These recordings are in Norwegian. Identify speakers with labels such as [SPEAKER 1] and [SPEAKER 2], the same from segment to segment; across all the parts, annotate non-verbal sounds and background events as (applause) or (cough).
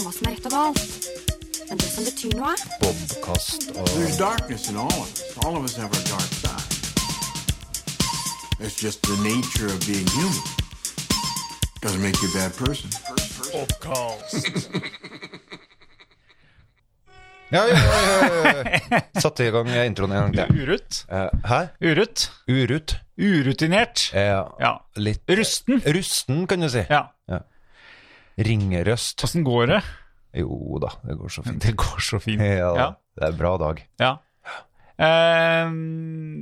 [SPEAKER 1] all. Men det som betyr noe,
[SPEAKER 2] Bobkast og
[SPEAKER 3] There's darkness in all of us. All of us have our dark side. It's just the nature of being human. Doesn't make you a bad person.
[SPEAKER 2] ja, ja, ja, ja, ja. Satte i gang introen en gang til.
[SPEAKER 4] Urut.
[SPEAKER 2] Eh, Hæ?
[SPEAKER 4] Urut.
[SPEAKER 2] Urut?
[SPEAKER 4] Urutinert.
[SPEAKER 2] Ja.
[SPEAKER 4] Ja.
[SPEAKER 2] Litt
[SPEAKER 4] Rusten.
[SPEAKER 2] rusten, kan du si.
[SPEAKER 4] Ja.
[SPEAKER 2] Ringerøst.
[SPEAKER 4] Åssen går det? (laughs)
[SPEAKER 2] Jo da, det går så fint.
[SPEAKER 4] Det går så fint.
[SPEAKER 2] Ja, da.
[SPEAKER 4] Mm. Ja.
[SPEAKER 2] Det er en bra dag.
[SPEAKER 4] Ja. Eh,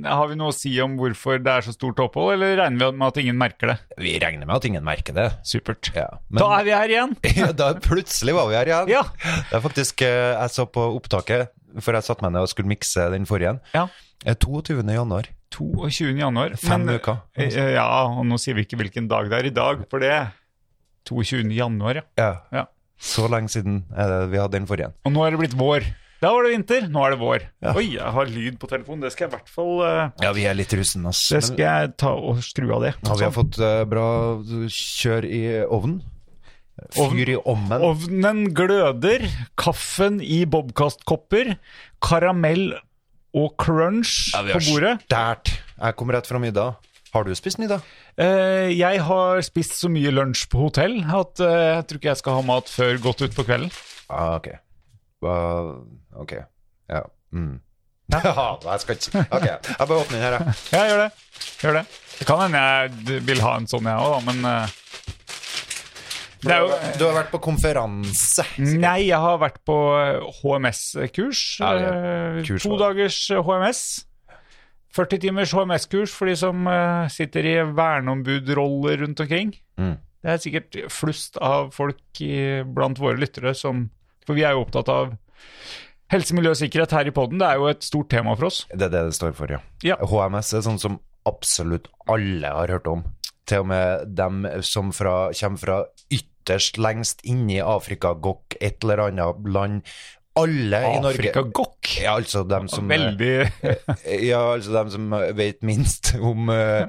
[SPEAKER 4] har vi noe å si om hvorfor det er så stort opphold, eller regner vi med at ingen merker det?
[SPEAKER 2] Vi regner med at ingen merker det.
[SPEAKER 4] Supert.
[SPEAKER 2] Ja,
[SPEAKER 4] da er vi her igjen!
[SPEAKER 2] (laughs) Ja, da plutselig var vi her igjen.
[SPEAKER 4] Ja.
[SPEAKER 2] Det er faktisk, eh, Jeg så på opptaket før jeg satte meg ned og skulle mikse den forrige. en.
[SPEAKER 4] Ja.
[SPEAKER 2] Eh, 22. januar.
[SPEAKER 4] 22. januar.
[SPEAKER 2] Fem
[SPEAKER 4] Men-
[SPEAKER 2] uker.
[SPEAKER 4] Eh, ja, og nå sier vi ikke hvilken dag det er i dag, for det 22. januar, ja.
[SPEAKER 2] Ja.
[SPEAKER 4] ja.
[SPEAKER 2] Så lenge siden er det vi hadde den forrige. en.
[SPEAKER 4] Og nå er det blitt vår. Da var det vinter, nå er det vår. Oi, jeg har lyd på telefonen. Det skal jeg i hvert fall eh,
[SPEAKER 2] Ja, vi er litt russen, ass.
[SPEAKER 4] Det skal jeg ta og skru av det.
[SPEAKER 2] Ja, vi har
[SPEAKER 4] Sånn.
[SPEAKER 2] fått eh, bra kjør i ovnen.
[SPEAKER 4] Ovn-
[SPEAKER 2] Fyr i ovnen.
[SPEAKER 4] Ovnen gløder, kaffen i bobkastkopper, karamell og crunch
[SPEAKER 2] Ja, vi
[SPEAKER 4] på
[SPEAKER 2] har
[SPEAKER 4] bordet.
[SPEAKER 2] Stært. Jeg kom rett fra middag. Har du spist middag?
[SPEAKER 4] Eh, jeg har spist så mye lunsj på hotell at eh, jeg tror ikke jeg skal ha mat før godt utpå kvelden.
[SPEAKER 2] Ja, ok. Hva- ok. Ja. Mm. Ja, (laughs) jeg skal ikke Ok, jeg bare åpner den her, jeg.
[SPEAKER 4] Ja, gjør det. Gjør det. Det kan hende jeg d- vil ha en sånn, jeg òg, da, men eh, det er jo Mm.
[SPEAKER 2] Du har vært på konferanse.
[SPEAKER 4] Nei, jeg har vært på eh, HMS-kurs.
[SPEAKER 2] Ja, det er
[SPEAKER 4] eh,
[SPEAKER 2] kurs,
[SPEAKER 4] to
[SPEAKER 2] da.
[SPEAKER 4] dagers HMS. 40 timers HMS-kurs for de som eh, sitter i verneombudroller rundt omkring.
[SPEAKER 2] Mm.
[SPEAKER 4] Det er sikkert flust av folk i, blant våre lyttere som For vi er jo opptatt av helse, miljø og sikkerhet her i poden. Det er jo et stort tema for oss.
[SPEAKER 2] Det er det det står for, ja.
[SPEAKER 4] Ja.
[SPEAKER 2] HMS er sånn som absolutt alle har hørt om. Til og med dem som fra, kommer fra ytterst lengst inne i Afrika, gokk, et eller annet land. Alle i Norge
[SPEAKER 4] Afrikagokk.
[SPEAKER 2] Ja, altså dem som
[SPEAKER 4] Veldig (laughs)
[SPEAKER 2] Ja, altså dem som vet minst (laughs) om eh,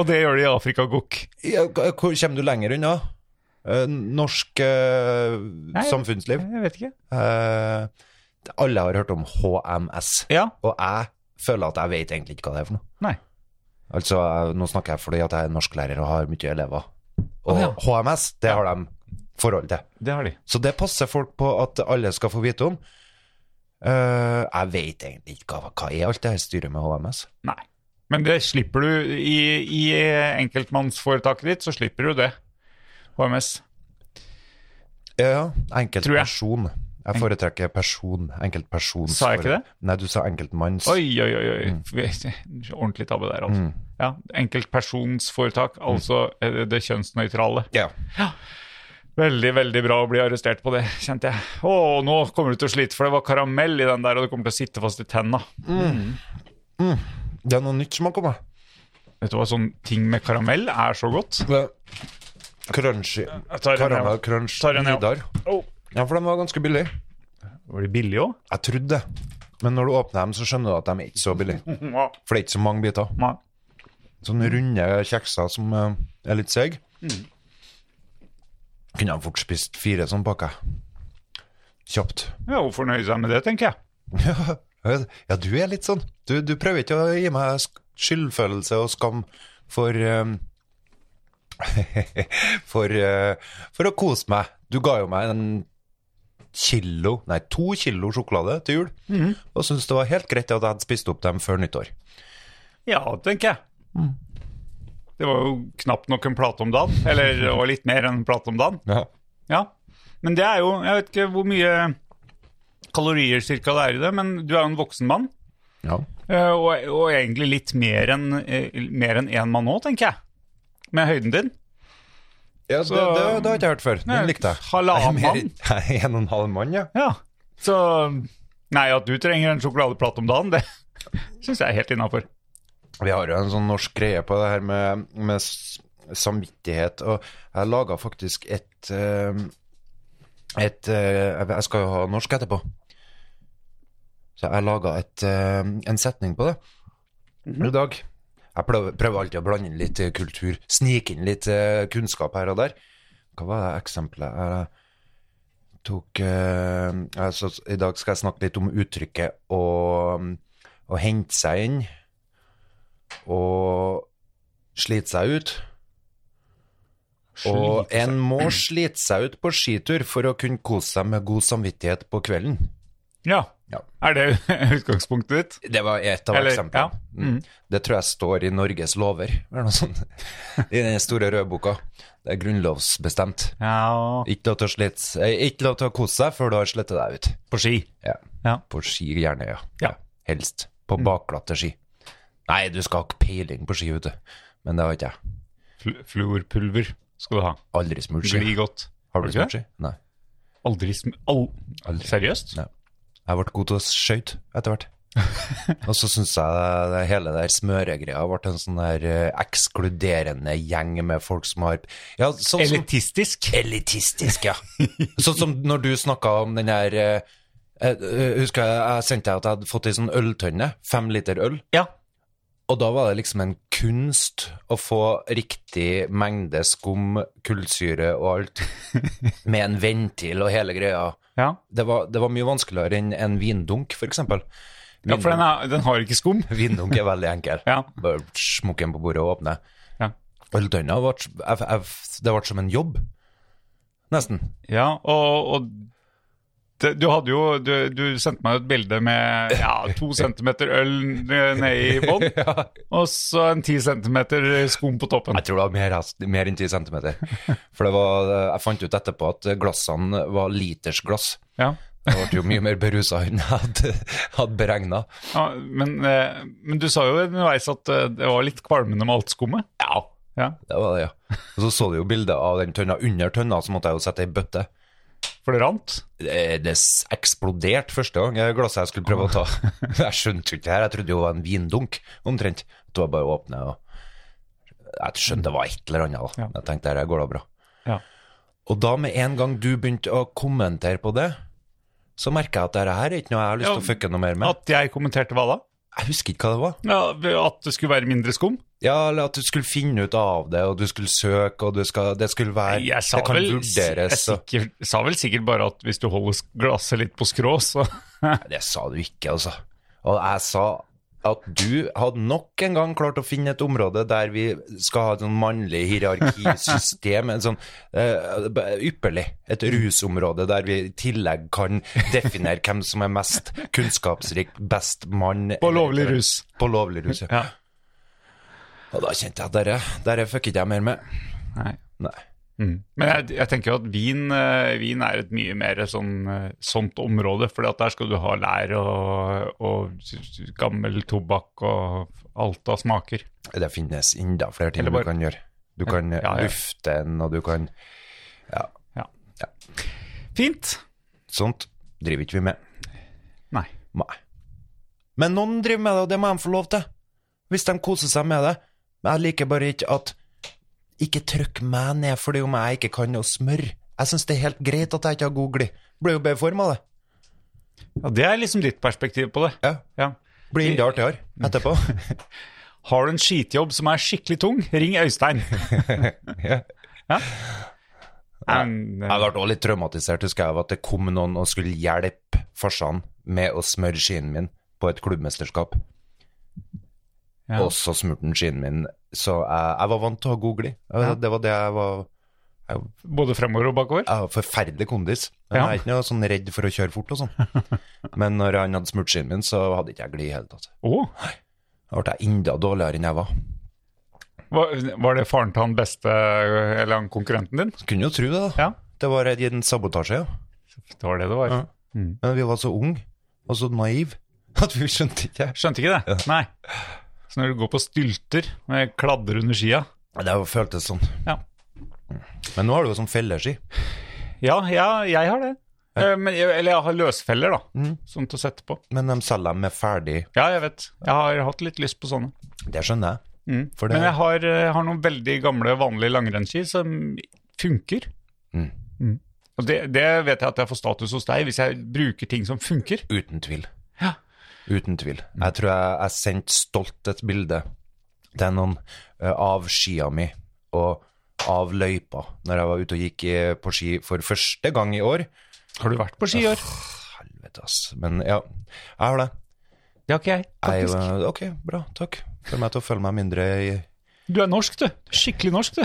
[SPEAKER 4] Og det gjør de i Afrikagokk.
[SPEAKER 2] ja, k- Hvor kommer du lenger unna? Eh, Norsk eh, samfunnsliv.
[SPEAKER 4] Jeg vet ikke.
[SPEAKER 2] Eh, alle har hørt om HMS,
[SPEAKER 4] Ja.
[SPEAKER 2] og jeg føler at jeg vet egentlig ikke hva det er for noe.
[SPEAKER 4] Nei.
[SPEAKER 2] Altså, jeg- Nå snakker jeg fordi at jeg er norsklærer og har mye elever. Og
[SPEAKER 4] Å, ja.
[SPEAKER 2] HMS, det har de forhold til.
[SPEAKER 4] Det har de.
[SPEAKER 2] Så det passer folk på at alle skal få vite om. Eh, jeg vet egentlig ikke hva, hva er alt det her styret med HMS.
[SPEAKER 4] Nei. Men det slipper du i, i enkeltmannsforetaket ditt, så slipper du det. HMS.
[SPEAKER 2] Eh, Ja,
[SPEAKER 4] Tror jeg.
[SPEAKER 2] enkeltperson. Jeg foretrekker person. Enkeltpersons.
[SPEAKER 4] Sa jeg ikke det?
[SPEAKER 2] Nei, du sa enkeltmanns.
[SPEAKER 4] Oi, oi, oi. oi.
[SPEAKER 2] Mm.
[SPEAKER 4] (laughs) Ordentlig tabbe der, altså. Ja, Enkeltpersonsforetak, altså eh, det, det kjønnsnøytrale.
[SPEAKER 2] Ja.
[SPEAKER 4] Veldig, veldig bra å bli arrestert på det, kjente jeg. Å, nå kommer du til å slite, for det var karamell i den der, og du kommer til å sitte fast i tenna.
[SPEAKER 2] Det er noe nytt som har kommet.
[SPEAKER 4] Vet du hva, sånn ting med karamell er så godt.
[SPEAKER 2] Det- Crunchy.
[SPEAKER 4] Jeg tar en,
[SPEAKER 2] Karamell
[SPEAKER 4] jeg.
[SPEAKER 2] crunch.
[SPEAKER 4] Tar en, ja.
[SPEAKER 2] Vidar.
[SPEAKER 4] Å,
[SPEAKER 2] Ja, for de var ganske billige.
[SPEAKER 4] Var de billige
[SPEAKER 2] (laughs) Jeg trodde det. Men når du åpner dem, så skjønner du at de er ikke så billige.
[SPEAKER 4] òg?
[SPEAKER 2] For det er ikke så mange biter. Sånne runde kjekser som eh, er litt seig. Kunne han fort spist fire sånne pakker. Kjapt.
[SPEAKER 4] Ja, hvorfor nøye seg med det, tenker jeg.
[SPEAKER 2] Ja, du er litt sånn. Du, du prøver ikke å gi meg sk- skyldfølelse og skam for eh, (laughs) for, eh, for å kose meg. Du ga jo meg en kilo, nei, to kilo sjokolade til jul,
[SPEAKER 4] Mhm.
[SPEAKER 2] og syntes det var helt greit at jeg hadde spist opp dem før nyttår.
[SPEAKER 4] Ja, tenker jeg. Det var jo knapt nok en plate om dagen, eller det var litt mer enn en plate om dagen.
[SPEAKER 2] Ja.
[SPEAKER 4] Ja. Men det er jo Jeg vet ikke hvor mye kalorier cirka det er i det, men du er jo en voksen mann.
[SPEAKER 2] Ja.
[SPEAKER 4] eh, Og, og egentlig litt mer enn eh, mer enn én mann nå, tenker jeg. Med høyden din.
[SPEAKER 2] det, det, det har jeg ikke hørt før. Den
[SPEAKER 4] Nei,
[SPEAKER 2] likte jeg. (laughs)
[SPEAKER 4] halvannen
[SPEAKER 2] Mer-
[SPEAKER 4] mann.
[SPEAKER 2] Nei, En og en halv mann, ja.
[SPEAKER 4] Ja. Så Nei, at du trenger en sjokoladeplate om dagen, det (laughs) syns jeg er helt innafor.
[SPEAKER 2] Vi har jo en sånn norsk greie på det her med, med s- samvittighet, og jeg laga faktisk et eh, Et eh, Jeg skal jo ha norsk etterpå. Så jeg laga en setning på det
[SPEAKER 4] Mhm.
[SPEAKER 2] i dag. Jeg prøver, prøver alltid å blande inn litt eh, kultur, snike inn litt eh, kunnskap her og der. Hva var det eksempelet? Eh, tok eh, altså, I dag skal jeg snakke litt om uttrykket å, å hente seg inn og slite seg ut. Og
[SPEAKER 4] Slite seg.
[SPEAKER 2] en må slite seg ut på skitur for å kunne kose seg med god samvittighet på kvelden.
[SPEAKER 4] Ja.
[SPEAKER 2] Ja.
[SPEAKER 4] Er det utgangspunktet ditt?
[SPEAKER 2] Det var et av
[SPEAKER 4] Eller-
[SPEAKER 2] eksemplene.
[SPEAKER 4] ja.
[SPEAKER 2] Mm. Det tror jeg står i Norges lover, eller noe
[SPEAKER 4] (laughs)
[SPEAKER 2] sånt. I den store røde boka. Det er grunnlovsbestemt.
[SPEAKER 4] Ja,
[SPEAKER 2] Ikke lov til å, slite- eh, ikke lov til å kose seg før du har slettet deg ut.
[SPEAKER 4] på ski.
[SPEAKER 2] Ja.
[SPEAKER 4] Ja.
[SPEAKER 2] På ski gjerne, ja.
[SPEAKER 4] Ja.
[SPEAKER 2] Helst.
[SPEAKER 4] Mm.
[SPEAKER 2] På bakglatte ski. Nei, du skal ha ikke peiling på ski, vet du. Men det har ikke jeg.
[SPEAKER 4] Fl fluorpulver skal du ha.
[SPEAKER 2] Aldri smurt
[SPEAKER 4] Gli
[SPEAKER 2] ski.
[SPEAKER 4] godt.
[SPEAKER 2] Har du
[SPEAKER 4] ikke det?
[SPEAKER 2] smurt ski? Nei.
[SPEAKER 4] Aldri sm... Al
[SPEAKER 2] Aldri.
[SPEAKER 4] Seriøst?
[SPEAKER 2] Nei. Jeg ble god til å skøyte etter
[SPEAKER 4] (laughs)
[SPEAKER 2] hvert. og så syns jeg det hele der smøregreia ble en sånn der eh, ekskluderende gjeng med folk som har ja, sånn som,
[SPEAKER 4] Elitistisk?
[SPEAKER 2] Elitistisk, ja. sånn som når du snakka om den der eh, eh, Husker jeg jeg sendte deg at jeg hadde fått ei sånn øltønne, fem liter øl,
[SPEAKER 4] Ja.
[SPEAKER 2] og da var det liksom en kunst å få riktig mengde skum, kullsyre og alt,
[SPEAKER 4] (laughs)
[SPEAKER 2] med en ventil og hele greia
[SPEAKER 4] Ja,
[SPEAKER 2] det var, det var mye vanskeligere enn en vindunk, for eksempel.
[SPEAKER 4] ja for den, er, den har ikke skum.
[SPEAKER 2] vindunk er veldig enkel.
[SPEAKER 4] Ja.
[SPEAKER 2] Bare smukke den på bordet og åpne.
[SPEAKER 4] Ja.
[SPEAKER 2] Øltønna ble, jeg- jeg- det ble som en jobb, nesten.
[SPEAKER 4] Ja, og, og det, du hadde jo du, du sendte meg et bilde med ja, to centimeter øl n- ned i (laughs) bånn, og så en ti centimeter skum på toppen.
[SPEAKER 2] Jeg tror det var mer, mer enn 10
[SPEAKER 4] (laughs)
[SPEAKER 2] centimeter. For det var, jeg fant ut etterpå at glassene var litersglass.
[SPEAKER 4] Ja.
[SPEAKER 2] Jeg ble jo mye mer berusa enn jeg hadde, hadde beregna.
[SPEAKER 4] Ja, men, eh, men du sa jo underveis at eh, det var litt kvalmende med alt skummet.
[SPEAKER 2] Ja.
[SPEAKER 4] Ja,
[SPEAKER 2] Det var det, ja. Og så så du jo bildet av den tønna under tønna, så måtte jeg jo sette ei bøtte.
[SPEAKER 4] for det rant.
[SPEAKER 2] det, eh, det s- eksploderte første gang eh, glasset jeg skulle prøve å ta. (laughs) Jeg skjønte jo ikke det her, jeg trodde jo det var en vindunk omtrent. Det var bare å åpne og Jeg skjønte det var et eller annet, da.
[SPEAKER 4] Ja.
[SPEAKER 2] Jeg tenkte her går da bra.
[SPEAKER 4] Ja.
[SPEAKER 2] Og da med en gang du begynte å kommentere på det, så merka jeg at dette her er ikke noe jeg har lyst
[SPEAKER 4] Ja,
[SPEAKER 2] til å fucke noe mer med.
[SPEAKER 4] At jeg kommenterte hva da?
[SPEAKER 2] Jeg husker ikke hva det var.
[SPEAKER 4] Ja, At det skulle være mindre skum?
[SPEAKER 2] Ja, Eller at du skulle finne ut av det, og du skulle søke, og du skal, det skulle være
[SPEAKER 4] Jeg sa,
[SPEAKER 2] Det kan
[SPEAKER 4] vel, jeg
[SPEAKER 2] vurderes. og-
[SPEAKER 4] sikkert, sa vel sikkert bare at hvis du holder s- glasset litt på skrå, så
[SPEAKER 2] Det sa du ikke, altså. Og jeg sa at du hadde nok en gang klart å finne et område der vi skal ha et sånn mannlig hierarkisystem. En sånn eh, ypperlig. Et rusområde der vi i tillegg kan definere hvem som er mest kunnskapsrik, best mann
[SPEAKER 4] På
[SPEAKER 2] eller-
[SPEAKER 4] lovlig rus.
[SPEAKER 2] På lovlig rus, ja.
[SPEAKER 4] Ja.
[SPEAKER 2] Og da kjente jeg at dette, dette fucker ikke jeg mer med.
[SPEAKER 4] Nei.
[SPEAKER 2] Nei.
[SPEAKER 4] Mm. Men jeg, jeg tenker jo at vin, eh, vin er et mye mer sånn, eh, sånt område, for der skal du ha lær og, og s- s- gammel tobakk og alt av smaker.
[SPEAKER 2] Det finnes enda flere ting
[SPEAKER 4] Eller bare-
[SPEAKER 2] du kan gjøre. Du kan
[SPEAKER 4] Ja, ja.
[SPEAKER 2] lufte den, og du kan
[SPEAKER 4] Fint!
[SPEAKER 2] Sånt driver ikke vi med.
[SPEAKER 4] Nei.
[SPEAKER 2] Nei. Men noen driver med det, og det må de få lov til. Hvis de koser seg med det. Men jeg liker bare ikke at Ikke trykk meg ned for det om jeg ikke kan å smøre. Jeg syns det er helt greit at jeg ikke har god glid. Blir jo bedre form av det.
[SPEAKER 4] Ja, det er liksom ditt perspektiv på det.
[SPEAKER 2] Ja.
[SPEAKER 4] Ja.
[SPEAKER 2] Blir enda artigere etterpå.
[SPEAKER 4] Har du en skitjobb som er skikkelig tung, ring Øystein.
[SPEAKER 2] (laughs) ja.
[SPEAKER 4] Men,
[SPEAKER 2] (laughs)
[SPEAKER 4] eh,
[SPEAKER 2] Jeg ble også litt traumatisert, husker jeg, av at det kom noen og skulle hjelpe farsan med å smøre skien min på et klubbmesterskap.
[SPEAKER 4] Ja.
[SPEAKER 2] Og så smurte han skien min, så jeg, jeg var vant til å ha god glid. Jeg- Det var det jeg var
[SPEAKER 4] både fremover og bakover?
[SPEAKER 2] Jeg har forferdelig kondis. Men Jeg
[SPEAKER 4] Ja.
[SPEAKER 2] er ikke noe sånn redd for å kjøre fort og
[SPEAKER 4] (laughs)
[SPEAKER 2] sånn. Men når han hadde smurt skien min, så hadde ikke jeg glid i hele tatt.
[SPEAKER 4] Å,
[SPEAKER 2] Da ble jeg enda dårligere enn jeg var.
[SPEAKER 4] var, var det faren til han beste, eh, eller han konkurrenten din?
[SPEAKER 2] Så kunne jo tro det, da.
[SPEAKER 4] Ja.
[SPEAKER 2] Det var redd i en sabotasje, ja.
[SPEAKER 4] Det var det det var.
[SPEAKER 2] Ja. Men vi var så unge og så naive (laughs) at vi skjønte ikke.
[SPEAKER 4] Skjønte ikke det? Nei. Så når du går på stylter med kladder under skia
[SPEAKER 2] Det var- føltes sånn.
[SPEAKER 4] Ja,
[SPEAKER 2] Men nå har du jo sånn felleski.
[SPEAKER 4] ja, ja jeg har det. Eh, Men, jeg- eller jeg har løsfeller, da.
[SPEAKER 2] Mm.
[SPEAKER 4] Sånn til å sette på.
[SPEAKER 2] Men de selger dem med ferdig
[SPEAKER 4] Ja, jeg vet. Jeg har hatt litt lyst på sånne. Mm.
[SPEAKER 2] Det skjønner jeg. For det,
[SPEAKER 4] Men jeg har, eh, har noen veldig gamle, vanlige langrennsski som funker.
[SPEAKER 2] Mm.
[SPEAKER 4] Mm. Og det, det vet jeg at jeg får status hos deg, hvis jeg bruker ting som funker.
[SPEAKER 2] Uten tvil.
[SPEAKER 4] Ja.
[SPEAKER 2] Uten tvil. Jeg tror jeg, jeg sendte stolt et bilde til noen eh, av skia mi og av løypa når jeg var ute og gikk eh, på ski for første gang i år.
[SPEAKER 4] Har du vært på ski i år?
[SPEAKER 2] Helvete, ass. Men ja, jeg har det.
[SPEAKER 4] Det har ikke jeg,
[SPEAKER 2] Jeg,
[SPEAKER 4] faktisk.
[SPEAKER 2] eh, ok, bra. Takk. Føler meg til å føle meg mindre i
[SPEAKER 4] Du er norsk, du. Skikkelig norsk, du.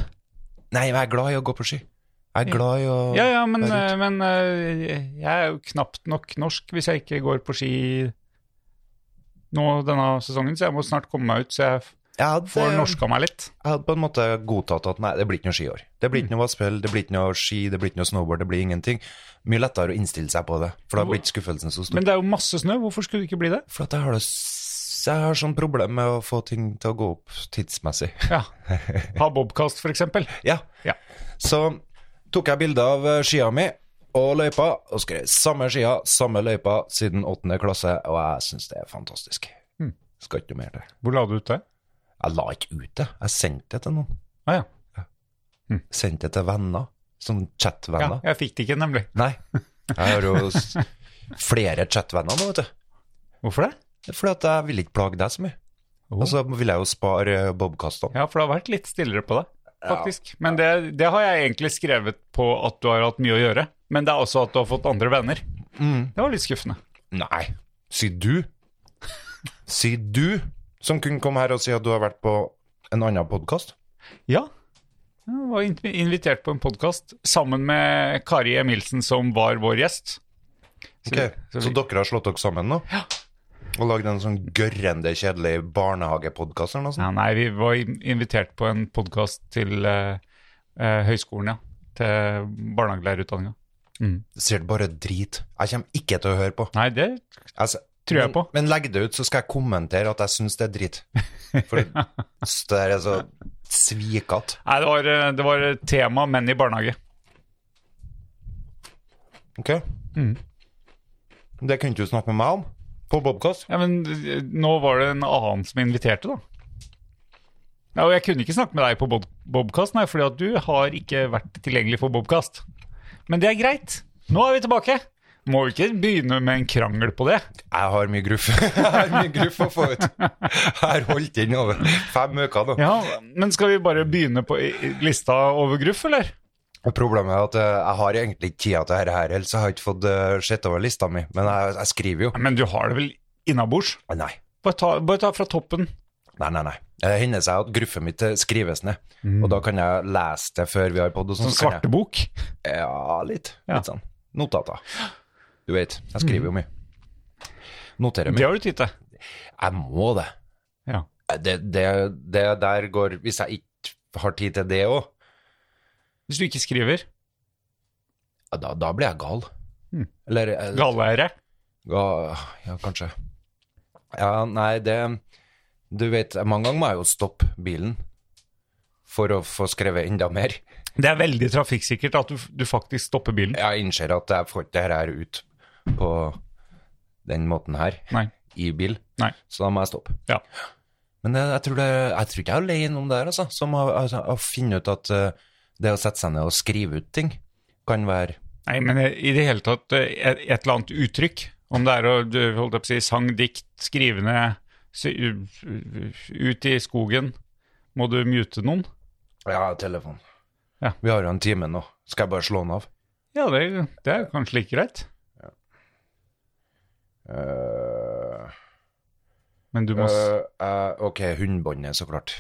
[SPEAKER 2] Nei, jeg er glad i å gå på ski. Jeg er glad i å
[SPEAKER 4] Ja, ja, men,
[SPEAKER 2] være ute.
[SPEAKER 4] eh, men eh, jeg er jo knapt nok norsk hvis jeg ikke går på ski nå denne sesongen, så jeg må snart komme meg ut, så jeg f-
[SPEAKER 2] Jeg hadde,
[SPEAKER 4] får norska meg litt.
[SPEAKER 2] jeg hadde på en måte godtatt at nei, det blir ikke noe skiår. Det blir
[SPEAKER 4] Mm.
[SPEAKER 2] ikke noe vassspill, det blir ikke noe ski, det blir ikke noe snowboard, det blir ingenting. Mye lettere å innstille seg på det, for da blir ikke skuffelsen så stor.
[SPEAKER 4] Men det er jo masse snø, hvorfor skulle det ikke bli det?
[SPEAKER 2] For at jeg har, det, s- jeg har sånn problem med å få ting til å gå opp tidsmessig. (laughs)
[SPEAKER 4] (laughs) Ja. Ha bobkast, for eksempel.
[SPEAKER 2] Ja.
[SPEAKER 4] Ja.
[SPEAKER 2] Så tok jeg bilde av eh, skia mi og løypa, og skrev samme skia, samme løypa siden åttende klasse, og jeg syns det er fantastisk.
[SPEAKER 4] Mm.
[SPEAKER 2] Skal ikke noe mer til.
[SPEAKER 4] Hvor la du ut det?
[SPEAKER 2] Jeg la ikke ut det, jeg sendte det til noen.
[SPEAKER 4] Ah, ja.
[SPEAKER 2] Sendte det til venner, sånn
[SPEAKER 4] ja,
[SPEAKER 2] chatvenner.
[SPEAKER 4] jeg fikk det ikke, nemlig.
[SPEAKER 2] Nei, jeg har jo s- flere chatvenner nå, vet du.
[SPEAKER 4] Hvorfor det?
[SPEAKER 2] Fordi at jeg ville ikke plage deg så mye.
[SPEAKER 4] Oh.
[SPEAKER 2] Og så ville jeg jo spare eh, bobkastene.
[SPEAKER 4] Ja, for det har vært litt stillere på det, faktisk. Men det, det har jeg egentlig skrevet på at du har hatt mye å gjøre. Men det er også at du har fått andre venner. Det var litt skuffende.
[SPEAKER 2] Nei, si du. Si du, som kunne komme her og si at du har vært på en annen podkast.
[SPEAKER 4] Ja. Jeg var in- invitert på en podkast sammen med Kari Emilsen, som var vår gjest. Så- så
[SPEAKER 2] Så
[SPEAKER 4] vi-
[SPEAKER 2] dere har slått dere sammen nå?
[SPEAKER 4] Ja.
[SPEAKER 2] Og lagd en sånn gørrende kjedelig barnehagepodkast eller noe sånt?
[SPEAKER 4] Ja, nei, vi var in- invitert på en podkast til eh, eh, høyskolen, ja. Til barnehagelærerutdanninga.
[SPEAKER 2] Sier det bare drit. Jeg kommer ikke til å høre på.
[SPEAKER 4] Nei, det
[SPEAKER 2] Jeg s-
[SPEAKER 4] Tror
[SPEAKER 2] men,
[SPEAKER 4] jeg på.
[SPEAKER 2] Men legg det ut, så skal jeg kommentere at jeg syns det er drit.
[SPEAKER 4] (laughs)
[SPEAKER 2] For s- det der er så svikete.
[SPEAKER 4] Nei, det var, eh, det var tema menn i barnehage.
[SPEAKER 2] Ok?
[SPEAKER 4] Mm.
[SPEAKER 2] Det kunne du snakke med meg om på podkast.
[SPEAKER 4] Ja, men eh, nå var det en annen som inviterte, da. Ja, og jeg kunne ikke snakke med deg på Bob Bobkast, nei, fordi at du har ikke vært tilgjengelig for Bobkast. Men det er greit. Nå er vi tilbake. Må ikke begynne med en krangel på det.
[SPEAKER 2] Jeg har mye gruff. (laughs) Jeg har mye gruff å få ut. Jeg har holdt inn over fem uker nå.
[SPEAKER 4] Ja, Men skal vi bare begynne på i- i lista over gruff, eller?
[SPEAKER 2] Og Problemet er at eh, jeg har egentlig ikke tida til dette her, ellers har jeg ikke fått eh, sett over lista mi. Men jeg, jeg skriver jo.
[SPEAKER 4] Ja, Men du har det vel innabords?
[SPEAKER 2] Men Nei,
[SPEAKER 4] Bare ta, bare ta fra toppen.
[SPEAKER 2] nei, nei. nei. Det hender seg at gruffet mitt eh, skrives ned, og da kan jeg lese det før vi har podd. og
[SPEAKER 4] Sånn
[SPEAKER 2] sånn, så kan jeg-
[SPEAKER 4] svartebok.
[SPEAKER 2] Ja, litt.
[SPEAKER 4] Ja. Mm.
[SPEAKER 2] Litt sånn. Notater. Du vet, jeg skriver jo mye. Noterer
[SPEAKER 4] Det
[SPEAKER 2] mye.
[SPEAKER 4] har du tid til.
[SPEAKER 2] Jeg må det. Eh,
[SPEAKER 4] Ja.
[SPEAKER 2] Det, det, det der går Hvis jeg ikke har tid til det òg,
[SPEAKER 4] Hvis du ikke skriver.
[SPEAKER 2] eh, da, da blir jeg gal.
[SPEAKER 4] Mm.
[SPEAKER 2] Eller eh,
[SPEAKER 4] Galeeiere.
[SPEAKER 2] Ja, ja, kanskje. Ja, nei, det Du vet, mange ganger må jeg jo stoppe bilen for å få skrevet enda mer.
[SPEAKER 4] Det er veldig trafikksikkert at du, f- du faktisk stopper bilen.
[SPEAKER 2] Jeg innser at jeg får ikke det her ut på den måten her,
[SPEAKER 4] Nei.
[SPEAKER 2] i bil,
[SPEAKER 4] Nei.
[SPEAKER 2] så da må jeg stoppe.
[SPEAKER 4] Ja.
[SPEAKER 2] Men jeg, jeg, tror det, jeg tror ikke jeg er alene om det her, altså. Som å, altså, å finne ut at eh, det å sette seg ned og skrive ut ting kan være
[SPEAKER 4] Nei, men i det hele tatt eh, et et eller annet uttrykk, om det er å du, holdt jeg på å si, sang, dikt, skrive ned, sy- ut i skogen, må du mute noen?
[SPEAKER 2] Ja, telefon.
[SPEAKER 4] Ja.
[SPEAKER 2] Vi har jo en time nå. Skal jeg bare slå den av?
[SPEAKER 4] Ja, det, det er kanskje like greit,
[SPEAKER 2] Uh...
[SPEAKER 4] men du må... s- Å
[SPEAKER 2] Øh, eh, ok, hundbåndet, så klart.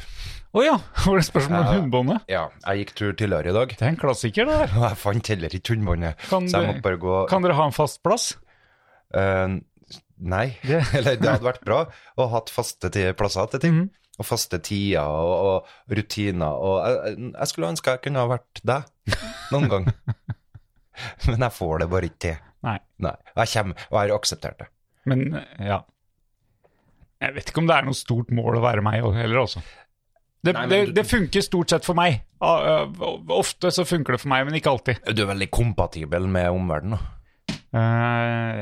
[SPEAKER 4] ja, (laughs) var det spørsmål om
[SPEAKER 2] Ja.
[SPEAKER 4] hundbåndet?
[SPEAKER 2] Ja, jeg gikk tur tidligere i dag, (laughs)
[SPEAKER 4] Det er en klassiker det der.
[SPEAKER 2] og jeg fant heller ikke hundbåndet.
[SPEAKER 4] Kan
[SPEAKER 2] Så jeg
[SPEAKER 4] du-
[SPEAKER 2] måtte bare gå
[SPEAKER 4] Kan dere ha en fast plass?
[SPEAKER 2] eh, Nei.
[SPEAKER 4] Det-
[SPEAKER 2] (laughs) Eller det hadde vært bra å ha hatt faste ti- plasser til ting.
[SPEAKER 4] Mhm.
[SPEAKER 2] Og faste tider og, og rutiner. Og jeg, jeg skulle ønske jeg kunne ha vært deg noen gang. (laughs) Men jeg får det bare ikke til.
[SPEAKER 4] Nei.
[SPEAKER 2] Nei. Og jeg kommer, og jeg har akseptert det.
[SPEAKER 4] Men, eh, ja. Jeg vet ikke om det er noe stort mål å være meg heller, altså. Det,
[SPEAKER 2] Nei, men
[SPEAKER 4] det,
[SPEAKER 2] du-
[SPEAKER 4] det funker stort sett for meg. Ah, eh, Ofte så funker det for meg, men ikke alltid.
[SPEAKER 2] Du er veldig kompatibel med omverdenen. da.
[SPEAKER 4] Eh,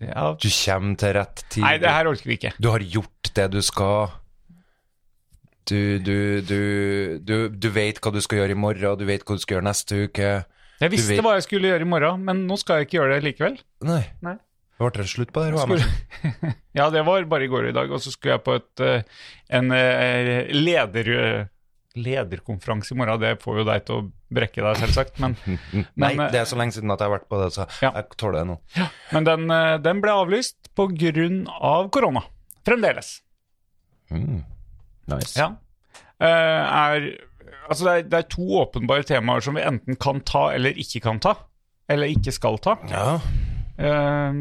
[SPEAKER 4] ja.
[SPEAKER 2] Du kommer til rett tid.
[SPEAKER 4] Nei, det her orker vi ikke.
[SPEAKER 2] Du har gjort det du skal. Du, du, du, du, du vet hva du skal gjøre i morgen, du vet hva du skal gjøre neste uke.
[SPEAKER 4] Jeg
[SPEAKER 2] Du
[SPEAKER 4] visste
[SPEAKER 2] vet-
[SPEAKER 4] hva jeg skulle gjøre i morgen, men nå skal jeg ikke gjøre det likevel.
[SPEAKER 2] Nei.
[SPEAKER 4] Nei.
[SPEAKER 2] Ble det slutt på det? her,
[SPEAKER 4] Skulle... (laughs)
[SPEAKER 2] Emerson?
[SPEAKER 4] ja, det var bare i går og i dag, og så skulle jeg på et, eh, en eh, leder, lederkonferanse i morgen. Det får jo deg til å brekke deg, selvsagt.
[SPEAKER 2] (laughs)
[SPEAKER 4] Men,
[SPEAKER 2] Nei,
[SPEAKER 4] men, eh,
[SPEAKER 2] det er så lenge siden at jeg har vært på det, så
[SPEAKER 4] Ja.
[SPEAKER 2] jeg tåler det nå.
[SPEAKER 4] men den, eh, den ble avlyst pga. Av korona. Fremdeles.
[SPEAKER 2] Nice.
[SPEAKER 4] Ja. Eh, er, altså det, er, det er to åpenbare temaer som vi enten kan ta eller ikke kan ta. Eller ikke skal ta.
[SPEAKER 2] Ja.
[SPEAKER 4] Eh,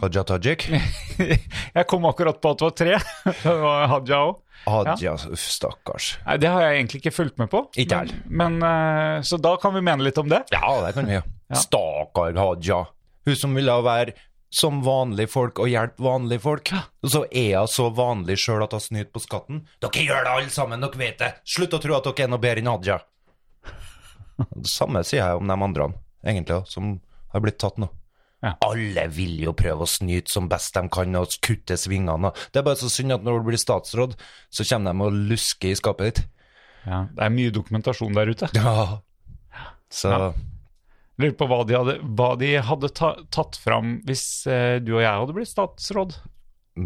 [SPEAKER 2] Haja Tajik.
[SPEAKER 4] (laughs) jeg kom akkurat på at det var tre. (laughs) Det var Hadia òg.
[SPEAKER 2] Haja, uff, stakkars.
[SPEAKER 4] Nei, det har jeg egentlig ikke fulgt med på.
[SPEAKER 2] Ikke jeg.
[SPEAKER 4] Men, men, eh, så da kan vi mene litt om det.
[SPEAKER 2] Ja, det kan vi gjøre. Stakkar Haja. Hun som ville være som vanlige folk og hjelpe vanlige folk. Og så er hun så vanlig sjøl at hun snyter på skatten. Dere gjør det alle sammen, dere vet det. Slutt å tro at dere er noe bedre enn Haja. Det samme sier jeg om de andre, egentlig, også, som har blitt tatt nå.
[SPEAKER 4] Ja.
[SPEAKER 2] Alle vil jo prøve å snyte som best de kan og kutte svingene. og Det er bare så synd at når du blir statsråd, så kommer de og lusker i skapet ditt.
[SPEAKER 4] Det er mye dokumentasjon der ute.
[SPEAKER 2] Ja. Så
[SPEAKER 4] Ja. Lurer på hva de hadde, hva de hadde ta, tatt fram hvis eh, du og jeg hadde blitt statsråd.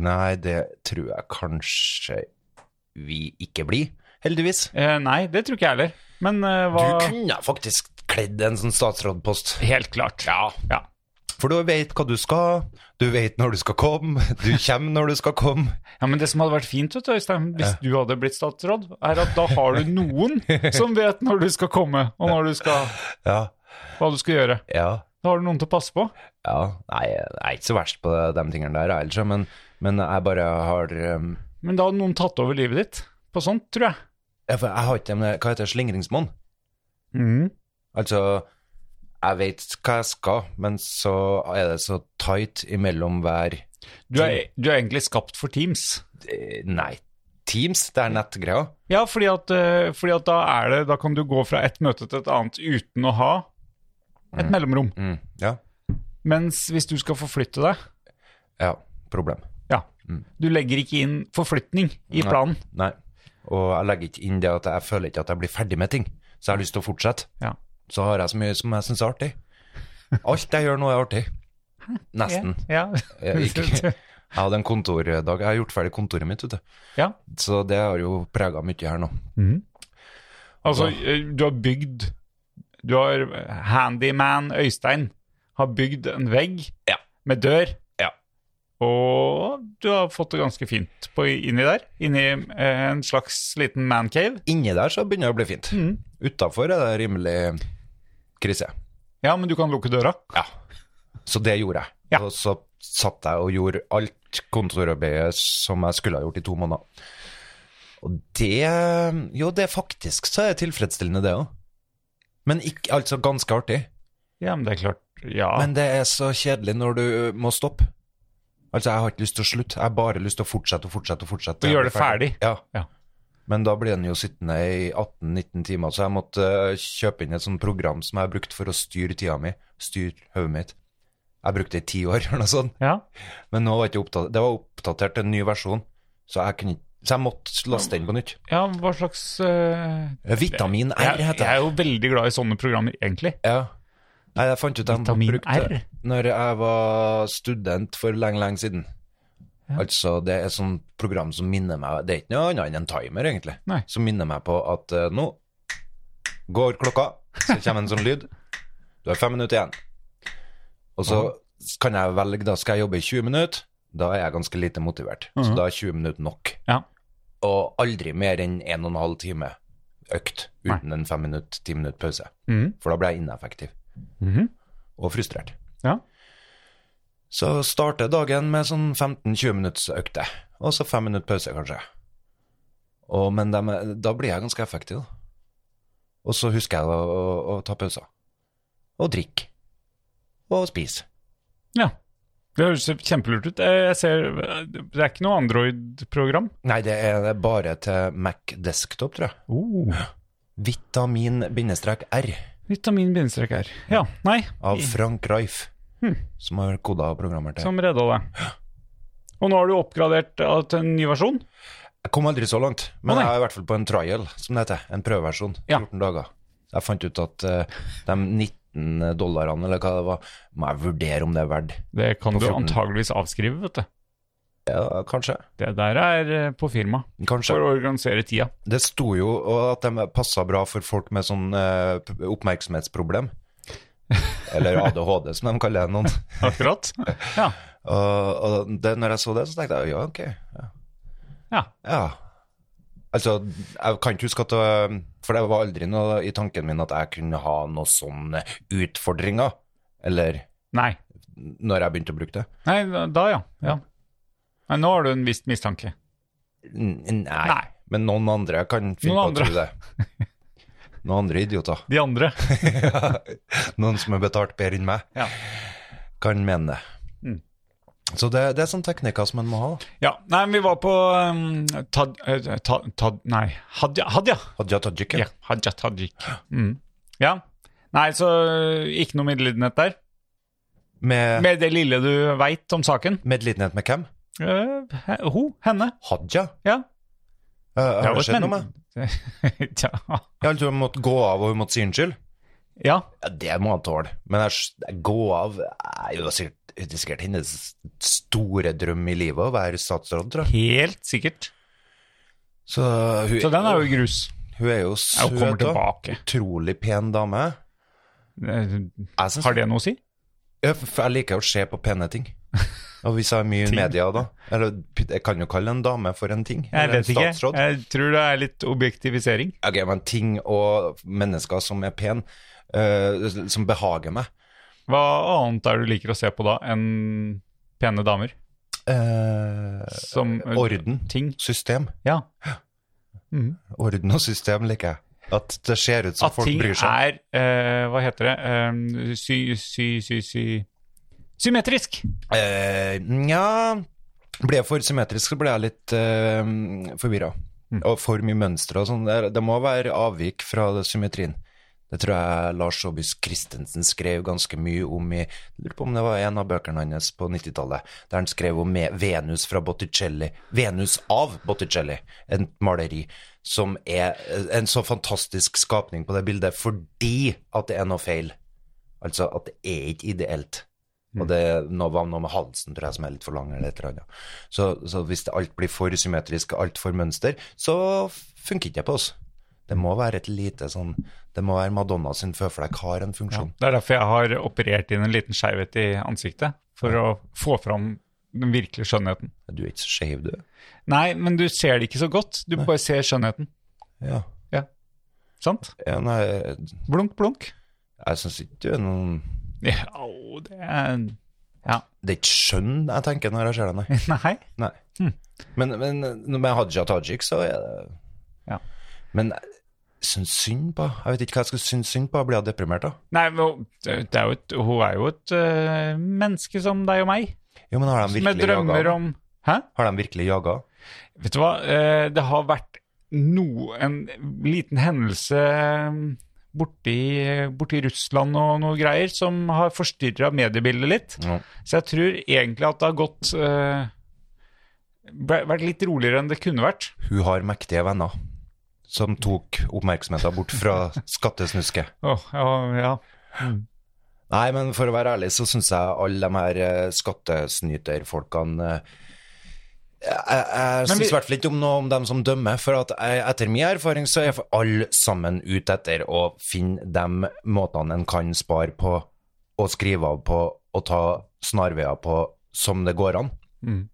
[SPEAKER 2] Nei, det tror jeg kanskje vi ikke blir, heldigvis.
[SPEAKER 4] Eh, nei, det tror ikke jeg heller. Men eh, hva
[SPEAKER 2] Du kunne faktisk kledd en sånn statsrådpost.
[SPEAKER 4] Helt klart. Ja. ja.
[SPEAKER 2] For du vet hva du skal, du vet når du skal komme, du kommer når du skal komme.
[SPEAKER 4] Ja, men Det som hadde vært fint, vet du, Øystein, hvis du hadde blitt statsråd, er at da har du noen som vet når du skal komme, og når du skal,
[SPEAKER 2] Ja,
[SPEAKER 4] hva du skal gjøre.
[SPEAKER 2] ja,
[SPEAKER 4] Da har du noen til å passe på.
[SPEAKER 2] ja. Nei, jeg er ikke så verst på de tingene der, jeg, ellers, men, men jeg bare har um,
[SPEAKER 4] Men da hadde noen tatt over livet ditt på sånt, tror jeg.
[SPEAKER 2] Jeg jeg har ikke en Hva heter det? Slingringsmonn?
[SPEAKER 4] Mhm.
[SPEAKER 2] Altså, jeg vet hva jeg skal, men så er det så tight imellom hver
[SPEAKER 4] Du, er, du er egentlig skapt for Teams.
[SPEAKER 2] eh, Nei, Teams, det er nettgreia.
[SPEAKER 4] Ja, fordi at, eh, fordi at da, er det, da kan du gå fra et møte til et annet uten å ha et mellomrom.
[SPEAKER 2] Mm, ja.
[SPEAKER 4] Mens hvis du skal forflytte deg
[SPEAKER 2] Ja, problem.
[SPEAKER 4] Ja. Du legger ikke inn forflytning i planen.
[SPEAKER 2] Nei. Og jeg legger ikke inn det at jeg føler ikke at jeg blir ferdig med ting. Så jeg har lyst til å fortsette.
[SPEAKER 4] Ja.
[SPEAKER 2] Så har jeg så mye som jeg syns er artig. Alt jeg gjør nå, er artig. Nesten.
[SPEAKER 4] Ja.
[SPEAKER 2] Jeg, ikke. (laughs) jeg hadde en kontordag. Jeg har gjort ferdig kontoret mitt, vet du.
[SPEAKER 4] (laughs) ja.
[SPEAKER 2] Så det har jo prega mye her nå.
[SPEAKER 4] Altså, eh, du har bygd Du har eh, Handyman Øystein har bygd en vegg
[SPEAKER 2] Ja.
[SPEAKER 4] med dør.
[SPEAKER 2] Ja.
[SPEAKER 4] Og du har fått det ganske fint på, inni der. Inni eh, en slags liten mancave.
[SPEAKER 2] Inni der så begynner det å bli fint.
[SPEAKER 4] Mhm.
[SPEAKER 2] Utafor er det rimelig krise.
[SPEAKER 4] Ja, men du kan lukke døra.
[SPEAKER 2] Ja. Så det gjorde jeg.
[SPEAKER 4] Ja.
[SPEAKER 2] Og så satt jeg og gjorde alt kontorarbeidet som jeg skulle ha gjort i to måneder. Og det Jo, det er faktisk så er det tilfredsstillende, det òg. Men ikke, altså ganske artig.
[SPEAKER 4] Ja, men det er klart. Ja.
[SPEAKER 2] Men det er så kjedelig når du må stoppe. Altså, jeg har ikke lyst til å slutte, jeg har bare lyst til å fortsette og fortsette. Og fortsette.
[SPEAKER 4] Og
[SPEAKER 2] Jeg blir
[SPEAKER 4] gjøre det ferdig.
[SPEAKER 2] Ja.
[SPEAKER 4] Ja.
[SPEAKER 2] Men da blir den jo sittende i 18-19 timer, så jeg måtte eh, kjøpe inn et sånt program som jeg har brukt for å styre tida mi, styre hodet mitt. Jeg brukte det i ti år, (laughs) eller noe sånt.
[SPEAKER 4] ja.
[SPEAKER 2] Men nå var det ikke oppdatert, det var oppdatert til en ny versjon, så jeg, kunne, ikke- så jeg måtte laste inn på nytt.
[SPEAKER 4] ja, hva slags eh,
[SPEAKER 2] Vitamin R
[SPEAKER 4] jeg, jeg
[SPEAKER 2] heter det.
[SPEAKER 4] er jo veldig glad i sånne programmer, egentlig.
[SPEAKER 2] Ja. Nei, jeg fant ut at de
[SPEAKER 4] Vitamin
[SPEAKER 2] brukte
[SPEAKER 4] R?
[SPEAKER 2] når jeg var student for lenge, lenge siden. Altså, det er sånn program som minner meg Det er ikke noe annet enn en timer, egentlig.
[SPEAKER 4] Nei.
[SPEAKER 2] Som minner meg på at eh, nå går klokka, så kommer en sånn lyd. Du har fem minutter igjen. Og så kan jeg velge, da skal jeg jobbe i 20 minutter. Da er jeg ganske lite motivert. Så da er 20 minutter nok.
[SPEAKER 4] Mhm. Ja.
[SPEAKER 2] Og aldri mer enn 1 12 time økt uten en 5 minutter, 10 minutter pause.
[SPEAKER 4] Mhm.
[SPEAKER 2] For da blir jeg ineffektiv
[SPEAKER 4] Mhm.
[SPEAKER 2] og frustrert.
[SPEAKER 4] Ja.
[SPEAKER 2] Så starter dagen med sånn 15-20 minutts økte, og så 5 minutter pause, kanskje. Og, men dem er- da blir jeg ganske effektiv. da. Og så husker jeg å, å, å ta pauser. Og drikke. Og spise.
[SPEAKER 4] Ja. Det høres kjempelurt ut. Eh, Jeg ser, eh, det er ikke noe Android-program.
[SPEAKER 2] Nei, det er bare til Mac desktop, tror jeg. Oh. Vitamin-r
[SPEAKER 4] Vitamin-bindestrek her. Ja, nei,
[SPEAKER 2] av Frank Reif, som har koda programmer til.
[SPEAKER 4] Hm. som redda deg. Og nå har du oppgradert eh, til en ny versjon.
[SPEAKER 2] Jeg kom aldri så langt, men
[SPEAKER 4] Å, nei.
[SPEAKER 2] jeg er i hvert fall på en trial, som det heter. En prøveversjon.
[SPEAKER 4] Ja.
[SPEAKER 2] 14 dager. Jeg fant ut at eh, de eh, 19 dollarene, eller hva det var, må jeg vurdere om det er verdt.
[SPEAKER 4] Det kan
[SPEAKER 2] På
[SPEAKER 4] du
[SPEAKER 2] 14.
[SPEAKER 4] antageligvis avskrive, vet du.
[SPEAKER 2] Ja, kanskje.
[SPEAKER 4] Det der er eh, på firma.
[SPEAKER 2] Kanskje.
[SPEAKER 4] For å organisere tida.
[SPEAKER 2] Det sto jo at de passa bra for folk med sånn eh, p-
[SPEAKER 4] (laughs)
[SPEAKER 2] oppmerksomhetsproblem. Eller ADHD, som de kaller det noen.
[SPEAKER 4] Akkurat. (laughs) Ja.
[SPEAKER 2] Og, og det, når jeg så det, så tenkte jeg ja, ok. Ja.
[SPEAKER 4] Ja.
[SPEAKER 2] ja. Altså, jeg kan ikke huske at det, For det var aldri noe i tanken min at jeg kunne ha noen sånne utfordringer. Eller
[SPEAKER 4] Nei.
[SPEAKER 2] når jeg begynte å bruke det.
[SPEAKER 4] Nei, da ja. ja. Nei, nå har du en viss mistanke.
[SPEAKER 2] N nei.
[SPEAKER 4] Nei.
[SPEAKER 2] Men noen andre kan finne
[SPEAKER 4] Noen
[SPEAKER 2] på å tro det.
[SPEAKER 4] (laughs)
[SPEAKER 2] Noen andre idioter. (laughs)
[SPEAKER 4] De andre.
[SPEAKER 2] Noen som er betalt bedre enn meg,
[SPEAKER 4] Ja.
[SPEAKER 2] kan mene det.
[SPEAKER 4] Mm.
[SPEAKER 2] Så det, det er sånne teknikker som en må ha. da.
[SPEAKER 4] Ja, nei, men vi var på um, tad, eh, ta, Tad- nei, Hadia, Hadia.
[SPEAKER 2] Hadia Tajik,
[SPEAKER 4] Ja,
[SPEAKER 2] ja.
[SPEAKER 4] Hadia Tajik. Mm. Ja. Nei, så eh, ikke noe medlidenhet der.
[SPEAKER 2] Med, med,
[SPEAKER 4] Med det lille du veit om saken.
[SPEAKER 2] lidenhet med hvem?
[SPEAKER 4] Eh, he- ho, henne.
[SPEAKER 2] Hadia?
[SPEAKER 4] Ja.
[SPEAKER 2] Eh, har
[SPEAKER 4] jo
[SPEAKER 2] det
[SPEAKER 4] et (laughs)
[SPEAKER 2] skjedd noe
[SPEAKER 4] men-
[SPEAKER 2] med
[SPEAKER 4] Tja.
[SPEAKER 2] Ja, altså, Hun måtte gå av, og hun måtte si unnskyld?
[SPEAKER 4] Ja.
[SPEAKER 2] Ja, Det må han tåle. Men jeg, s- gå av er jo sikkert, det er sikkert hennes store drøm i livet, å være statsråd, tror jeg.
[SPEAKER 4] Helt sikkert.
[SPEAKER 2] Så hun,
[SPEAKER 4] Så den er jo i grus.
[SPEAKER 2] hun er jo
[SPEAKER 4] Ja, Hun kommer
[SPEAKER 2] søt og
[SPEAKER 4] tilbake.
[SPEAKER 2] utrolig pen dame.
[SPEAKER 4] Eh,
[SPEAKER 2] Jeg synes
[SPEAKER 4] Har det noe å si?
[SPEAKER 2] Ja, for for jeg liker å se på pene ting.
[SPEAKER 4] (laughs)
[SPEAKER 2] Og hvis jeg er mye i
[SPEAKER 4] Ting.
[SPEAKER 2] media, da Eller jeg kan jo kalle en dame for en ting.
[SPEAKER 4] Jeg
[SPEAKER 2] eller en
[SPEAKER 4] vet ikke.
[SPEAKER 2] statsråd.
[SPEAKER 4] Jeg tror det er litt objektivisering.
[SPEAKER 2] Ok, men ting og mennesker som er pen, eh, som behager meg.
[SPEAKER 4] Hva annet er det du liker å se på da enn pene damer?
[SPEAKER 2] Eh,
[SPEAKER 4] Som
[SPEAKER 2] orden.
[SPEAKER 4] Ting.
[SPEAKER 2] System.
[SPEAKER 4] Ja.
[SPEAKER 2] Orden og system liker jeg. At det ser ut som
[SPEAKER 4] At
[SPEAKER 2] folk
[SPEAKER 4] ting
[SPEAKER 2] bryr seg.
[SPEAKER 4] er eh, Hva heter det? Eh, sy, sy, sy, sy Symmetrisk!
[SPEAKER 2] Eh, Nja Blir jeg for symmetrisk, så blir jeg litt uh, forvirra.
[SPEAKER 4] Mm.
[SPEAKER 2] Og for mye mønstre og sånn. Det, det må være avvik fra det symmetrien. Det tror jeg Lars Aabys Christensen skrev ganske mye om i jeg Lurer på om det var en av bøkene hans på 90-tallet, der han skrev om Me- Venus fra Botticelli. Venus av Botticelli, et maleri som er eh, en så fantastisk skapning på det bildet fordi at det er noe feil. Altså at det er ikke ideelt. Og det nå var noe med halsen tror jeg som er litt for lang eller et eller annet. Så, så hvis det alt blir for symmetrisk, alt for mønster, så funker ikke det på oss. Det må være et lite sånn Det må være Madonna sin føflekk har en funksjon.
[SPEAKER 4] Det er derfor jeg har operert inn en liten skjevhet i ansiktet. For å få fram den virkelige skjønnheten.
[SPEAKER 2] Du er ikke så skeiv, du.
[SPEAKER 4] Nei, men du ser det ikke så godt. Du bare ser skjønnheten.
[SPEAKER 2] Ja.
[SPEAKER 4] Sant?
[SPEAKER 2] ja nei,
[SPEAKER 4] Blunk, blunk.
[SPEAKER 2] jeg syns ikke du er noen
[SPEAKER 4] Ja, au, det er (laughs) Ja.
[SPEAKER 2] Det er ikke skjønn jeg tenker når jeg ser deg, nei.
[SPEAKER 4] Nei.
[SPEAKER 2] nei. Men, men med Hadia Tajik, så er det
[SPEAKER 4] Ja.
[SPEAKER 2] Men jeg syns synd på Jeg vet ikke hva jeg skal synes synd på. Jeg blir deprimert av.
[SPEAKER 4] Nei, men det er jo et, hun er jo et øh, menneske som deg og meg,
[SPEAKER 2] Jo, men har de
[SPEAKER 4] med
[SPEAKER 2] virkelig
[SPEAKER 4] drømmer
[SPEAKER 2] jaga?
[SPEAKER 4] om Hæ?
[SPEAKER 2] Har de virkelig jaga?
[SPEAKER 4] Vet du hva, Eh, det har vært no, en liten hendelse mm, borti, borti Russland og noe greier som har forstyrra mediebildet litt.
[SPEAKER 2] Ja.
[SPEAKER 4] Så jeg tror egentlig at det har gått eh, ble- Vært litt roligere enn det kunne vært.
[SPEAKER 2] Hun har mektige venner som tok oppmerksomheten bort fra
[SPEAKER 4] (laughs)
[SPEAKER 2] skattesnusket.
[SPEAKER 4] Åh, ja, ja.
[SPEAKER 2] Nei, men for å være ærlig så syns jeg alle de her eh, skattesnyterfolkene eh, Jeg, jeg
[SPEAKER 4] Men vi-
[SPEAKER 2] syns i hvert fall ikke om noe om dem som dømmer, for at jeg, etter min erfaring så er for alle sammen ute etter å finne de måtene en kan spare på, og skrive av på, og ta snarveier på som det går an.
[SPEAKER 4] Mm.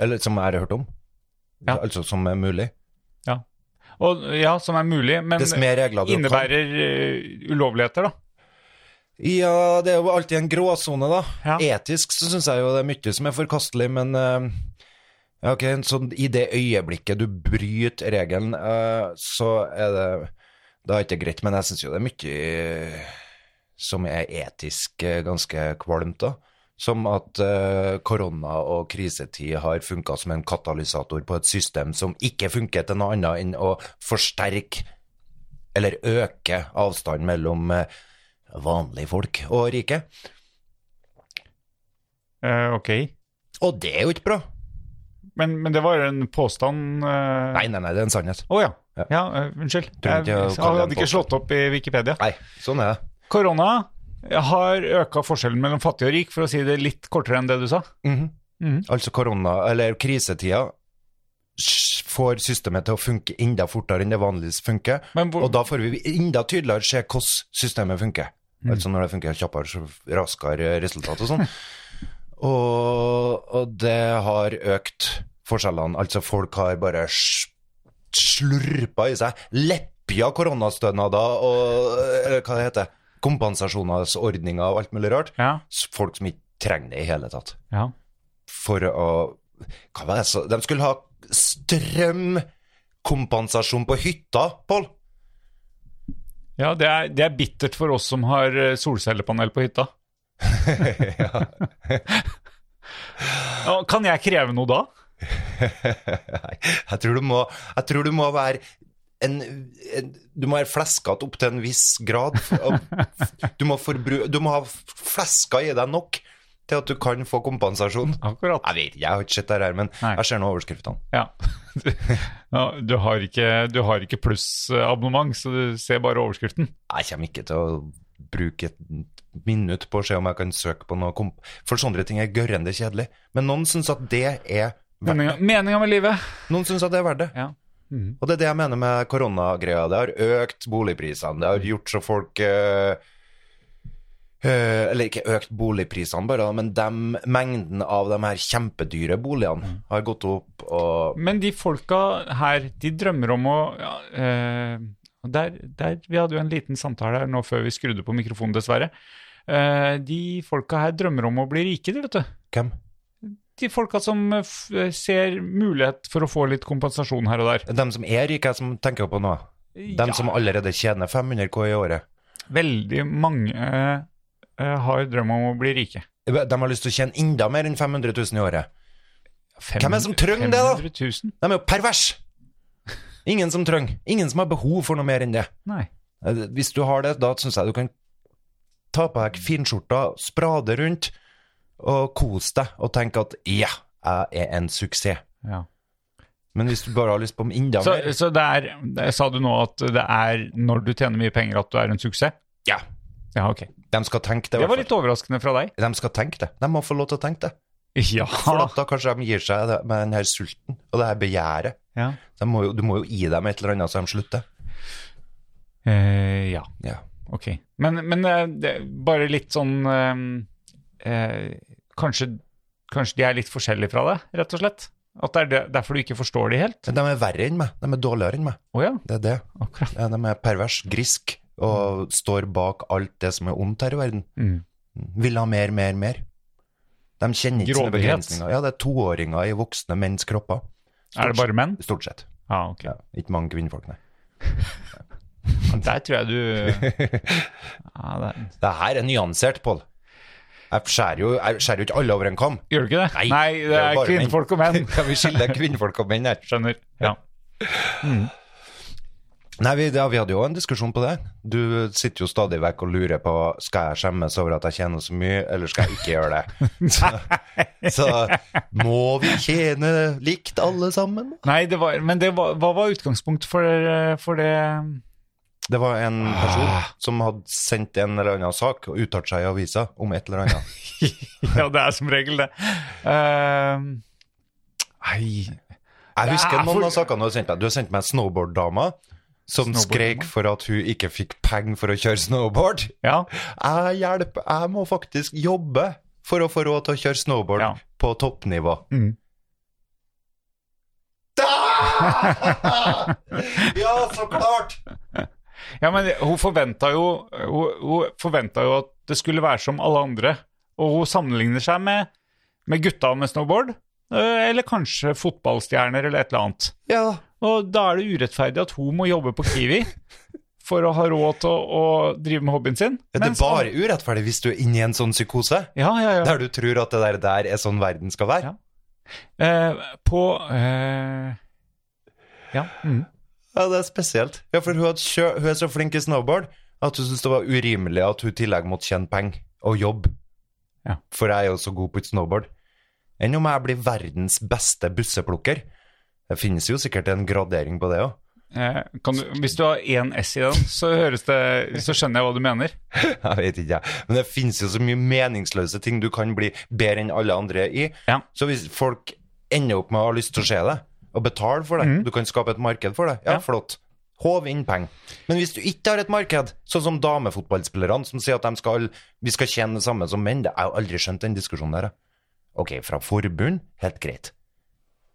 [SPEAKER 2] Eller som jeg har hørt om.
[SPEAKER 4] Ja.
[SPEAKER 2] Altså som er mulig.
[SPEAKER 4] Og, ja, som er mulig, men
[SPEAKER 2] Dess mer regler du kan
[SPEAKER 4] innebærer eh, ulovligheter, da.
[SPEAKER 2] Ja, det er jo alltid en gråsone, da.
[SPEAKER 4] Ja.
[SPEAKER 2] Etisk så syns jeg jo det er mye som er forkastelig, men eh, ja, ok, så i det øyeblikket du bryter regelen, eh, så er det Da er det ikke greit, men jeg syns jo det er mye eh, som er etisk eh, ganske kvalmt, da. Som at eh, korona og krisetid har funka som en katalysator på et system som ikke funker til noe annet enn å forsterke eller øke avstanden mellom eh, vanlige folk og rike.
[SPEAKER 4] Eh, ok.
[SPEAKER 2] Og det er jo ikke bra.
[SPEAKER 4] Men, men det var jo en påstand eh,
[SPEAKER 2] Nei, nei, nei, det er en sannhet.
[SPEAKER 4] Å ja.
[SPEAKER 2] Ja.
[SPEAKER 4] ja. eh, unnskyld.
[SPEAKER 2] Tror
[SPEAKER 4] Jeg,
[SPEAKER 2] ikke jeg kaller
[SPEAKER 4] hadde
[SPEAKER 2] den
[SPEAKER 4] ikke
[SPEAKER 2] påstand.
[SPEAKER 4] slått opp i Wikipedia.
[SPEAKER 2] Nei, sånn er det.
[SPEAKER 4] Korona har øka forskjellen mellom fattig og rik, for å si det litt kortere enn det du sa.
[SPEAKER 2] Mhm.
[SPEAKER 4] Mhm.
[SPEAKER 2] altså korona, eller krisetida, s- får systemet til å funke enda fortere enn det vanligvis funker.
[SPEAKER 4] Men hvor-
[SPEAKER 2] Og da får vi enda tydeligere se hvordan systemet funker. Altså når det funker kjappere, så raskere resultat og sånn. og, og det har økt forskjellene. Altså folk har bare s- slurpa i seg leppja koronastønader og eller hva det heter, kompensasjonsordninger og alt mulig rart.
[SPEAKER 4] Ja,
[SPEAKER 2] S- Folk som ikke trenger det i hele tatt.
[SPEAKER 4] ja.
[SPEAKER 2] For å Hva var det så De skulle ha strømkompensasjon på hytta, Pål! (laughs)
[SPEAKER 4] ja det, er, det er bittert for oss som har eh, solcellepanel på hytta.
[SPEAKER 2] ja.
[SPEAKER 4] Ja, Kan jeg kreve noe da?
[SPEAKER 2] Nei, jeg tror du må, jeg tror du må være en, en, du må være fleskete opp til en viss grad. Og Du må, forbru, du må ha fleska i deg nok til at du kan få kompensasjon.
[SPEAKER 4] Akkurat.
[SPEAKER 2] Jeg vet ikke, jeg har ikke sett det her, men
[SPEAKER 4] Nei.
[SPEAKER 2] jeg ser nå overskriftene.
[SPEAKER 4] Ja. (laughs) ja du har ikke, du har ikke plussabonnement, så du ser bare overskriften.
[SPEAKER 2] Jeg kommer ikke til å bruke et minutt på å se om jeg kan søke på noe komp... For sånne ting er gørrende kjedelig. Men noen syns at det er verdt det.
[SPEAKER 4] Meninga, meninga med livet.
[SPEAKER 2] Noen syns at det er verdt det.
[SPEAKER 4] Ja.
[SPEAKER 2] Og det er det jeg mener med koronagreia. Det har økt boligprisene. Det har gjort så folk eh, eh, Eller ikke økt boligprisene, bare, men dem, mengden av de her kjempedyre boligene har gått opp. Og
[SPEAKER 4] Men de folka her, de drømmer om å ja, eh, der, der, Vi hadde jo en liten samtale her nå før vi skrudde på mikrofonen, dessverre. Eh, de folka her drømmer om å bli rike, de, vet du.
[SPEAKER 2] hvem?
[SPEAKER 4] De folka som eh, f ser mulighet for å få litt kompensasjon her og der.
[SPEAKER 2] De som er rike, jeg som tenker på nå. De
[SPEAKER 4] Ja.
[SPEAKER 2] som allerede tjener 500 K i året.
[SPEAKER 4] Veldig mange eh, eh, har drøm om å bli rike.
[SPEAKER 2] De har lyst til å tjene enda mer enn 500 000 i året. Hvem er det som trenger det, da?
[SPEAKER 4] 500 000?
[SPEAKER 2] De er jo pervers! Ingen som trenger. Ingen som har behov for noe mer enn det.
[SPEAKER 4] Nei.
[SPEAKER 2] Eh, Hvis du har det, da syns jeg du kan ta på deg finskjorta, sprade rundt og kose deg og tenke at ja, jeg er en suksess.
[SPEAKER 4] Ja.
[SPEAKER 2] Men hvis du bare har lyst på enda
[SPEAKER 4] Så,
[SPEAKER 2] mer
[SPEAKER 4] så det er, det- sa du nå at det er når du tjener mye penger at du er en suksess?
[SPEAKER 2] Ja.
[SPEAKER 4] Ja, ok.
[SPEAKER 2] De skal tenke det. i
[SPEAKER 4] Det var
[SPEAKER 2] hvert
[SPEAKER 4] litt overraskende fra
[SPEAKER 2] (laughs)
[SPEAKER 4] deg.
[SPEAKER 2] fall. De skal tenke det. De må få lov til å tenke det.
[SPEAKER 4] Ja.
[SPEAKER 2] For at da kanskje de gir seg det- med den her sulten og det her begjæret.
[SPEAKER 4] Ja.
[SPEAKER 2] De må jo, du må jo gi dem et eller annet så de slutter.
[SPEAKER 4] Eh, ja,
[SPEAKER 2] Ja.
[SPEAKER 4] ok. Men, men eh, det, bare litt sånn eh, eh, kanskje, kanskje de er litt forskjellige fra deg, rett og slett? At det er det, derfor du ikke forstår de helt?
[SPEAKER 2] Men de er verre enn meg. De er dårligere enn meg.
[SPEAKER 4] Å ja,
[SPEAKER 2] Det er det.
[SPEAKER 4] akkurat.
[SPEAKER 2] Ja, De er pervers, grisk og står bak alt det som er ondt her i verden.
[SPEAKER 4] Mm.
[SPEAKER 2] Vil ha mer, mer, mer. De kjenner ikke sine
[SPEAKER 4] Grådighet.
[SPEAKER 2] begrensninger. Ja, det er toåringer i voksne menns kropper.
[SPEAKER 4] Er det bare menn?
[SPEAKER 2] Stort sett.
[SPEAKER 4] Ja, ok.
[SPEAKER 2] Ja, ikke mange kvinnfolk, (laughs) nei.
[SPEAKER 4] Der tror jeg du (laughs) ja, der.
[SPEAKER 2] Det her er nyansert, Pål. Jeg skjærer jo, jeg skjærer jo ikke alle over en kam.
[SPEAKER 4] Gjør du ikke det?
[SPEAKER 2] Nei, det
[SPEAKER 4] det
[SPEAKER 2] er
[SPEAKER 4] er
[SPEAKER 2] bare menn.
[SPEAKER 4] kvinnfolk og
[SPEAKER 2] (laughs)
[SPEAKER 4] menn.
[SPEAKER 2] Kan vi skille kvinnfolk og menn her?
[SPEAKER 4] Skjønner. Ja.
[SPEAKER 2] Nei, vi, ja, vi hadde jo en diskusjon på det. Du sitter jo stadig vekk og lurer på skal jeg skjemmes over at jeg tjener så mye, eller skal jeg ikke gjøre (laughs) det. Så, så må vi tjene likt alle sammen?
[SPEAKER 4] Nei, det var, men det var, hva var utgangspunktet for, eh, for det
[SPEAKER 2] Det var en
[SPEAKER 4] Ah.
[SPEAKER 2] person som hadde sendt en eller annen sak og uttalt seg i avisa om et eller annet.
[SPEAKER 4] (laughs) (laughs) Ja, det er som regel det. Ehm, Nei
[SPEAKER 2] Jeg husker
[SPEAKER 4] Ja, for-
[SPEAKER 2] noen av sakene du har sendt meg. Du har sendt meg snowboarddama som
[SPEAKER 4] Snowboarddama?
[SPEAKER 2] skrek for at hun ikke fikk penger for å kjøre snowboard.
[SPEAKER 4] Ja.
[SPEAKER 2] Jeg hjelper, jeg må faktisk jobbe for å få råd til å kjøre snowboard
[SPEAKER 4] Ja.
[SPEAKER 2] på toppnivå.
[SPEAKER 4] Mm.
[SPEAKER 2] Da! (laughs) ja, så klart!
[SPEAKER 4] ja, men hun forventa jo Hun, hun forventa jo at det skulle være som alle andre. Og hun sammenligner seg med, med gutta med snowboard. eh, Eller kanskje fotballstjerner eller et eller annet.
[SPEAKER 2] Ja,
[SPEAKER 4] Og da er det urettferdig at hun må jobbe på Kiwi for å ha råd til å, å drive med hobbyen sin.
[SPEAKER 2] det er
[SPEAKER 4] mens
[SPEAKER 2] bare urettferdig hvis du er inne i en sånn psykose,
[SPEAKER 4] Ja, ja, ja.
[SPEAKER 2] der du tror at det der, der er sånn verden skal være.
[SPEAKER 4] Ja. Eh, på eh, Ja. Mm.
[SPEAKER 2] Ja, det er spesielt. Ja, for hun, hadde kjø hun er så flink i snowboard at hun syntes det var urimelig at hun i tillegg måtte tjene penger og jobb.
[SPEAKER 4] Ja.
[SPEAKER 2] For jeg er jo så god på snowboard. Enn om jeg blir verdens beste busseplukker? Det finnes jo sikkert en gradering på det òg.
[SPEAKER 4] Eh, Kan du, hvis du har én S i den, så, høres det, så skjønner jeg hva du mener.
[SPEAKER 2] (laughs) Jeg vet ikke, jeg. Men det finnes jo så mye meningsløse ting du kan bli bedre enn alle andre i.
[SPEAKER 4] Ja.
[SPEAKER 2] Så hvis folk ender opp med å ha lyst til å se det, og betale for det, du kan skape et marked for det, ja,
[SPEAKER 4] Mhm. Ja.
[SPEAKER 2] flott. Håv inn penger. Men hvis du ikke har et marked, sånn som damefotballspillerne som sier at de skal, vi skal tjene det samme som menn, det jeg har jo aldri skjønt den diskusjonen der. jeg. Ok, fra forbund, helt greit.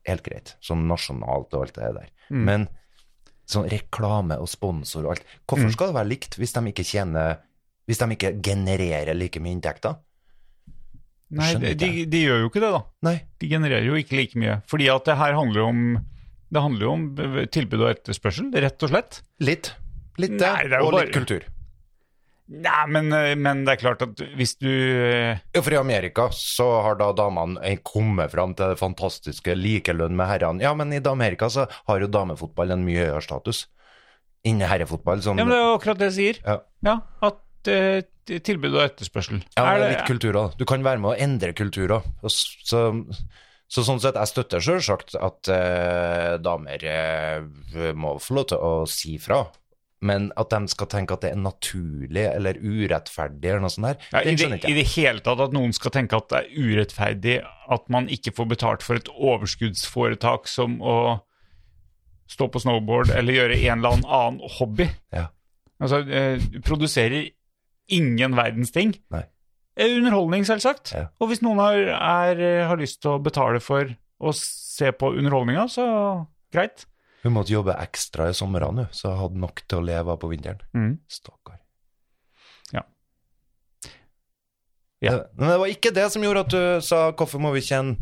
[SPEAKER 2] Helt greit. Sånn nasjonalt og alt det der.
[SPEAKER 4] Mm.
[SPEAKER 2] Men sånn reklame og sponsor og alt.
[SPEAKER 4] Mm.
[SPEAKER 2] Hvorfor skal det være likt hvis de ikke tjener Hvis de ikke genererer like mye inntekter?
[SPEAKER 4] Nei,
[SPEAKER 2] Skjønner
[SPEAKER 4] de,
[SPEAKER 2] ikke
[SPEAKER 4] de, de gjør jo ikke det, da.
[SPEAKER 2] Nei.
[SPEAKER 4] De genererer jo ikke like mye. Fordi at det her handler jo om det handler jo om tilbud og etterspørsel, rett og slett.
[SPEAKER 2] Litt. Litt det,
[SPEAKER 4] Nei, det er jo
[SPEAKER 2] og litt
[SPEAKER 4] bare-
[SPEAKER 2] kultur.
[SPEAKER 4] Nei, men, eh, men det er klart at hvis du eh,
[SPEAKER 2] Ja, for i Amerika så har da damene eh, kommet fram til det fantastiske likelønn med herrene. Ja, men i Amerika så har jo damefotball en mye høyere status. Innen herrefotball sånn
[SPEAKER 4] Ja, men det er jo akkurat det jeg sier.
[SPEAKER 2] Ja.
[SPEAKER 4] Ja, at eh, t- tilbud og etterspørsel.
[SPEAKER 2] Ja, men
[SPEAKER 4] Er
[SPEAKER 2] det
[SPEAKER 4] det-
[SPEAKER 2] er litt kultur òg. Du kan være med å endre kulturer. Og s- Så, så sånn sett, jeg støtter sjølsagt at eh, damer eh, må få lov til å si fra. Men at de skal tenke at det er naturlig eller urettferdig eller noe sånt der,
[SPEAKER 4] Ja, i,
[SPEAKER 2] den
[SPEAKER 4] det,
[SPEAKER 2] skjønner
[SPEAKER 4] I
[SPEAKER 2] ikke jeg.
[SPEAKER 4] det hele tatt at noen skal tenke at det er urettferdig at man ikke får betalt for et overskuddsforetak som å stå på snowboard eller gjøre en eller annen annen hobby.
[SPEAKER 2] Ja.
[SPEAKER 4] Altså, eh, du produserer ingen verdens ting.
[SPEAKER 2] Nei.
[SPEAKER 4] Eh, Underholdning, selvsagt.
[SPEAKER 2] Ja.
[SPEAKER 4] Og hvis noen har, er, eh, har lyst til å betale for å se på underholdninga, så greit.
[SPEAKER 2] Hun måtte jobbe ekstra i somrene, hun, så jeg hadde nok til å leve av på vinteren.
[SPEAKER 4] Mm.
[SPEAKER 2] Stakkar.
[SPEAKER 4] Ja. Ja.
[SPEAKER 2] Det- Men det var ikke det som gjorde at du sa 'hvorfor må vi tjene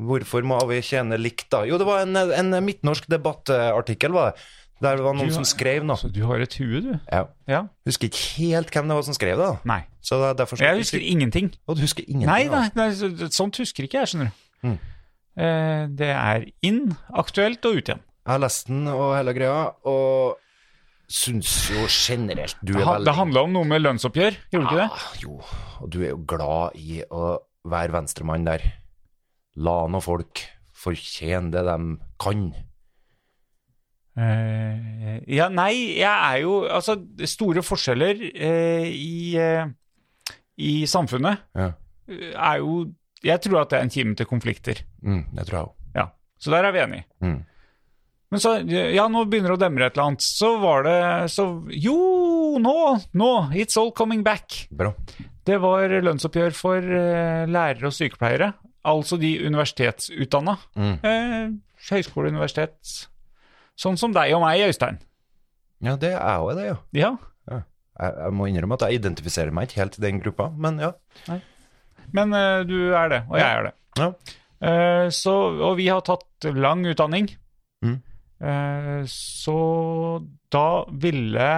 [SPEAKER 2] Hvorfor må vi tjene likt', da? Jo, det var en, en midtnorsk debattartikkel, var det. Der det var noen
[SPEAKER 4] Du-
[SPEAKER 2] som skrev noe.
[SPEAKER 4] Altså, du har et hue, du.
[SPEAKER 2] Ja.
[SPEAKER 4] Ja.
[SPEAKER 2] Husker ikke helt hvem det var som skrev det, da.
[SPEAKER 4] Nei.
[SPEAKER 2] Så det er derfor
[SPEAKER 4] Jeg husker ingenting.
[SPEAKER 2] Og du husker ingenting?
[SPEAKER 4] Nei,
[SPEAKER 2] av
[SPEAKER 4] nei,
[SPEAKER 2] det.
[SPEAKER 4] nei, så- sånt husker ikke jeg, skjønner du.
[SPEAKER 2] Mm.
[SPEAKER 4] Eh, det er inn, aktuelt og ut igjen.
[SPEAKER 2] Jeg har lest den og hele greia, og syns jo generelt du
[SPEAKER 4] Det,
[SPEAKER 2] er
[SPEAKER 4] han- det
[SPEAKER 2] veldig
[SPEAKER 4] handla om noe med lønnsoppgjør, gjorde det ikke det?
[SPEAKER 2] Ah, jo, og du er jo glad i å være venstremann der. La nå folk fortjene det de kan.
[SPEAKER 4] Eh, ja, nei, jeg er jo Altså, store forskjeller eh, i, eh, i samfunnet
[SPEAKER 2] Ja.
[SPEAKER 4] eh, er jo Jeg tror at det er en kime til konflikter.
[SPEAKER 2] Mm, det tror jeg òg.
[SPEAKER 4] Ja, Så der er vi enige.
[SPEAKER 2] Mm.
[SPEAKER 4] Men så, ja, nå begynner det å demre et eller annet. Så var det så Jo, nå! Nå! It's all coming back.
[SPEAKER 2] Bra.
[SPEAKER 4] Det var lønnsoppgjør for eh, lærere og sykepleiere. Altså de universitetsutdanna.
[SPEAKER 2] Mm.
[SPEAKER 4] Eh, høyskole, universitet. Sånn som deg og meg, Øystein.
[SPEAKER 2] Ja, det er jo det, ja.
[SPEAKER 4] Ja.
[SPEAKER 2] Jeg, jeg må innrømme at jeg identifiserer meg ikke helt i den gruppa, men ja.
[SPEAKER 4] Men eh, du er det, og jeg er det.
[SPEAKER 2] Ja.
[SPEAKER 4] Eh, så, og vi har tatt lang utdanning.
[SPEAKER 2] Mm.
[SPEAKER 4] Eh, så da ville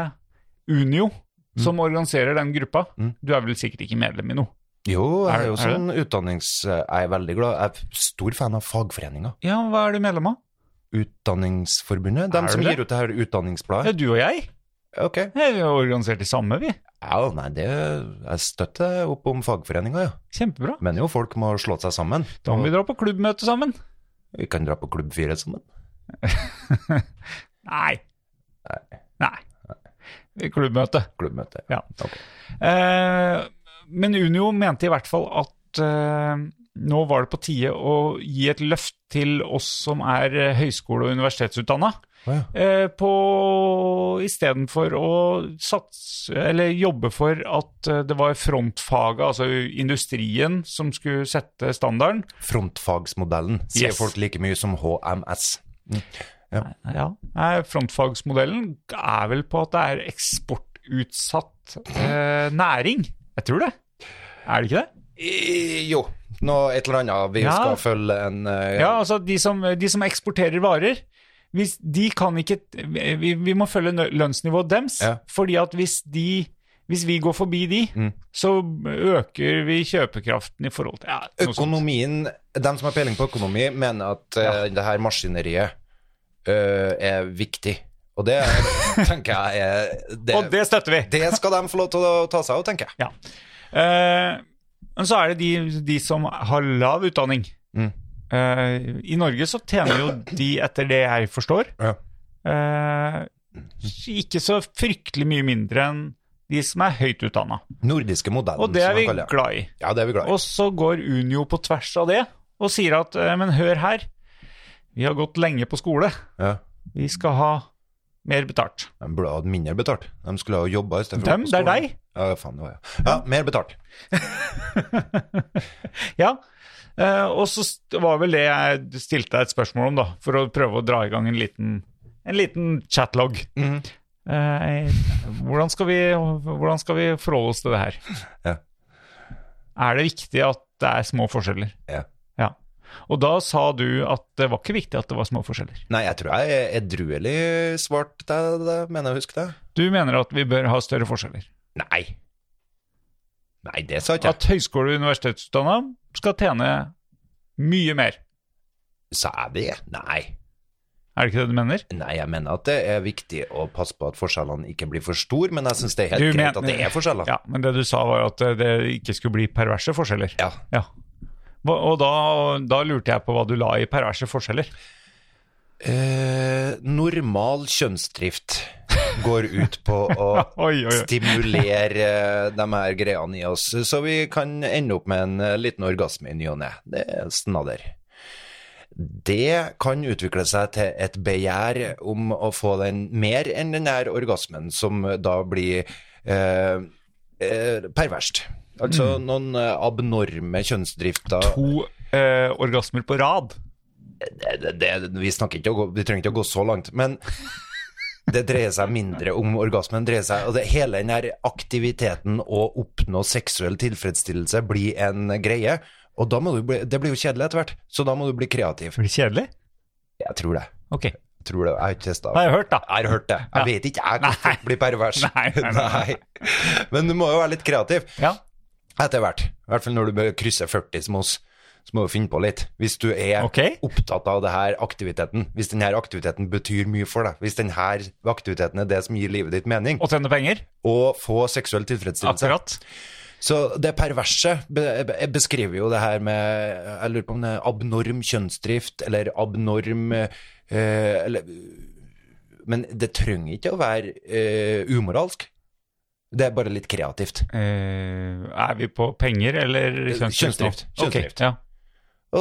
[SPEAKER 4] Unio, som organiserer den gruppa
[SPEAKER 2] Mm.
[SPEAKER 4] Du er vel sikkert ikke medlem i noe?
[SPEAKER 2] Jo, jeg
[SPEAKER 4] Er-
[SPEAKER 2] er jo
[SPEAKER 4] er
[SPEAKER 2] sånn utdannings... Jeg er veldig glad. Jeg er stor fan av fagforeninga.
[SPEAKER 4] Ja, hva er du medlem av?
[SPEAKER 2] Utdanningsforbundet.
[SPEAKER 4] Er
[SPEAKER 2] De som
[SPEAKER 4] du det?
[SPEAKER 2] gir ut det her
[SPEAKER 4] Ja,
[SPEAKER 2] utdanningsbladet.
[SPEAKER 4] du og jeg.
[SPEAKER 2] Ok.
[SPEAKER 4] Ja, vi er organisert i samme, vi.
[SPEAKER 2] Ja, nei, det Jeg støtter opp om fagforeninga, ja.
[SPEAKER 4] Kjempebra.
[SPEAKER 2] Men jo, folk må slå seg sammen.
[SPEAKER 4] Da må vi dra på klubbmøte sammen.
[SPEAKER 2] Vi kan dra på Klubb 4 sammen.
[SPEAKER 4] Nei. Nei. Klubbmøte.
[SPEAKER 2] Klubbmøte.
[SPEAKER 4] Ja. Eh, men Unio mente i hvert fall at eh, nå var det på tide å gi et løft til oss som er eh, høyskole- og universitetsutdanna.
[SPEAKER 2] Å ja.
[SPEAKER 4] Eh, på- Istedenfor å satse, eller jobbe for at eh, det var frontfaget, altså industrien, som skulle sette standarden.
[SPEAKER 2] Frontfagsmodellen sier
[SPEAKER 4] Yes.
[SPEAKER 2] folk like mye som HMS.
[SPEAKER 4] Ja. Nei, Frontfagsmodellen er vel på at det er eksportutsatt eh, næring. Jeg tror det. Er det ikke det?
[SPEAKER 2] I, jo, noe et eller annet. Vi
[SPEAKER 4] Ja.
[SPEAKER 2] skal følge en eh,
[SPEAKER 4] Ja, altså de som, de som eksporterer varer, hvis de kan ikke Vi, vi må følge nø- lønnsnivået deres,
[SPEAKER 2] Ja.
[SPEAKER 4] fordi at hvis de hvis vi går forbi de, så øker vi kjøpekraften i forhold til ja, sånn noe sånt.
[SPEAKER 2] Økonomien De som har peiling på økonomi, mener at eh, det her maskineriet eh, er viktig. Og det (laughs) tenker jeg er det,
[SPEAKER 4] Og det støtter vi!
[SPEAKER 2] det skal de få lov til å ta seg av, tenker jeg.
[SPEAKER 4] Ja. Eh, Men så er det de, de som har lav utdanning.
[SPEAKER 2] Mm.
[SPEAKER 4] Eh, I Norge så tjener jo de, etter det jeg forstår, Eh, ikke så fryktelig mye mindre enn de som er høyt utdanna.
[SPEAKER 2] Nordiske modellen,
[SPEAKER 4] Og det er
[SPEAKER 2] som
[SPEAKER 4] vi
[SPEAKER 2] man kaller det.
[SPEAKER 4] glad i.
[SPEAKER 2] Ja, det er vi glad i.
[SPEAKER 4] Og så går Unio på tvers av det og sier at eh, men hør her, vi har gått lenge på skole,
[SPEAKER 2] Ja.
[SPEAKER 4] vi skal ha mer betalt.
[SPEAKER 2] De burde hatt mindre betalt. De skulle ha jobba i stedet å gå
[SPEAKER 4] Dem,
[SPEAKER 2] på
[SPEAKER 4] det er
[SPEAKER 2] skolen.
[SPEAKER 4] deg.
[SPEAKER 2] Ja, faen, det var jeg. Ja, mer betalt.
[SPEAKER 4] (laughs) Ja. Eh, og så st- var vel det jeg stilte deg et spørsmål om, da, for å prøve å dra i gang en liten, en liten chatlog. Eh, hvordan, skal vi, hvordan skal vi forholde oss til det her?
[SPEAKER 2] Ja.
[SPEAKER 4] Er det viktig at det er små forskjeller?
[SPEAKER 2] Ja.
[SPEAKER 4] Ja. Og da sa du at det var ikke viktig at det var små forskjeller.
[SPEAKER 2] Nei, jeg tror jeg edruelig svarte deg det, mener jeg å huske det.
[SPEAKER 4] Du mener at vi bør ha større forskjeller.
[SPEAKER 2] Nei. Nei, det sa ikke jeg.
[SPEAKER 4] At høyskole- og universitetsutdanna skal tjene mye mer.
[SPEAKER 2] Sa jeg det? Nei.
[SPEAKER 4] Er det ikke det du mener?
[SPEAKER 2] Nei, jeg mener at det er viktig å passe på at forskjellene ikke blir for store, men jeg syns det er helt
[SPEAKER 4] Du
[SPEAKER 2] greit
[SPEAKER 4] mener-
[SPEAKER 2] at det er forskjeller.
[SPEAKER 4] Ja, Men det du sa, var jo at eh, det ikke skulle bli perverse forskjeller.
[SPEAKER 2] Ja.
[SPEAKER 4] Ja. Hva- Og da, da lurte jeg på hva du la i perverse forskjeller.
[SPEAKER 2] Eh, normal kjønnsdrift går ut på å
[SPEAKER 4] (laughs) Oi, oi, oi.
[SPEAKER 2] stimulere eh, de her greiene i oss, så vi kan ende opp med en eh, liten orgasme i ny og ne. Det er snadder. Det kan utvikle seg til et begjær om å få den mer enn den der orgasmen, som da blir eh, eh, perverst. Altså noen eh, abnorme kjønnsdrifter.
[SPEAKER 4] Mm. To eh, orgasmer på rad.
[SPEAKER 2] det, det, det- vi, snakker ikke å gå, vi trenger ikke å gå så langt, men det dreier seg mindre om orgasmen. dreier seg, og det, Hele den her aktiviteten å oppnå seksuell tilfredsstillelse blir en greie. Og da må du bli, det blir jo kjedelig etter hvert, så da må du bli kreativ.
[SPEAKER 4] Blir det kjedelig?
[SPEAKER 2] Jeg tror det.
[SPEAKER 4] Ok, det
[SPEAKER 2] Jeg, tror det. jeg har ikke testa.
[SPEAKER 4] har jeg hørt, da.
[SPEAKER 2] Jeg har hørt det. Jeg vet ikke jeg kan fort bli pervers.
[SPEAKER 4] Nei, nei, nei,
[SPEAKER 2] Nei. Men du må jo være litt kreativ.
[SPEAKER 4] Ja.
[SPEAKER 2] Etter hvert. I hvert fall når du bør krysse 40 som oss, så må du finne på litt. Hvis du er
[SPEAKER 4] Ok.
[SPEAKER 2] opptatt av det her aktiviteten, hvis denne aktiviteten betyr mye for deg, hvis denne aktiviteten er det som gir livet ditt mening,
[SPEAKER 4] Og tjene penger.
[SPEAKER 2] og få seksuell tilfredsstillelse.
[SPEAKER 4] Akkurat.
[SPEAKER 2] Så det perverse be- be- beskriver jo det her med Jeg lurer på om det er abnorm kjønnsdrift eller abnorm eh, eller, Men det trenger ikke å være eh, umoralsk. Det er bare litt kreativt.
[SPEAKER 4] Eh, er vi på penger eller kjønnsdrift?
[SPEAKER 2] Kjønnsdrift. Kjønnsdrift.
[SPEAKER 4] Ok, ja.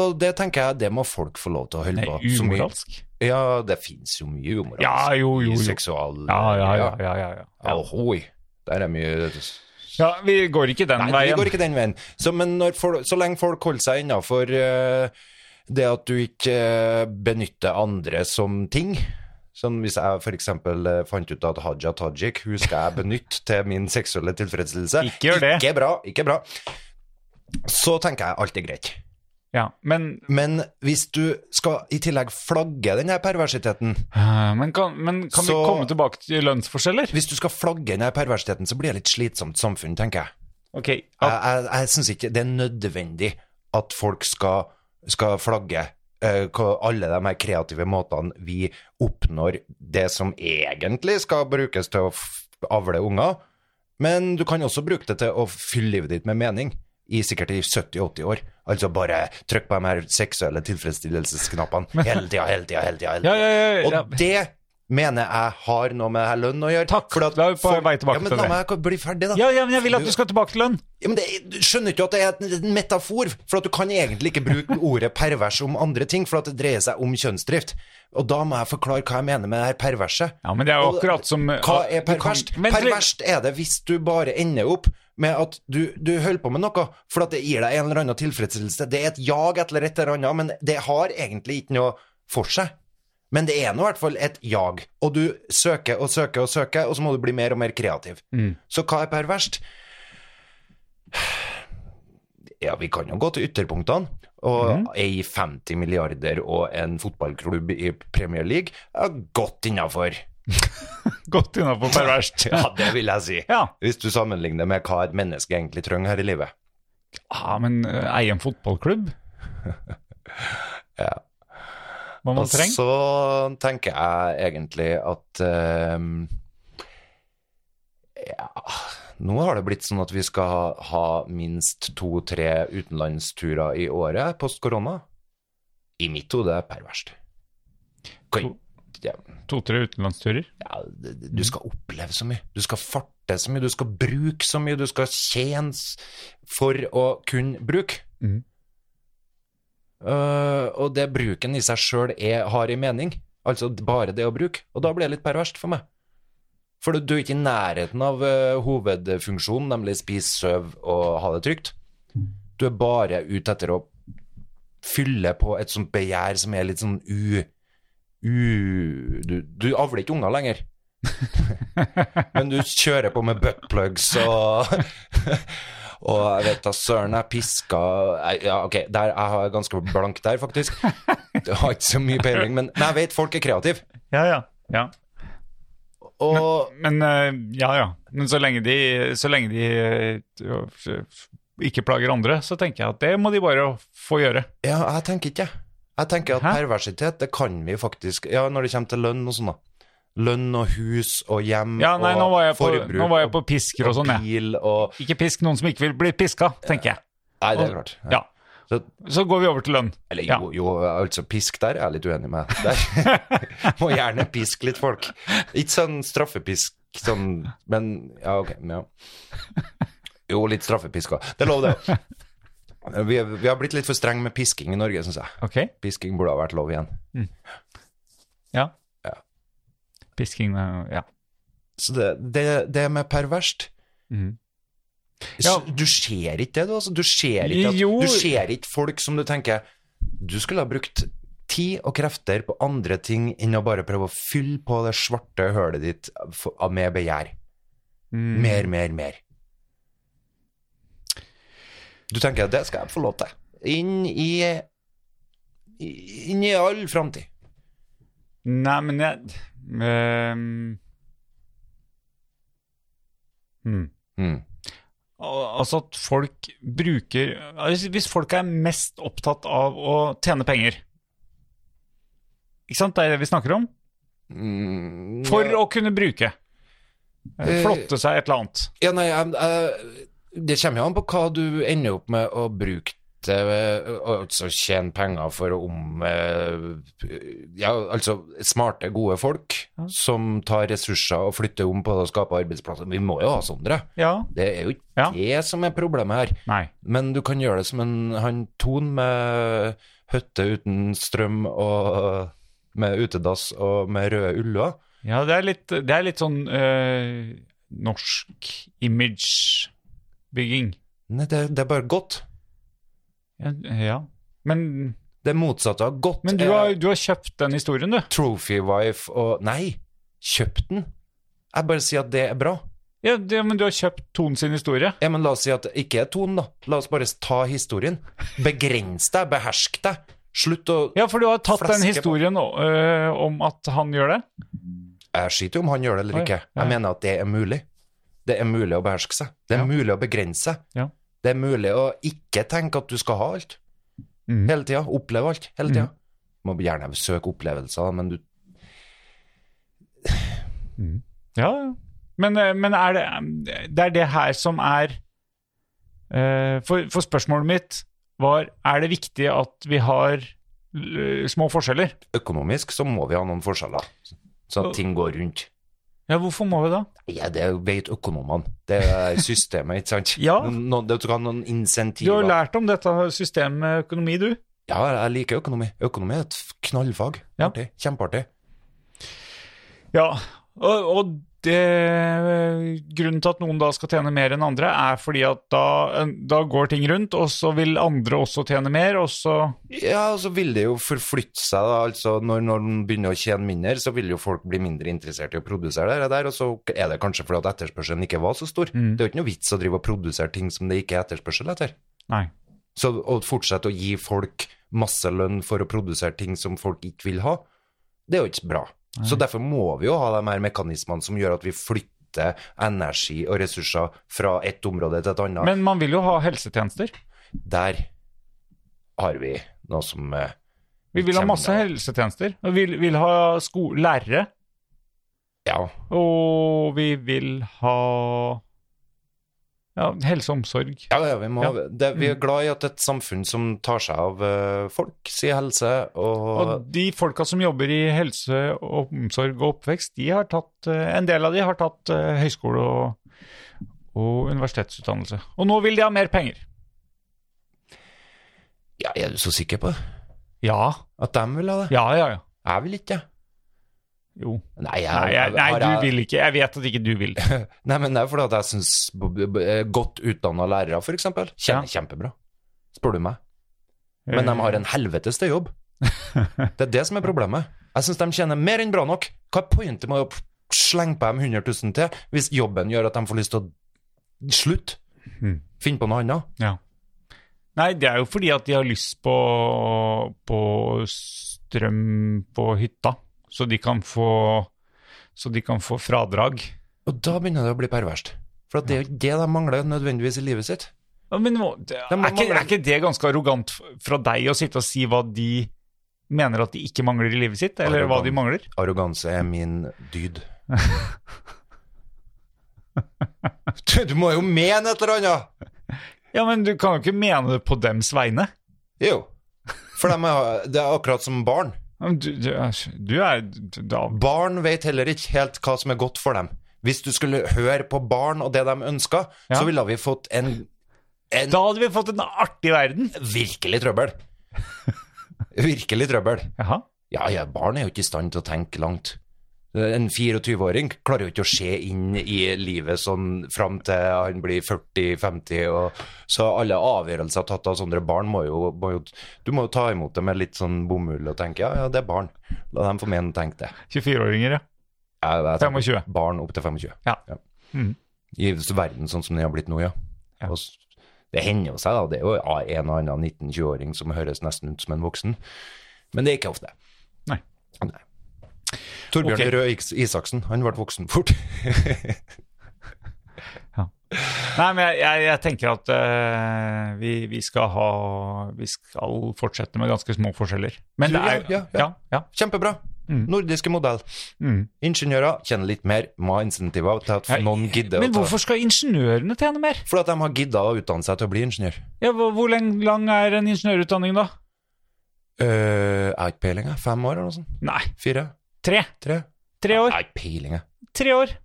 [SPEAKER 2] Og det tenker jeg, det må folk få lov til å holde
[SPEAKER 4] Nei,
[SPEAKER 2] på. Så mye-
[SPEAKER 4] umoralsk?
[SPEAKER 2] Ja, det fins jo mye umoralsk.
[SPEAKER 4] Ja, jo, jo, jo.
[SPEAKER 2] Seksual...
[SPEAKER 4] Ja, ja, ja. ja, ja, ja.
[SPEAKER 2] Ahoy. Der er mye
[SPEAKER 4] ja vi går ikke den
[SPEAKER 2] Nei,
[SPEAKER 4] veien.
[SPEAKER 2] vi går ikke den veien. Så, men når folk, så lenge folk holder seg innafor det at du ikke eh, benytter andre som ting som hvis jeg f.eks. fant ut at Haja Tajik hun skal jeg benytte til min seksuelle tilfredsstillelse
[SPEAKER 4] Ikke gjør det.
[SPEAKER 2] Ikke bra, ikke bra. Så tenker jeg alt er greit.
[SPEAKER 4] Ja, men,
[SPEAKER 2] Men hvis du skal i tillegg flagge den her perversiteten
[SPEAKER 4] eh, men kan, men kan vi
[SPEAKER 2] Så-
[SPEAKER 4] komme tilbake til lønnsforskjeller?
[SPEAKER 2] Hvis du skal flagge den her perversiteten, så blir det litt slitsomt samfunn, tenker jeg.
[SPEAKER 4] Ok,
[SPEAKER 2] Jeg, jeg, jeg syns ikke det er nødvendig at folk skal, skal flagge eh, hva- alle de her kreative måtene vi oppnår det som egentlig skal brukes til å f- avle unger, men du kan også bruke det til å fylle livet ditt med mening. I sikkert i 70-80 år. Altså bare trykk på de her seksuelle tilfredsstillelsesknappene hele tida, hele tida, hele tida.
[SPEAKER 4] Ja, ja, ja, ja.
[SPEAKER 2] Og det mener jeg har noe med det her lønn å gjøre.
[SPEAKER 4] Takk.
[SPEAKER 2] Fordi at
[SPEAKER 4] Da er vi på
[SPEAKER 2] folk-
[SPEAKER 4] vei tilbake
[SPEAKER 2] ja, men
[SPEAKER 4] til
[SPEAKER 2] la
[SPEAKER 4] det.
[SPEAKER 2] meg bli ferdig, da.
[SPEAKER 4] ja, ja, men jeg vil at du skal tilbake til lønn.
[SPEAKER 2] Ja, men det, du skjønner ikke at det er et- en metafor, for at du kan egentlig ikke bruke ordet pervers om andre ting, for at det dreier seg om kjønnsdrift. Og da må jeg forklare hva jeg mener med det her perverse.
[SPEAKER 4] Ja, men det er jo akkurat som
[SPEAKER 2] Hva er perverst?
[SPEAKER 4] Vent litt.
[SPEAKER 2] Perverst er det hvis du bare ender opp med at du, du holder på med noe, for at det gir deg en eller annen tilfredsstillelse. Det er et jag eller et eller annet, men det har egentlig ikke noe for seg. Men det er nå i hvert fall et jag, og du søker og søker og søker, og så må du bli mer og mer kreativ.
[SPEAKER 4] Mm.
[SPEAKER 2] Så hva er perverst? Ja, vi kan jo gå til ytterpunktene. Og
[SPEAKER 4] Mm.
[SPEAKER 2] ei 50 milliarder og en fotballklubb i Premier League er godt innafor.
[SPEAKER 4] Godt innafor perverst.
[SPEAKER 2] Ja, det vil jeg si.
[SPEAKER 4] Ja.
[SPEAKER 2] Hvis du sammenligner med hva et menneske egentlig trenger her i livet.
[SPEAKER 4] Ja, men eh, eie en fotballklubb?
[SPEAKER 2] (laughs) Ja.
[SPEAKER 4] Hva man
[SPEAKER 2] Og
[SPEAKER 4] trenger?
[SPEAKER 2] så tenker jeg egentlig at ehm, Ja Nå har det blitt sånn at vi skal ha, ha minst to-tre utenlandsturer i året post korona. I mitt hode er det perverst. Kan- ja,
[SPEAKER 4] To-tre utenlandsturer.
[SPEAKER 2] ja, det- det- du skal oppleve så mye. Du skal farte så mye, du skal bruke så mye, du skal tjene s- for å kunne bruke.
[SPEAKER 4] Mhm.
[SPEAKER 2] Eh, og det bruken i seg sjøl har en mening, altså bare det å bruke. Og da blir det litt perverst for meg. For du- du er ikke i nærheten av eh, hovedfunksjonen, nemlig spise, søv og ha det trygt. Du er bare ute etter å fylle på et sånt begjær som er litt sånn u... U... Du, du avler ikke unger
[SPEAKER 4] (laughs)
[SPEAKER 2] lenger. Men du kjører på med buttplugs og (laughs) Og jeg vet da søren, jeg piska jeg- Ja, ok, der, jeg har ganske blank der, faktisk. Jeg har ikke så mye peiling, men, men jeg vet folk er kreative.
[SPEAKER 4] Ja, ja. ja.
[SPEAKER 2] Og
[SPEAKER 4] Men eh, ja, ja. Men så lenge de, så lenge de eh, jo, f- f- ikke plager andre, så tenker jeg at det må de bare få gjøre.
[SPEAKER 2] ja, jeg tenker ikke, jeg. Jeg tenker at
[SPEAKER 4] Hæ?
[SPEAKER 2] perversitet, det kan vi faktisk Ja, når det kommer til lønn og sånn, da. Lønn og hus og hjem
[SPEAKER 4] Ja, nei,
[SPEAKER 2] Mm, og
[SPEAKER 4] nå var jeg på,
[SPEAKER 2] forbruk
[SPEAKER 4] nå var jeg på pisker og sånn,
[SPEAKER 2] og
[SPEAKER 4] jeg.
[SPEAKER 2] bil og
[SPEAKER 4] Ikke pisk noen som ikke vil bli piska, tenker jeg.
[SPEAKER 2] Nei, det er klart.
[SPEAKER 4] Ja.
[SPEAKER 2] Så
[SPEAKER 4] Så går vi over til lønn.
[SPEAKER 2] Eller
[SPEAKER 4] Ja.
[SPEAKER 2] jo, jo, altså pisk der er jeg litt uenig med. Der. Må gjerne piske litt folk. Ikke sånn straffepisk, sånn, men ja, ok. men Ja. Jo, litt straffepisk òg. Det er lov, det. Vi, er- vi har blitt litt for strenge med pisking i Norge, syns jeg.
[SPEAKER 4] Ok,
[SPEAKER 2] Pisking burde ha vært lov igjen.
[SPEAKER 4] ja.
[SPEAKER 2] Ja.
[SPEAKER 4] Pisking, eh, ja.
[SPEAKER 2] Så det, det, det med perverst
[SPEAKER 4] Mhm.
[SPEAKER 2] Så
[SPEAKER 4] Ja.
[SPEAKER 2] Mm. Du ser ikke det, du, altså. Du ser ikke, at,
[SPEAKER 4] Jo.
[SPEAKER 2] du ser ikke folk som du tenker Du skulle ha brukt tid og krefter på andre ting enn å bare prøve å fylle på det svarte hølet ditt for- med begjær.
[SPEAKER 4] Mm.
[SPEAKER 2] Mer, mer, mer. Du tenker at det skal jeg få lov til. Inn i Inn i all framtid.
[SPEAKER 4] Nei, men jeg ehm, hmm.
[SPEAKER 2] Mm.
[SPEAKER 4] Al- Altså at folk bruker altså Hvis folk er mest opptatt av å tjene penger Ikke sant? Det er det vi snakker om.
[SPEAKER 2] Mm,
[SPEAKER 4] For
[SPEAKER 2] ja.
[SPEAKER 4] å kunne bruke.
[SPEAKER 2] Eh,
[SPEAKER 4] Flotte seg et eller annet.
[SPEAKER 2] Ja, nei, jeg, jeg, det kommer jo an på hva du ender opp med å bruke til eh, Altså tjene penger for å om eh, Ja, altså smarte, gode folk som tar ressurser og flytter om på det og skaper arbeidsplasser. Vi må jo ha sånne.
[SPEAKER 4] Ja.
[SPEAKER 2] Det er jo ikke
[SPEAKER 4] Ja.
[SPEAKER 2] det som er problemet her.
[SPEAKER 4] Nei.
[SPEAKER 2] Men du kan gjøre det som en han Ton med høtte uten strøm og med utedass og med røde uller.
[SPEAKER 4] Ja, det er litt, det er litt sånn eh, norsk imagebygging.
[SPEAKER 2] Nei, det, det er bare godt.
[SPEAKER 4] Ja. ja. Men,
[SPEAKER 2] Det motsatte av godt
[SPEAKER 4] men du,
[SPEAKER 2] er-
[SPEAKER 4] har, du har kjøpt den historien, du.
[SPEAKER 2] Trophy Wife og Nei, kjøp den. Jeg bare sier at det er bra.
[SPEAKER 4] Ja, det, men du har kjøpt Ton sin historie.
[SPEAKER 2] Ja, men La oss si at det ikke er Ton, da. La oss bare ta historien. Begrens deg, behersk deg. Slutt å
[SPEAKER 4] Ja, for du har tatt den
[SPEAKER 2] Flaske på.
[SPEAKER 4] historien øh, om at han gjør det.
[SPEAKER 2] Jeg skiter jo om han gjør det eller
[SPEAKER 4] Oi,
[SPEAKER 2] ikke.
[SPEAKER 4] ja.
[SPEAKER 2] Jeg mener at det er mulig. Det er mulig å beherske seg. Det er
[SPEAKER 4] Ja.
[SPEAKER 2] mulig å begrense seg.
[SPEAKER 4] Ja.
[SPEAKER 2] Det er mulig å ikke tenke at du skal ha alt
[SPEAKER 4] Mhm.
[SPEAKER 2] hele tida. Oppleve alt hele
[SPEAKER 4] Mm.
[SPEAKER 2] tida. Må gjerne søke opplevelser, men du
[SPEAKER 4] Ja, ja. men, øh, men er det, det er det her som er øh, for, for spørsmålet mitt var er det viktig at vi har øh, små forskjeller.
[SPEAKER 2] Økonomisk så må vi ha noen forskjeller, sånn at ting går rundt.
[SPEAKER 4] Ja, hvorfor må vi da?
[SPEAKER 2] Ja, det vet økonomene. Det er systemet, ikke sant?
[SPEAKER 4] (laughs) Ja.
[SPEAKER 2] Noen, noen, du skal ha noen
[SPEAKER 4] Du har
[SPEAKER 2] insentiver.
[SPEAKER 4] jo lært om dette systemet med økonomi, du.
[SPEAKER 2] Ja, jeg liker økonomi. Økonomi er et f- knallfag.
[SPEAKER 4] Ja.
[SPEAKER 2] Artig. Kjempeartig.
[SPEAKER 4] Ja, og, og det, grunnen til at noen da skal tjene mer enn andre, er fordi at da, da går ting rundt, og så vil andre også tjene mer, og så
[SPEAKER 2] Ja, og så vil det jo forflytte seg, da. Altså, når, når man begynner å tjene mindre, så vil jo folk bli mindre interessert i å produsere det der, og så er det kanskje fordi at etterspørselen ikke var så stor.
[SPEAKER 4] Mm.
[SPEAKER 2] Det er jo ikke noe vits å drive og produsere ting som det ikke er etterspørsel etter.
[SPEAKER 4] Nei.
[SPEAKER 2] Så å fortsette å gi folk masse lønn for å produsere ting som folk ikke vil ha, det er jo ikke bra. Så derfor må vi jo ha de her mekanismene som gjør at vi flytter energi og ressurser fra et område til et annet.
[SPEAKER 4] Men man vil jo ha helsetjenester.
[SPEAKER 2] Der har vi noe som eh,
[SPEAKER 4] Vi vil ha masse
[SPEAKER 2] kjempe-
[SPEAKER 4] helsetjenester. Og vi vil, vil ha sko lærere.
[SPEAKER 2] Ja.
[SPEAKER 4] Og vi vil ha Ja, helse og omsorg.
[SPEAKER 2] Ja, ja, vi, må, Det,
[SPEAKER 4] Mm.
[SPEAKER 2] vi er glad i at et samfunn som tar seg av eh, folk, sier helse, og,
[SPEAKER 4] Og de folka som jobber i helse, og omsorg og oppvekst, de har tatt, eh, en del av de har tatt eh, høyskole og, og universitetsutdannelse. Og nå vil de ha mer penger.
[SPEAKER 2] ja, Er du så sikker på det?
[SPEAKER 4] Ja,
[SPEAKER 2] At de vil ha det?
[SPEAKER 4] ja, ja. ja.
[SPEAKER 2] Jeg vil ikke.
[SPEAKER 4] Jo.
[SPEAKER 2] Nei, jeg,
[SPEAKER 4] Nei, jeg, nei,
[SPEAKER 2] har
[SPEAKER 4] du
[SPEAKER 2] jeg-
[SPEAKER 4] vil ikke. Jeg vet at ikke du vil.
[SPEAKER 2] Nei, men det er fordi at jeg syns eh, godt utdanna lærere, for eksempel, kjenner kjempebra. Spør du meg.
[SPEAKER 4] Eh.
[SPEAKER 2] Men de har en helvetes til
[SPEAKER 4] (laughs)
[SPEAKER 2] jobb. Det er det som er problemet. Jeg syns de tjener mer enn bra nok. Hva er pointet med å p- slenge på dem 100 000 til hvis jobben gjør at de får lyst til å slutte?
[SPEAKER 4] Mm.
[SPEAKER 2] Finne på noe annet?
[SPEAKER 4] Ja. Eh, Nei, det er jo fordi at de har lyst på, på strøm på hytta, så de kan få, så de kan få fradrag.
[SPEAKER 2] Og da begynner det å bli perverst. For at det er jo ikke det de mangler nødvendigvis i livet sitt.
[SPEAKER 4] Ja, Men må, det, er,
[SPEAKER 2] må
[SPEAKER 4] ikke,
[SPEAKER 2] vel-
[SPEAKER 4] er ikke det ganske arrogant f- fra deg å sitte og si hva de mener at de ikke mangler i livet sitt, eller hva
[SPEAKER 2] Arrogant.
[SPEAKER 4] de mangler?
[SPEAKER 2] Arroganse er min dyd.
[SPEAKER 4] (laughs)
[SPEAKER 2] Du, du må jo mene et eller annet!
[SPEAKER 4] Ja, men du kan jo ikke mene det på dems vegne.
[SPEAKER 2] Jo. For de er, det er akkurat som barn.
[SPEAKER 4] Ja, men Du, du, er, du er du- da,
[SPEAKER 2] Barn vet heller ikke helt hva som er godt for dem. Hvis du skulle høre på barn og det de ønska,
[SPEAKER 4] Ja.
[SPEAKER 2] så ville vi fått en, en
[SPEAKER 4] da hadde vi fått en artig verden.
[SPEAKER 2] virkelig trøbbel. Virkelig trøbbel.
[SPEAKER 4] Jaha.
[SPEAKER 2] Ja, ja, barn er jo ikke i stand til å tenke langt. En 24-åring klarer jo ikke å se inn i livet sånn fram til han blir 40-50, og så alle avgjørelser tatt av sånne barn må jo, må jo Du må jo ta imot det med litt sånn bomull og tenke ja, ja, det er barn. La dem få mene tenke det.
[SPEAKER 4] 24-åringer, ja.
[SPEAKER 2] Jeg, jeg tenker
[SPEAKER 4] 25.
[SPEAKER 2] Barn opp til 25.
[SPEAKER 4] Ja. Mhm.
[SPEAKER 2] I verden sånn som den har blitt nå, ja.
[SPEAKER 4] Ja.
[SPEAKER 2] Og s- det hender jo seg, da. Det er jo en og annen 19-20-åring som høres nesten ut som en voksen. Men det er ikke ofte.
[SPEAKER 4] Nei.
[SPEAKER 2] Nei. Torbjørn
[SPEAKER 4] Ok.
[SPEAKER 2] Røe Is- Isaksen, han ble voksen fort. (laughs)
[SPEAKER 4] Nei, men jeg, jeg, jeg tenker at eh, vi, vi skal ha Vi skal fortsette med ganske små forskjeller. Men det
[SPEAKER 2] Ja,
[SPEAKER 4] er
[SPEAKER 2] ja, ja.
[SPEAKER 4] ja, ja.
[SPEAKER 2] Kjempebra. Nordiske modell.
[SPEAKER 4] Mm.
[SPEAKER 2] Ingeniører tjener litt mer, må ha insentiver til at
[SPEAKER 4] Nei,
[SPEAKER 2] noen gidder
[SPEAKER 4] Men
[SPEAKER 2] å ta
[SPEAKER 4] hvorfor skal ingeniørene tjene mer?
[SPEAKER 2] Fordi at de har gidda å utdanne seg til å bli ingeniør.
[SPEAKER 4] Ja, hvor hvor leng- lang er en ingeniørutdanning, da?
[SPEAKER 2] Eh, jeg har ikke peiling, jeg. Fem år eller noe sånt?
[SPEAKER 4] Nei,
[SPEAKER 2] Fire?
[SPEAKER 4] tre.
[SPEAKER 2] Tre?
[SPEAKER 4] Tre
[SPEAKER 2] Jeg
[SPEAKER 4] år.
[SPEAKER 2] har ikke peiling, jeg.
[SPEAKER 4] Tre år.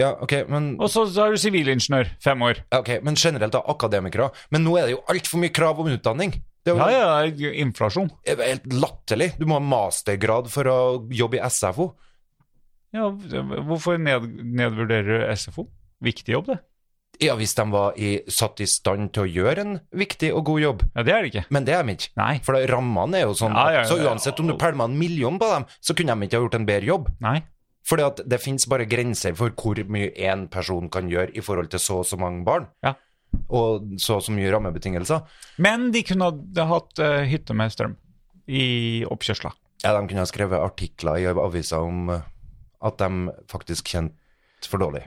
[SPEAKER 2] Ja, ok, men
[SPEAKER 4] Og så, så er du sivilingeniør. Fem år.
[SPEAKER 2] Ja, Ok, men generelt da, akademikere. Men nå er det jo altfor mye krav om utdanning. Det er jo
[SPEAKER 4] Ja, ja, det er inflasjon.
[SPEAKER 2] helt latterlig. Du må ha mastergrad for å jobbe i SFO.
[SPEAKER 4] Ja, hvorfor ned, nedvurderer du SFO? Viktig jobb, det.
[SPEAKER 2] Ja, hvis de var i, satt i stand til å gjøre en viktig og god jobb.
[SPEAKER 4] Ja, det er det ikke.
[SPEAKER 2] Men det er de ikke.
[SPEAKER 4] Nei.
[SPEAKER 2] For da, rammene er jo sånn.
[SPEAKER 4] Ja, ja, ja,
[SPEAKER 2] Så uansett om du
[SPEAKER 4] ja.
[SPEAKER 2] pælma en million på dem, så kunne de ikke ha gjort en bedre jobb.
[SPEAKER 4] Nei.
[SPEAKER 2] Fordi at det finnes bare grenser for hvor mye en person kan gjøre i forhold til så og så mange barn.
[SPEAKER 4] Ja.
[SPEAKER 2] Og så og så mye rammebetingelser.
[SPEAKER 4] Men de kunne ha hatt eh, hytte med strøm i oppkjørsla.
[SPEAKER 2] Ja, de kunne ha skrevet artikler i aviser om eh, at de faktisk kjente for dårlig.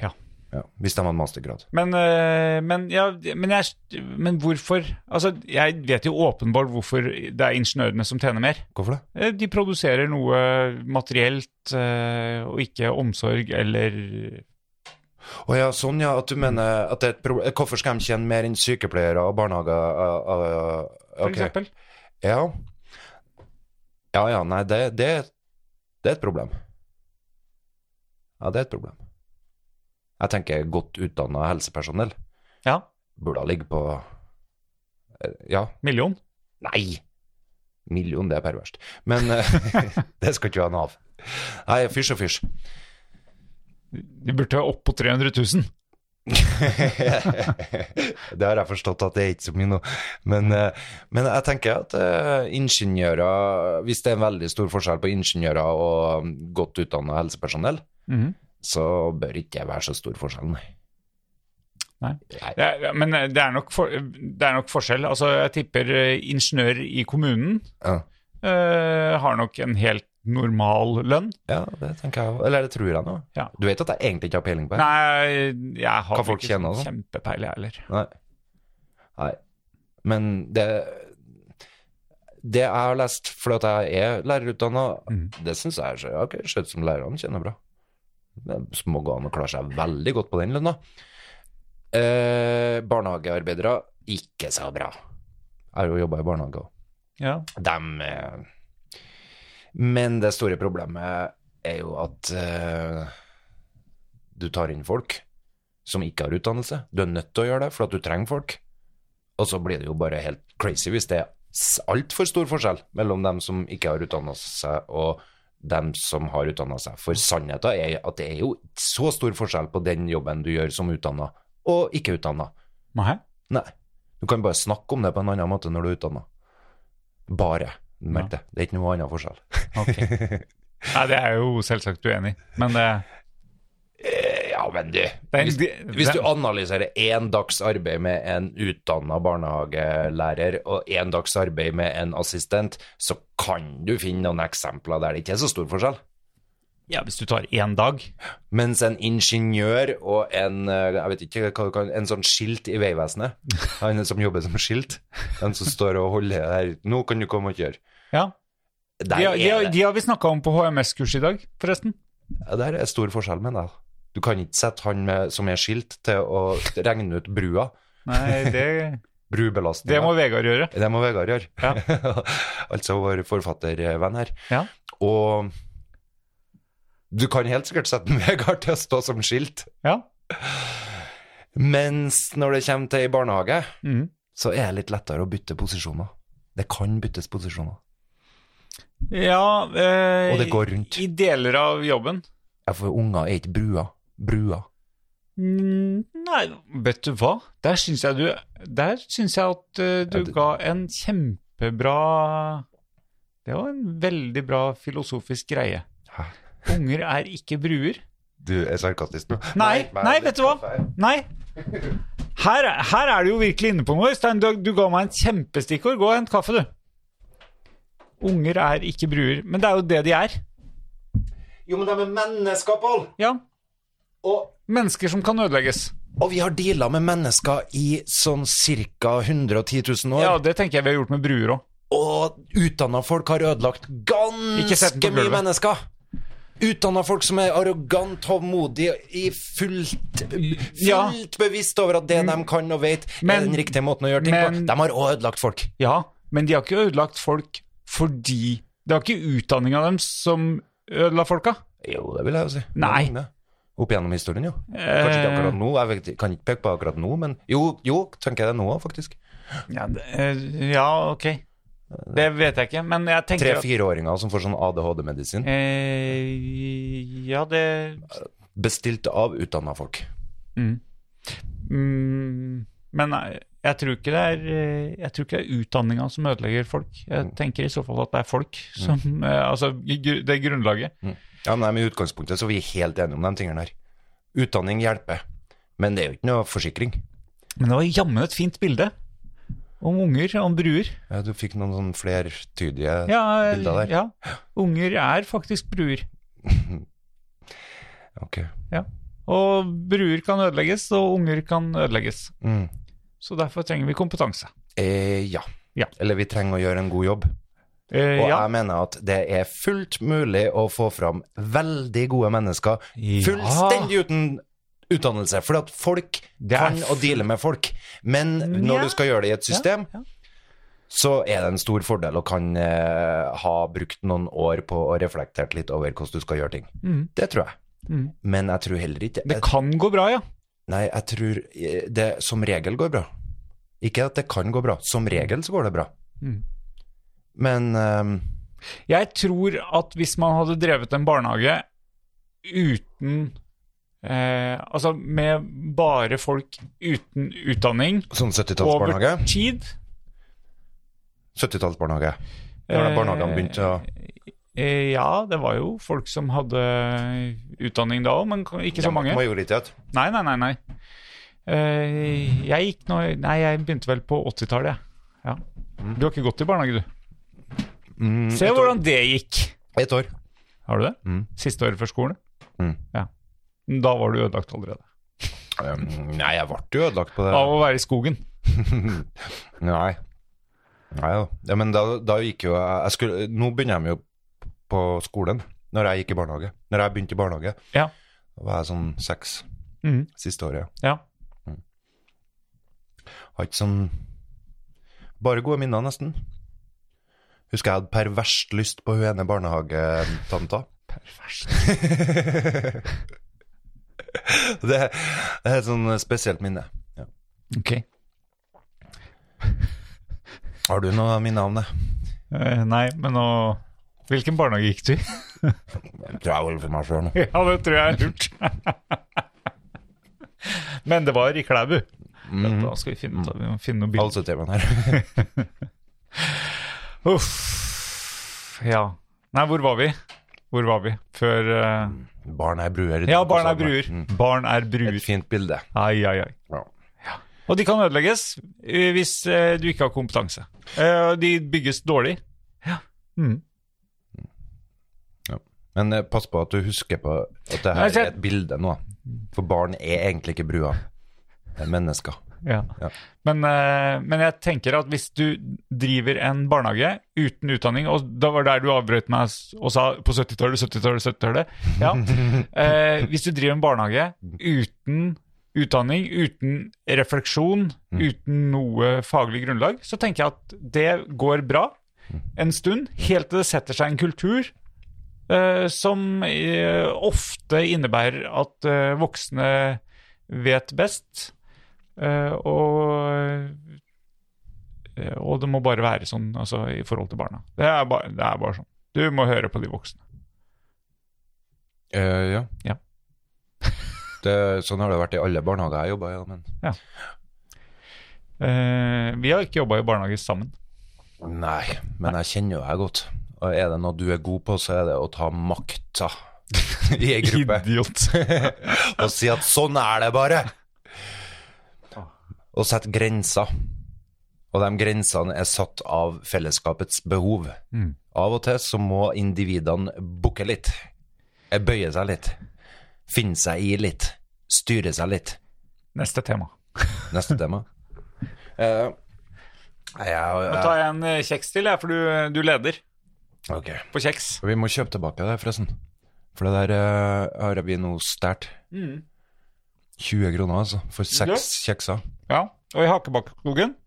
[SPEAKER 4] Ja.
[SPEAKER 2] Ja, hvis de hadde mastergrad.
[SPEAKER 4] Men, eh, men, ja, men, jeg, men hvorfor Altså, jeg vet jo åpenbart hvorfor det er ingeniørene som tjener mer.
[SPEAKER 2] Hvorfor det?
[SPEAKER 4] Eh, De produserer noe materielt eh, og ikke omsorg eller
[SPEAKER 2] Å ja, sånn ja, at du mener at det er et problem Hvorfor skal de tjene mer enn sykepleiere og barnehager? Uh,
[SPEAKER 4] For eksempel.
[SPEAKER 2] Ja. ja ja, nei, det, det, det er et problem. Ja, det er et problem. Jeg tenker godt utdanna helsepersonell
[SPEAKER 4] Ja.
[SPEAKER 2] burde ligge på eh, Ja,
[SPEAKER 4] Million.
[SPEAKER 2] Nei! Million, det er perverst. Men eh, (laughs) det skal ikke være Nav. Nei, fysj og fysj. (laughs)
[SPEAKER 4] De burde være opp på 300 000.
[SPEAKER 2] det har jeg forstått at det er ikke så mye nå. Men, eh, men jeg tenker at eh, ingeniører Hvis det er en veldig stor forskjell på ingeniører og mm, godt utdanna helsepersonell,
[SPEAKER 4] Mhm.
[SPEAKER 2] så bør ikke det være så stor forskjell, nei.
[SPEAKER 4] Nei.
[SPEAKER 2] Nei.
[SPEAKER 4] det er, men eh, det er, nok for, det er nok forskjell. Altså, jeg tipper eh, ingeniør i kommunen
[SPEAKER 2] Ja.
[SPEAKER 4] eh, har nok en helt normal lønn.
[SPEAKER 2] ja, det tenker jeg òg. Eller det tror jeg nå.
[SPEAKER 4] Ja.
[SPEAKER 2] Du vet at jeg egentlig ikke har peiling på det?
[SPEAKER 4] Nei, jeg har
[SPEAKER 2] Hva folk
[SPEAKER 4] ikke
[SPEAKER 2] tjener, da?
[SPEAKER 4] kjempepeil, jeg heller.
[SPEAKER 2] Nei. Nei. Men det Det jeg har lest, fordi at jeg er lærerutdanna, det syns jeg er så- jeg har ikke skjønt som lærerne kjenner bra. Det må gå an å klare seg veldig godt på den lønna. Eh, barnehagearbeidere, ikke så bra. Jeg har jo jobba i barnehage òg.
[SPEAKER 4] Ja.
[SPEAKER 2] Dem eh, Men det store problemet er jo at eh, du tar inn folk som ikke har utdannelse. Du er nødt til å gjøre det, for at du trenger folk. Og så blir det jo bare helt crazy hvis det er s- altfor stor forskjell mellom dem som ikke har utdanna seg, og dem som har utdanna seg. For sannheten er at det er jo ikke så stor forskjell på den jobben du gjør som utdanna, og ikke utdanna.
[SPEAKER 4] Nei.
[SPEAKER 2] Nei. Du kan bare snakke om det på en annen måte når du er utdanna. Bare. Merk det. Det er ikke noe annen forskjell.
[SPEAKER 4] (laughs) Nei, det er jeg jo selvsagt uenig i. Men det,
[SPEAKER 2] Eh, Ja, men du
[SPEAKER 4] det er
[SPEAKER 2] Hvis,
[SPEAKER 4] en-
[SPEAKER 2] hvis du analyserer én dags arbeid med en utdanna barnehagelærer og én dags arbeid med en assistent, så kan du finne noen eksempler der det ikke er så stor forskjell.
[SPEAKER 4] Ja, hvis du tar én dag
[SPEAKER 2] Mens en ingeniør og en eh, jeg vet ikke hva du kan, en sånn skilt i Vegvesenet, han som jobber som skilt, den som står og holder her, nå kan du komme og kjøre.
[SPEAKER 4] Ja.
[SPEAKER 2] Der
[SPEAKER 4] De, har- de, har-
[SPEAKER 2] er det.
[SPEAKER 4] de har vi snakka om på HMS-kurs i dag, forresten.
[SPEAKER 2] Ja, der er stor forskjell med det. Du kan ikke sette han med, som er skilt til å regne ut brua,
[SPEAKER 4] Nei, (laughs) det, det må
[SPEAKER 2] brubelastninga.
[SPEAKER 4] Vegard gjøre.
[SPEAKER 2] Det må Vegard gjøre.
[SPEAKER 4] Ja.
[SPEAKER 2] (laughs) altså vår forfattervenn her.
[SPEAKER 4] Ja.
[SPEAKER 2] Og du kan helt sikkert sette (laughs) Vegard til å stå som skilt,
[SPEAKER 4] Ja.
[SPEAKER 2] mens når det kommer til ei barnehage,
[SPEAKER 4] Mhm.
[SPEAKER 2] så er det litt lettere å bytte posisjoner. Det kan byttes posisjoner.
[SPEAKER 4] ja eh,
[SPEAKER 2] Og det går rundt.
[SPEAKER 4] I deler av jobben.
[SPEAKER 2] Ja, for unger er ikke brua. Brua.
[SPEAKER 4] Mm, Nei, vet du hva? Der syns jeg du Der syns jeg at eh, du
[SPEAKER 2] Ja, det-
[SPEAKER 4] ga en kjempebra Det var en veldig bra filosofisk greie.
[SPEAKER 2] Hæ?
[SPEAKER 4] Unger er ikke bruer.
[SPEAKER 2] Du er sarkastisk nå.
[SPEAKER 4] Nei,
[SPEAKER 2] men
[SPEAKER 4] nei,
[SPEAKER 2] litt
[SPEAKER 4] vet du hva?
[SPEAKER 2] kaffe her.
[SPEAKER 4] Nei. Her, er- her er du jo virkelig inne på noe, Øystein. Du, du ga meg en kjempestikkord. Gå og hent kaffe, du. Unger er ikke bruer. Men det er jo det de er.
[SPEAKER 2] Jo, men de er mennesker, Pål!
[SPEAKER 4] Ja.
[SPEAKER 2] Og
[SPEAKER 4] Mennesker som kan ødelegges.
[SPEAKER 2] Og vi har deala med mennesker i sånn ca. 110 000 år.
[SPEAKER 4] Ja, det tenker jeg vi har gjort med bruer òg.
[SPEAKER 2] Og utdanna folk har ødelagt
[SPEAKER 4] Ikke sett
[SPEAKER 2] ganske
[SPEAKER 4] den på
[SPEAKER 2] mye
[SPEAKER 4] gulvet.
[SPEAKER 2] mennesker. Utdanna folk som er arrogant, hovmodige, i fullt, fullt
[SPEAKER 4] Ja. Mm.
[SPEAKER 2] bevisst over at det de kan og vet, er
[SPEAKER 4] Men-
[SPEAKER 2] den riktige måten å gjøre ting
[SPEAKER 4] men-
[SPEAKER 2] på. De har òg ødelagt folk.
[SPEAKER 4] Ja, men de har ikke ødelagt folk fordi Det var ikke utdanninga deres som ødela folka.
[SPEAKER 2] Jo, det vil jeg jo si.
[SPEAKER 4] Nei. Eh.
[SPEAKER 2] Det er mange. Opp gjennom historien, jo. Kanskje ikke akkurat nå, jeg vet, kan ikke peke på akkurat nå, men jo, jo tenker jeg det nå òg, faktisk.
[SPEAKER 4] Ja, det, eh, ja, ok. Det vet jeg ikke, men jeg tenker at-
[SPEAKER 2] Tre-fireåringer som får sånn ADHD-medisin,
[SPEAKER 4] eh, Ja, det
[SPEAKER 2] bestilt av utdanna folk.
[SPEAKER 4] Mm, men nei, jeg tror ikke det er, eh, jeg tror ikke det er utdanninga som ødelegger folk. Jeg
[SPEAKER 2] Mm.
[SPEAKER 4] tenker i så fall at det er folk som eh, Altså i gru- det grunnlaget.
[SPEAKER 2] Ja, nei, men I utgangspunktet så er vi helt enige om de tingene her. Utdanning hjelper, men det er jo ikke noe forsikring.
[SPEAKER 4] Men det var jammen et fint bilde. Om unger, om bruer.
[SPEAKER 2] Ja, du fikk noen sånn flertydige
[SPEAKER 4] Ja,
[SPEAKER 2] bilder der.
[SPEAKER 4] ja. Unger er faktisk bruer.
[SPEAKER 2] Ok.
[SPEAKER 4] Og bruer kan ødelegges, og unger kan ødelegges.
[SPEAKER 2] Mm.
[SPEAKER 4] Så derfor trenger vi kompetanse.
[SPEAKER 2] Eh, ja.
[SPEAKER 4] Ja.
[SPEAKER 2] Eller vi trenger å gjøre en god jobb.
[SPEAKER 4] Eh,
[SPEAKER 2] Og
[SPEAKER 4] ja.
[SPEAKER 2] jeg mener at det er fullt mulig å få fram veldig gode mennesker
[SPEAKER 4] Ja.
[SPEAKER 2] fullstendig uten utdannelse. For at folk
[SPEAKER 4] Det er
[SPEAKER 2] kan å
[SPEAKER 4] full-
[SPEAKER 2] deale med folk. Men
[SPEAKER 4] Ja.
[SPEAKER 2] når du skal gjøre det i et system,
[SPEAKER 4] Ja, ja.
[SPEAKER 2] så er det en stor fordel å kan eh, ha brukt noen år på å reflektert litt over hvordan du skal gjøre ting.
[SPEAKER 4] Mm.
[SPEAKER 2] Det tror jeg.
[SPEAKER 4] Mm.
[SPEAKER 2] Men jeg tror heller ikke
[SPEAKER 4] Det kan gå bra, ja.
[SPEAKER 2] Nei, jeg tror eh, det som regel går bra. Ikke at det kan gå bra. Som regel så går det bra.
[SPEAKER 4] Mm.
[SPEAKER 2] Men eh,
[SPEAKER 4] Jeg tror at hvis man hadde drevet en barnehage uten eh, Altså med bare folk uten utdanning
[SPEAKER 2] sånn
[SPEAKER 4] over
[SPEAKER 2] 70-tallsbarnehage
[SPEAKER 4] tid
[SPEAKER 2] 70-tallsbarnehage. Når
[SPEAKER 4] Eh,
[SPEAKER 2] de barnehagene begynte å
[SPEAKER 4] eh, Ja, det var jo folk som hadde utdanning da òg, men k- ikke så mange.
[SPEAKER 2] Majoritet.
[SPEAKER 4] Nei, nei, nei. nei. Eh, jeg gikk nå Nei, jeg begynte vel på 80-tallet, jeg. Ja. Du har ikke gått i barnehage, du.
[SPEAKER 2] Mm,
[SPEAKER 4] Se
[SPEAKER 2] et år.
[SPEAKER 4] hvordan det gikk.
[SPEAKER 2] Et år.
[SPEAKER 4] Har du det?
[SPEAKER 2] Mm.
[SPEAKER 4] Siste året før skolen?
[SPEAKER 2] Mm.
[SPEAKER 4] Ja. Da var du ødelagt allerede.
[SPEAKER 2] Um, nei, jeg ble jo ødelagt på det.
[SPEAKER 4] Av å være i skogen.
[SPEAKER 2] (laughs) Nei. Nei jo. Ja, men da, da gikk jo jeg, jeg skulle, Nå begynner de jo på skolen. Når jeg gikk i barnehage. Når jeg begynte i barnehage,
[SPEAKER 4] Ja.
[SPEAKER 2] da var jeg sånn seks
[SPEAKER 4] Mhm.
[SPEAKER 2] siste året.
[SPEAKER 4] Ja.
[SPEAKER 2] Har ikke sånn Bare gode minner, nesten. Husker jeg hadde perverst lyst på hun ene barnehagetanta. (laughs)
[SPEAKER 4] Perverst.
[SPEAKER 2] Det, det er et sånn spesielt minne. Ja.
[SPEAKER 4] Ok.
[SPEAKER 2] Har du noe minne om det?
[SPEAKER 4] Eh, nei, men nå Hvilken barnehage gikk du i? (laughs)
[SPEAKER 2] Jeg tror jeg holder for meg sjøl nå.
[SPEAKER 4] ja, det tror jeg er lurt. (laughs) men det var i Klæbu.
[SPEAKER 2] Mm.
[SPEAKER 4] Mm. Da skal vi finne, ut av- vi må finne noen bilder.
[SPEAKER 2] Halv 70 her.
[SPEAKER 4] Uff. Ja. Nei, hvor var vi? Hvor var vi? Før eh,
[SPEAKER 2] (laughs) Barn er bruer.
[SPEAKER 4] Ja, barn er
[SPEAKER 2] bruer
[SPEAKER 4] bruer. Barn er bruer.
[SPEAKER 2] Mm. Et fint bilde.
[SPEAKER 4] Ai, ai, ai.
[SPEAKER 2] Ja.
[SPEAKER 4] Og de kan ødelegges eh, hvis eh, du ikke har kompetanse. Eh, De bygges dårlig. Ja. Mm.
[SPEAKER 2] Ja. Men eh, pass på at du husker på at det
[SPEAKER 4] Nei,
[SPEAKER 2] her
[SPEAKER 4] jeg-
[SPEAKER 2] er et bilde nå. For barn er egentlig ikke brua. Det er mennesker.
[SPEAKER 4] Ja.
[SPEAKER 2] Ja.
[SPEAKER 4] Men, eh, men jeg tenker at hvis du driver en barnehage uten utdanning, og da var det der du avbrøt meg s- og sa på 70-tallet, 70-tallet, 70-tallet ja. eh, Hvis du driver en barnehage uten utdanning, uten refleksjon, uten noe faglig grunnlag, så tenker jeg at det går bra en stund, helt til det setter seg en kultur eh, som eh, ofte innebærer at eh, voksne vet best. Eh, og, eh, og det må bare være sånn altså, i forhold til barna. Det er, bare, det er bare sånn. Du må høre på de voksne.
[SPEAKER 2] Eh, ja.
[SPEAKER 4] Ja.
[SPEAKER 2] (laughs) Det, sånn har det vært i alle barnehager jeg jobba i. da, Men...
[SPEAKER 4] Eh, vi har ikke jobba i barnehage sammen.
[SPEAKER 2] Nei, men jeg kjenner jo deg godt. Og er det noe du er god på, så er det å ta makta
[SPEAKER 4] (laughs)
[SPEAKER 2] i ei gruppe.
[SPEAKER 4] Idiot. (laughs)
[SPEAKER 2] og si at sånn er det bare. Og sette grenser. Og de grensene er satt av fellesskapets behov.
[SPEAKER 4] Mm.
[SPEAKER 2] Av og til så må individene bukke litt. Eh, Bøye seg litt. Finne seg i litt. Styre seg litt.
[SPEAKER 4] Neste tema.
[SPEAKER 2] Neste tema. Eh, jeg,
[SPEAKER 4] Nå
[SPEAKER 2] jeg,
[SPEAKER 4] tar jeg en eh, kjeks til, jeg, for du, du leder
[SPEAKER 2] ok.
[SPEAKER 4] på kjeks.
[SPEAKER 2] Vi må kjøpe tilbake det, forresten. For det der eh, har vi nå stjålet. 20 kroner, altså. For seks kjekser.
[SPEAKER 4] Ja, Og i Hakebakkskogen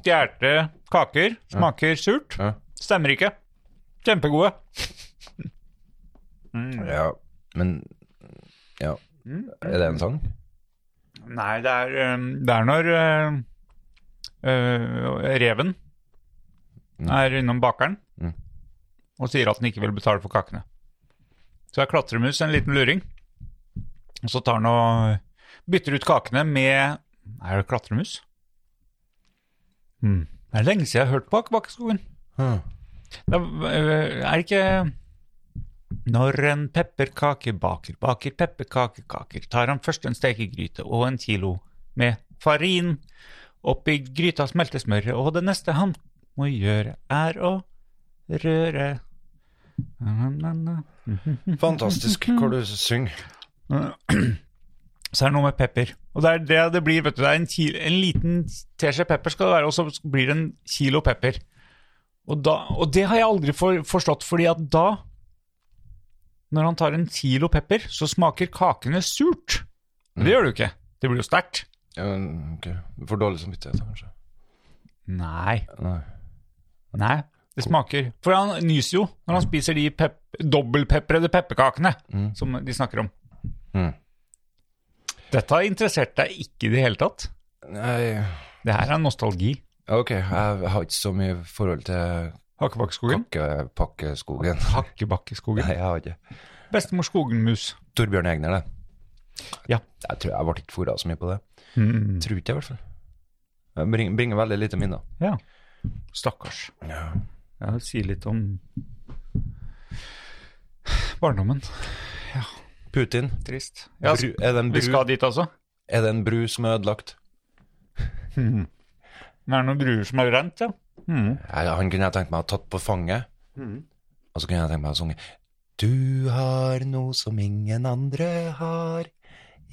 [SPEAKER 4] stjerte kaker. Smaker surt.
[SPEAKER 2] Ja.
[SPEAKER 4] Stemmer ikke. Kjempegode.
[SPEAKER 2] Ja, men Ja. Er det en sang?
[SPEAKER 4] Nei, det er, eh, det er når eh, eh, reven er innom bakeren
[SPEAKER 2] Mm.
[SPEAKER 4] og sier at den ikke vil betale for kakene. Så er klatremus en liten luring, og så tar han og bytter ut kakene med Er det klatremus? Mm. Det er lenge siden jeg har hørt på Akebakkeskogen.
[SPEAKER 2] Hm.
[SPEAKER 4] Da, øh, er det ikke Når en pepperkakebaker baker pepperkakekaker, tar han først en stekegryte og en kilo med farin. Oppi gryta smelter smøret, og det neste han må gjøre, er å røre na, na, na.
[SPEAKER 2] Fantastisk hvor du synger.
[SPEAKER 4] Så er det noe med pepper. Og det er det det blir, vet du. Det er en, kil, en liten teskje pepper skal det være, og så blir det en kilo pepper. Og, da, og det har jeg aldri for, forstått, fordi at da Når han tar en kilo pepper, så smaker kakene surt. Og Det gjør det jo ikke. Det blir jo sterkt.
[SPEAKER 2] Ja, men, ok. For dårlig samvittighet, kanskje.
[SPEAKER 4] Nei.
[SPEAKER 2] Nei.
[SPEAKER 4] Nei. Det smaker For han nyser jo når han spiser de pep dobbeltpeprede pepperkakene som de snakker om.
[SPEAKER 2] Mm.
[SPEAKER 4] Dette har interessert deg ikke i det hele tatt.
[SPEAKER 2] Nei
[SPEAKER 4] Det her er nostalgi.
[SPEAKER 2] Ok, jeg har ikke så mye forhold til
[SPEAKER 4] Hakkebakkeskogen.
[SPEAKER 2] Kakkepakkeskogen. (laughs)
[SPEAKER 4] Hakkebakkeskogen.
[SPEAKER 2] Nei, jeg har ikke
[SPEAKER 4] Bestemor Skogenmus.
[SPEAKER 2] Torbjørn Egner, det.
[SPEAKER 4] Ja.
[SPEAKER 2] Jeg tror jeg ble ikke fora så mye på det.
[SPEAKER 4] Mm.
[SPEAKER 2] Tror ikke jeg, i hvert fall. Det bringer, bringer veldig lite minner.
[SPEAKER 4] Ja. Stakkars.
[SPEAKER 2] Ja.
[SPEAKER 4] Ja, det sier litt om barndommen.
[SPEAKER 2] Putin.
[SPEAKER 4] Trist. Ja,
[SPEAKER 2] Bru, er, det en
[SPEAKER 4] vi
[SPEAKER 2] bru,
[SPEAKER 4] skal dit, altså?
[SPEAKER 2] er det en bru som er ødelagt?
[SPEAKER 4] Det er noen bruer som har rent, ja. Mm.
[SPEAKER 2] Jeg, han kunne jeg tenkt meg å ha tatt på fanget. Og så kunne jeg tenkt meg å synge Du har noe som ingen andre har.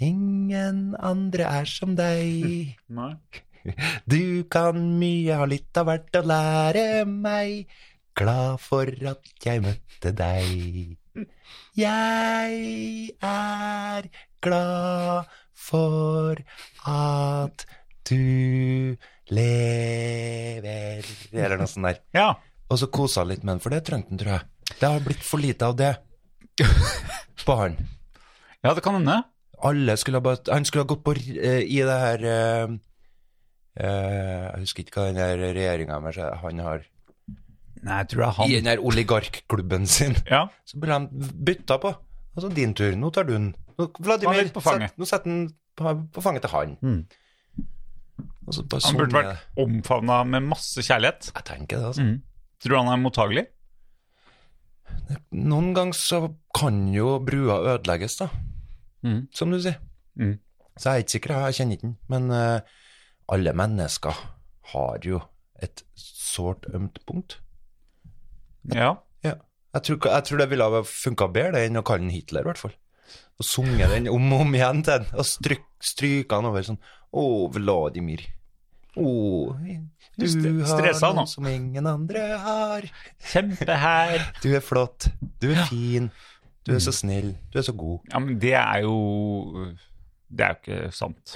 [SPEAKER 2] Ingen andre er som deg.
[SPEAKER 4] Nei.
[SPEAKER 2] Du kan mye, har litt av hvert å lære meg. Glad for at jeg møtte deg. Jeg er glad for at Du lever Eller noe sånt der.
[SPEAKER 4] Ja.
[SPEAKER 2] Og så kosa han litt med den, for det trengte han, tror jeg. Det har blitt for lite
[SPEAKER 4] (laughs)
[SPEAKER 2] av det på han.
[SPEAKER 4] ja, det kan hende.
[SPEAKER 2] Alle skulle ha bare Han skulle ha gått på r- eh, i det her eh, eh, Jeg husker ikke hva den der regjeringa han har
[SPEAKER 4] Nei, jeg tror det er
[SPEAKER 2] I
[SPEAKER 4] han.
[SPEAKER 2] den der oligarkklubben sin.
[SPEAKER 4] Ja.
[SPEAKER 2] Så ble han bytta på. Altså, din tur. Nå tar du den. Nå,
[SPEAKER 4] Han er
[SPEAKER 2] Vladimir,
[SPEAKER 4] litt på fanget.
[SPEAKER 2] sett- nå setter han på, på fanget til han.
[SPEAKER 4] Mm.
[SPEAKER 2] Og så bare
[SPEAKER 4] Han
[SPEAKER 2] sånn
[SPEAKER 4] burde
[SPEAKER 2] er det.
[SPEAKER 4] vært omfavna med masse kjærlighet.
[SPEAKER 2] Jeg tenker det, altså.
[SPEAKER 4] Mm. Tror du han er mottagelig?
[SPEAKER 2] Noen ganger så kan jo brua ødelegges, da.
[SPEAKER 4] Mm.
[SPEAKER 2] Som du sier.
[SPEAKER 4] Mm.
[SPEAKER 2] Så jeg er ikke sikker, jeg kjenner ikke den. Men eh, alle mennesker har jo et sårt ømt punkt.
[SPEAKER 4] Ja.
[SPEAKER 2] Ja. Jeg tror, ikke- jeg tror det ville ha funka bedre det enn å kalle den Hitler, i hvert fall. Og sunge den om og om igjen til den, og stryk, stryke den over sånn Å, Vladimir. Å,
[SPEAKER 4] Stre-
[SPEAKER 2] du har
[SPEAKER 4] stressa nå.
[SPEAKER 2] noe som ingen andre har.
[SPEAKER 4] Kjempe her.
[SPEAKER 2] Du er flott. Du er fin. Du er så snill. Du er så god.
[SPEAKER 4] Ja, men det er jo Det er jo ikke sant.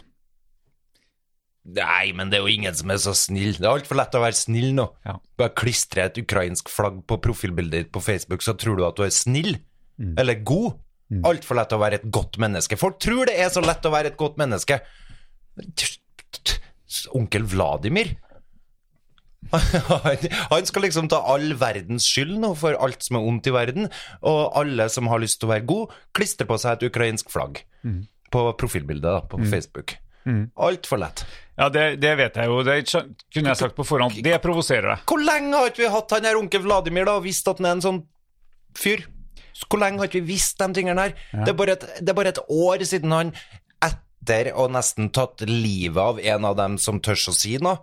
[SPEAKER 2] Nei, men det er jo ingen som er så snill. Det er altfor lett å være snill nå.
[SPEAKER 4] Ja.
[SPEAKER 2] Bare klistre et ukrainsk flagg på profilbildet ditt på Facebook, så tror du at du er snill.
[SPEAKER 4] Mm.
[SPEAKER 2] Eller god.
[SPEAKER 4] Mm.
[SPEAKER 2] Altfor lett å være et godt menneske. Folk tror det er så lett å være et godt menneske. Onkel Vladimir han, han skal liksom ta all verdens skyld nå for alt som er ondt i verden, og alle som har lyst til å være god, klistrer på seg et ukrainsk flagg på profilbildet da, på Facebook.
[SPEAKER 4] Mm.
[SPEAKER 2] Altfor lett.
[SPEAKER 4] Ja, det, det vet jeg jo. Det skjøn- kunne jeg sagt på forhånd. Det provoserer deg.
[SPEAKER 2] Hvor lenge har ikke vi hatt han her onkel Vladimir da, og visst at han er en sånn fyr? Så Hvor lenge har ikke vi visst de tingene her? Det, er bare et, det er bare et år siden han, etter å nesten tatt livet av en av dem som tør å si noe,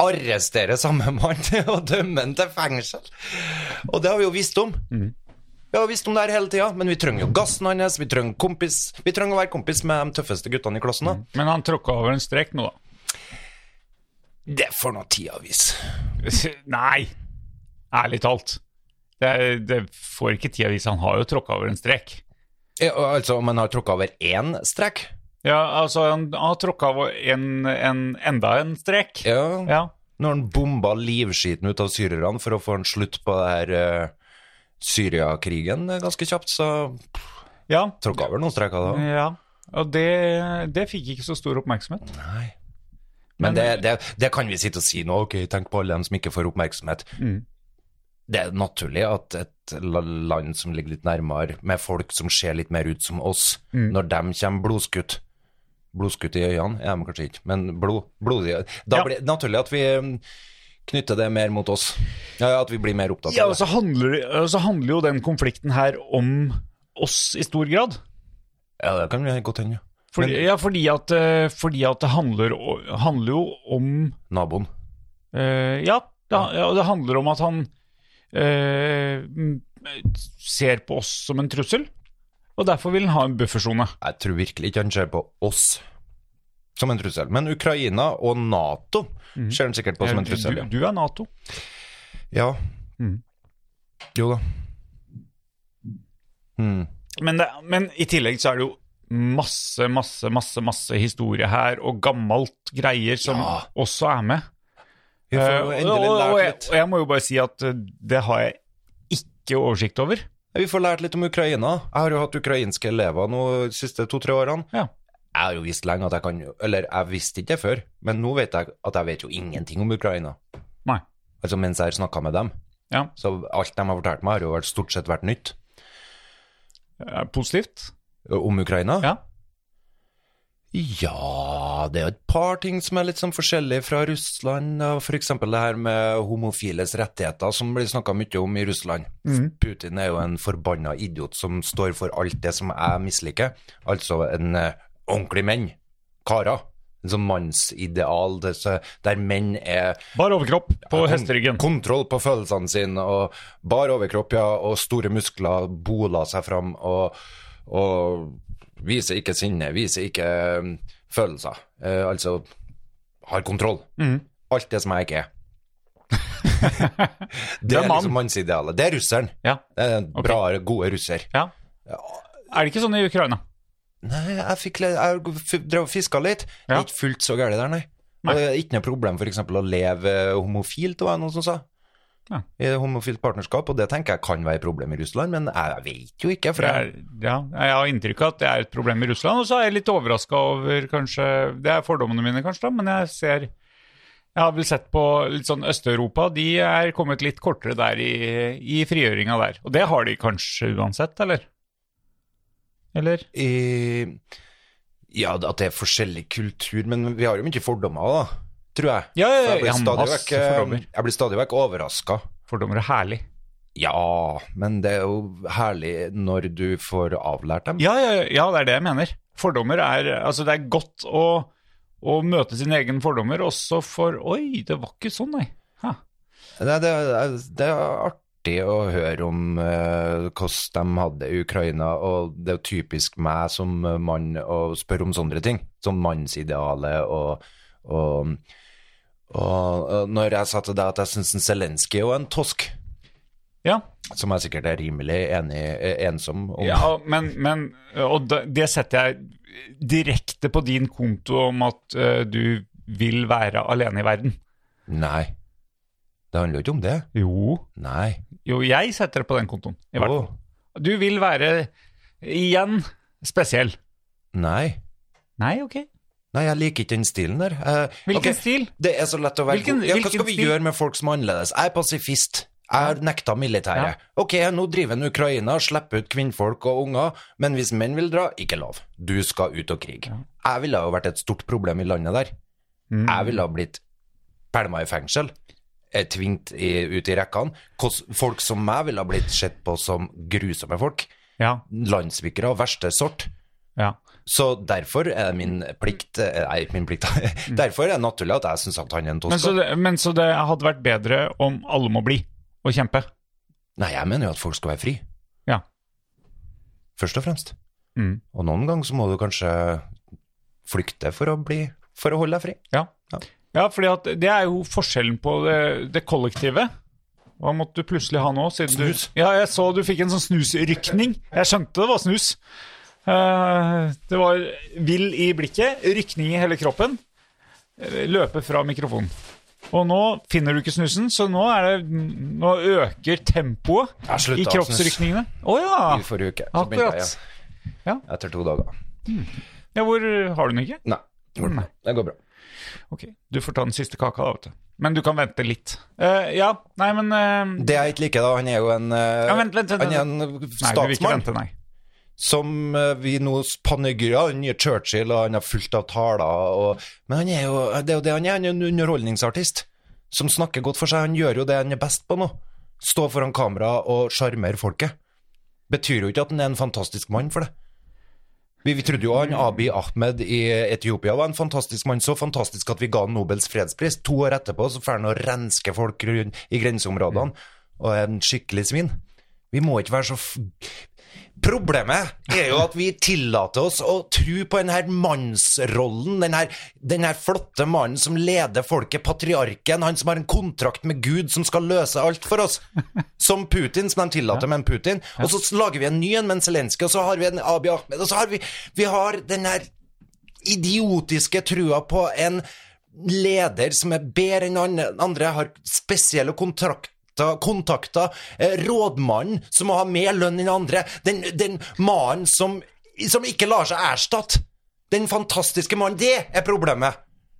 [SPEAKER 2] arresterer samme mann og dømmer han til fengsel. Og det har vi jo visst om. Vi har visst om det her hele tida, men vi trenger jo gassen hans, vi trenger kompis, vi trenger å være kompis med de tøffeste guttene i klassen. da.
[SPEAKER 4] Men han tråkka over en strek nå, da.
[SPEAKER 2] Det får nå tida vise.
[SPEAKER 4] (laughs) Nei! Ærlig talt. Det, er- det får ikke tida vise. Han har jo tråkka over en strek.
[SPEAKER 2] Ja, Altså, om han har tråkka over én strek?
[SPEAKER 4] Ja, altså, han han har tråkka over en, en, enda en strek.
[SPEAKER 2] Ja.
[SPEAKER 4] Ja.
[SPEAKER 2] Når han bomba livskiten ut av syrerne for å få en slutt på det her eh, Syriakrigen eh, ganske kjapt, så
[SPEAKER 4] ja.
[SPEAKER 2] tråkka over noen streker da.
[SPEAKER 4] ja. Og det, det fikk ikke så stor oppmerksomhet.
[SPEAKER 2] Nei. Men det, det, det kan vi sitte og si nå, ok, tenk på alle dem som ikke får oppmerksomhet.
[SPEAKER 4] Mm.
[SPEAKER 2] Det er naturlig at et la- land som ligger litt nærmere, med folk som ser litt mer ut som oss,
[SPEAKER 4] Mm.
[SPEAKER 2] når de kommer blodskutt, blodskutt i øynene, er de kanskje ikke, men blod, blodige, da
[SPEAKER 4] Ja.
[SPEAKER 2] blir det naturlig at vi mm, knytter det mer mot oss. Ja, at vi blir mer opptatt
[SPEAKER 4] Ja,
[SPEAKER 2] av
[SPEAKER 4] og
[SPEAKER 2] det.
[SPEAKER 4] så handler, og så handler jo den konflikten her om oss i stor grad. altså-
[SPEAKER 2] Ja, det kan vi godt hende, ja.
[SPEAKER 4] Fordi,
[SPEAKER 2] Men-
[SPEAKER 4] ja, fordi at, eh, fordi at det handler, o- handler jo om
[SPEAKER 2] Naboen.
[SPEAKER 4] eh, Ja, det, ja, det handler om at han eh, m- ser på oss som en trussel. Og derfor vil han ha en buffersone.
[SPEAKER 2] Jeg tror virkelig ikke han ser på oss som en trussel. Men Ukraina og Nato ser han sikkert på som en trussel, ja.
[SPEAKER 4] Eh, Du, du Mhm. er Nato.
[SPEAKER 2] ja.
[SPEAKER 4] Mhm.
[SPEAKER 2] Jo da. Mm.
[SPEAKER 4] Men, det, men i tillegg så er det jo masse, masse, masse masse historie her, og gammelt greier som
[SPEAKER 2] Ja.
[SPEAKER 4] også er med.
[SPEAKER 2] Vi får jo
[SPEAKER 4] Eh,
[SPEAKER 2] endelig
[SPEAKER 4] og, og,
[SPEAKER 2] lært
[SPEAKER 4] jeg,
[SPEAKER 2] litt.
[SPEAKER 4] og jeg må jo bare si at eh, det har jeg ikke oversikt over.
[SPEAKER 2] Vi får lært litt om Ukraina. Jeg har jo hatt ukrainske elever nå de siste to-tre årene.
[SPEAKER 4] Ja.
[SPEAKER 2] Jeg har jo visst lenge at jeg kan Eller jeg visste ikke det før, men nå vet jeg at jeg vet jo ingenting om Ukraina.
[SPEAKER 4] Nei.
[SPEAKER 2] Altså mens jeg har snakka med dem.
[SPEAKER 4] Ja.
[SPEAKER 2] Så alt de har fortalt meg, har jo vært, stort sett vært nytt
[SPEAKER 4] Eh, Positivt.
[SPEAKER 2] om Ukraina.
[SPEAKER 4] Ja.
[SPEAKER 2] Ja, det er jo et par ting som er litt sånn forskjellig fra Russland. og For eksempel det her med homofiles rettigheter som blir snakka mye om i Russland. Putin er jo en forbanna idiot som står for alt det som jeg misliker. Altså en eh, ordentlig menn. Karer. En sånn mannsideal det, så- der menn er
[SPEAKER 4] Bar overkropp på
[SPEAKER 2] kon-
[SPEAKER 4] hesteryggen.
[SPEAKER 2] Kontroll på følelsene sine og bar overkropp, ja, og store muskler bola seg fram og, og viser ikke sinne, viser ikke um, følelser. Eh, altså har kontroll.
[SPEAKER 4] Mm.
[SPEAKER 2] Alt det som jeg
[SPEAKER 4] (laughs)
[SPEAKER 2] ikke er. det
[SPEAKER 4] er
[SPEAKER 2] er
[SPEAKER 4] mann.
[SPEAKER 2] liksom mannsidealet. Det er russeren.
[SPEAKER 4] Ja.
[SPEAKER 2] Det er den
[SPEAKER 4] Ok.
[SPEAKER 2] bra, gode russer.
[SPEAKER 4] ja. Er det ikke sånn i Ukraina?
[SPEAKER 2] Nei, jeg, fikk, litt- jeg f- drev og fiska litt. Det
[SPEAKER 4] Ja.
[SPEAKER 2] er ikke fullt så gærent der, nei.
[SPEAKER 4] Nei.
[SPEAKER 2] Og det er ikke noe problem for eksempel å leve eh, homofilt, var det noen som sa.
[SPEAKER 4] Ja.
[SPEAKER 2] I et homofilt partnerskap, og det tenker jeg kan være et problem i Russland, men jeg vet jo ikke. For
[SPEAKER 4] Det
[SPEAKER 2] jeg,
[SPEAKER 4] er, ja, jeg har inntrykk av at det er et problem i Russland, og så er jeg litt overraska over kanskje Det er fordommene mine, kanskje, da, men jeg ser Jeg har vel sett på litt sånn Øst-Europa. De er kommet litt kortere der i, i frigjøringa der. Og det har de kanskje uansett, eller? Eller?
[SPEAKER 2] i, ja, at det er forskjellig kultur, men vi har jo mye fordommer, da, tror jeg.
[SPEAKER 4] Ja,
[SPEAKER 2] For
[SPEAKER 4] ja,
[SPEAKER 2] jeg
[SPEAKER 4] ja,
[SPEAKER 2] blir stadig
[SPEAKER 4] masse
[SPEAKER 2] vekk, eh,
[SPEAKER 4] fordommer.
[SPEAKER 2] jeg blir stadig vekk overraska.
[SPEAKER 4] Fordommer er herlig.
[SPEAKER 2] Ja, men det er jo herlig når du får avlært dem.
[SPEAKER 4] Ja, ja, ja, ja, det er det jeg mener. Fordommer er Altså, det er godt å, å møte sine egne fordommer, også for Oi, det var ikke sånn, nei. Ha.
[SPEAKER 2] Nei, det, er- det er artig å høre om eh, hvordan de hadde det i Ukraina, og det er jo typisk meg som eh, mann å spørre om sånne ting, som mannsidealet og, og, og, og når jeg sa til deg at jeg syns Zelenskyj er jo en tosk,
[SPEAKER 4] Ja,
[SPEAKER 2] som jeg sikkert er rimelig enig, eh, ensom om.
[SPEAKER 4] Ja, men, men Og det, det setter jeg direkte på din konto om at eh, du vil være alene i verden.
[SPEAKER 2] Nei, det handler jo ikke om det.
[SPEAKER 4] Jo.
[SPEAKER 2] Nei.
[SPEAKER 4] Jo, jeg setter det på den kontoen, i hvert
[SPEAKER 2] Åh,
[SPEAKER 4] fall. Du vil være, igjen, spesiell.
[SPEAKER 2] Nei.
[SPEAKER 4] Nei, ok.
[SPEAKER 2] Nei, jeg liker ikke den stilen der. Eh, ok.
[SPEAKER 4] Hvilken stil?
[SPEAKER 2] Det er så lett å være
[SPEAKER 4] Hvilken-
[SPEAKER 2] god. Ja, hva skal
[SPEAKER 4] hvilken
[SPEAKER 2] vi
[SPEAKER 4] stil?
[SPEAKER 2] gjøre med folk som er annerledes? Jeg er pasifist. Jeg har nekta militæret. Ok, nå driver en Ukraina og slipper ut kvinnfolk og unger, men hvis menn vil dra, ikke lov. Du skal ut og krige. Jeg ville jo vært et stort problem i landet der. Jeg ville ha blitt pælma i fengsel, eh, tvingt i, ut i rekkene. Hvordan- Folk som meg ville ha blitt sett på som grusomme folk.
[SPEAKER 4] Ja,
[SPEAKER 2] Landssvikere av verste sort.
[SPEAKER 4] ja.
[SPEAKER 2] Så derfor er det min plikt eh, Nei, min plikt (laughs) Derfor er det naturlig at jeg syns at han er en
[SPEAKER 4] Mm. Men
[SPEAKER 2] tosk.
[SPEAKER 4] så, det, men så det hadde vært bedre om alle må bli og kjempe.
[SPEAKER 2] Nei, jeg mener jo at folk skal være fri,
[SPEAKER 4] Ja.
[SPEAKER 2] først og fremst.
[SPEAKER 4] Mm.
[SPEAKER 2] Og noen ganger så må du kanskje flykte for å, bli, for å holde deg fri.
[SPEAKER 4] Ja,
[SPEAKER 2] Ja.
[SPEAKER 4] ja fordi at det er jo forskjellen på det, det kollektive. Hva måtte du plutselig ha nå? Siden
[SPEAKER 2] Snus.
[SPEAKER 4] Du, ja, jeg så du fikk en sånn snusrykning. Jeg skjønte det var snus. Eh, det var vill i blikket, rykning i hele kroppen. eh, Løpe fra mikrofonen. Og nå finner du ikke snusen, så nå, er det, nå øker tempoet
[SPEAKER 2] Jeg slutta
[SPEAKER 4] i
[SPEAKER 2] å snus.
[SPEAKER 4] kroppsrykningene. Å ja.
[SPEAKER 2] I forrige uke. Så begynte
[SPEAKER 4] Ah. Akkurat.
[SPEAKER 2] Jeg,
[SPEAKER 4] Ja.
[SPEAKER 2] igjen. Etter to dager.
[SPEAKER 4] ja, hvor har du den ikke?
[SPEAKER 2] Nei, det går bra. Det går bra.
[SPEAKER 4] Ok, du får ta den siste kaka da, vet du. Men du kan vente litt. Eh, ja, nei, men eh,
[SPEAKER 2] Det jeg ikke liker, da, han er jo en, eh,
[SPEAKER 4] Ja, vent, vent, vent,
[SPEAKER 2] han er en
[SPEAKER 4] Nei, du vil ikke
[SPEAKER 2] statsmann
[SPEAKER 4] vente, nei.
[SPEAKER 2] som eh, vi nå panegyrer den nye Churchill, og han er fullt av taler. Og, men han er jo, det er jo det han er, han er en underholdningsartist som snakker godt for seg. Han gjør jo det han er best på nå. Stå foran kamera og sjarmere folket. Betyr jo ikke at han er en fantastisk mann for det. Vi, vi trodde jo han Abiy Ahmed i Etiopia var en fantastisk mann, så fantastisk at vi ga han Nobels fredspris. To år etterpå så får han å renske folk rundt i grenseområdene, og er en skikkelig svin. Vi må ikke være så f Problemet er jo at vi tillater oss å tro på den her mannsrollen, den her, den her flotte mannen som leder folket, patriarken, han som har en kontrakt med Gud som skal løse alt for oss. Som Putin, som de tillater med en Putin. Og så lager vi en ny en med en Zelenskyj, og så har vi en Abiy Ahmed, og så har vi, vi har den her idiotiske trua på en leder som er bedre enn andre, andre har spesielle kontrakter, kontakter, eh, rådmannen som må ha mer lønn enn andre, den, den mannen som, som ikke lar seg erstatte, den fantastiske mannen, det er problemet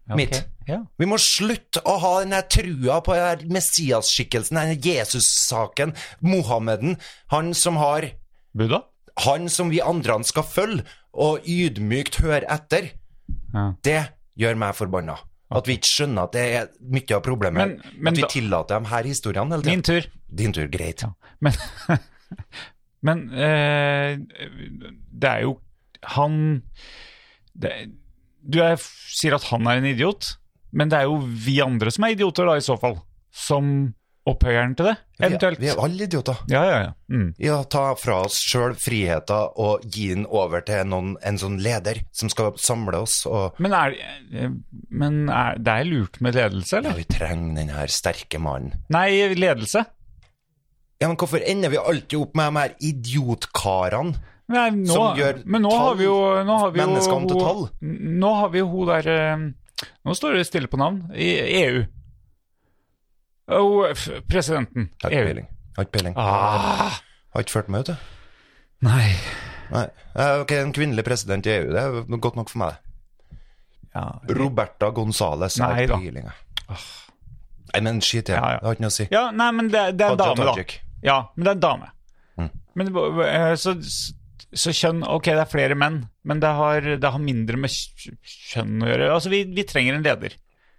[SPEAKER 4] Ok,
[SPEAKER 2] mitt.
[SPEAKER 4] Ja.
[SPEAKER 2] Vi må slutte å ha den her trua på den her Messias-skikkelsen, den her Jesus-saken, Mohammeden, han som har
[SPEAKER 4] Buddha?
[SPEAKER 2] han som vi andre skal følge og ydmykt høre etter,
[SPEAKER 4] Ja.
[SPEAKER 2] det gjør meg forbanna. At vi ikke skjønner at det er mye av problemet.
[SPEAKER 4] Men- men
[SPEAKER 2] at vi
[SPEAKER 4] da-
[SPEAKER 2] tillater dem her historiene hele
[SPEAKER 4] Min
[SPEAKER 2] tiden.
[SPEAKER 4] tur.
[SPEAKER 2] Din tur, greit.
[SPEAKER 4] Ja. Men, (laughs) men eh, det er jo han det, Du er, sier at han er en idiot, men det er jo vi andre som er idioter, da, i så fall. Som opphøyer han til det, eventuelt.
[SPEAKER 2] Vi, er- vi er alle idioter.
[SPEAKER 4] Ja, ja, ja. Mm.
[SPEAKER 2] I å ta fra oss sjøl friheten og gi den over til noen, en sånn leder som skal samle oss. Og
[SPEAKER 4] Men, er, eh, men er, det er lurt med ledelse,
[SPEAKER 2] ja,
[SPEAKER 4] eller?
[SPEAKER 2] vi trenger den her sterke mannen.
[SPEAKER 4] Nei, ledelse.
[SPEAKER 2] Ja, men hvorfor ender vi alltid opp med de her idiotkarene
[SPEAKER 4] Nei, nå,
[SPEAKER 2] Som gjør
[SPEAKER 4] men nå
[SPEAKER 2] tall-
[SPEAKER 4] har vi jo, nå har vi jo
[SPEAKER 2] mennesker om til
[SPEAKER 4] ho-
[SPEAKER 2] tall.
[SPEAKER 4] N- Nå har vi jo hun der eh, Nå står det stille på navn. I EU. Oh, f- presidenten.
[SPEAKER 2] Har ikke
[SPEAKER 4] EU.
[SPEAKER 2] peiling. Har ikke peiling.
[SPEAKER 4] Ah,
[SPEAKER 2] Har ikke fulgt med, vet du.
[SPEAKER 4] nei.
[SPEAKER 2] Nei. Eh, ok, en kvinnelig president i EU, det er jo godt nok for meg.
[SPEAKER 4] Ja,
[SPEAKER 2] Roberta Gonzales.
[SPEAKER 4] Nei da.
[SPEAKER 2] Peiling, jeg. Nei, men skit i det.
[SPEAKER 4] Ja, ja.
[SPEAKER 2] Det har ikke noe å si.
[SPEAKER 4] ja nei, men det, det er en
[SPEAKER 2] Hadia
[SPEAKER 4] dame, da.
[SPEAKER 2] Tajik.
[SPEAKER 4] Ja, men det er en dame.
[SPEAKER 2] Mm.
[SPEAKER 4] Men, eh, så, så kjønn Ok, det er flere menn, men det har, det har mindre med kj- kjønn å gjøre. Altså, vi, vi trenger en leder.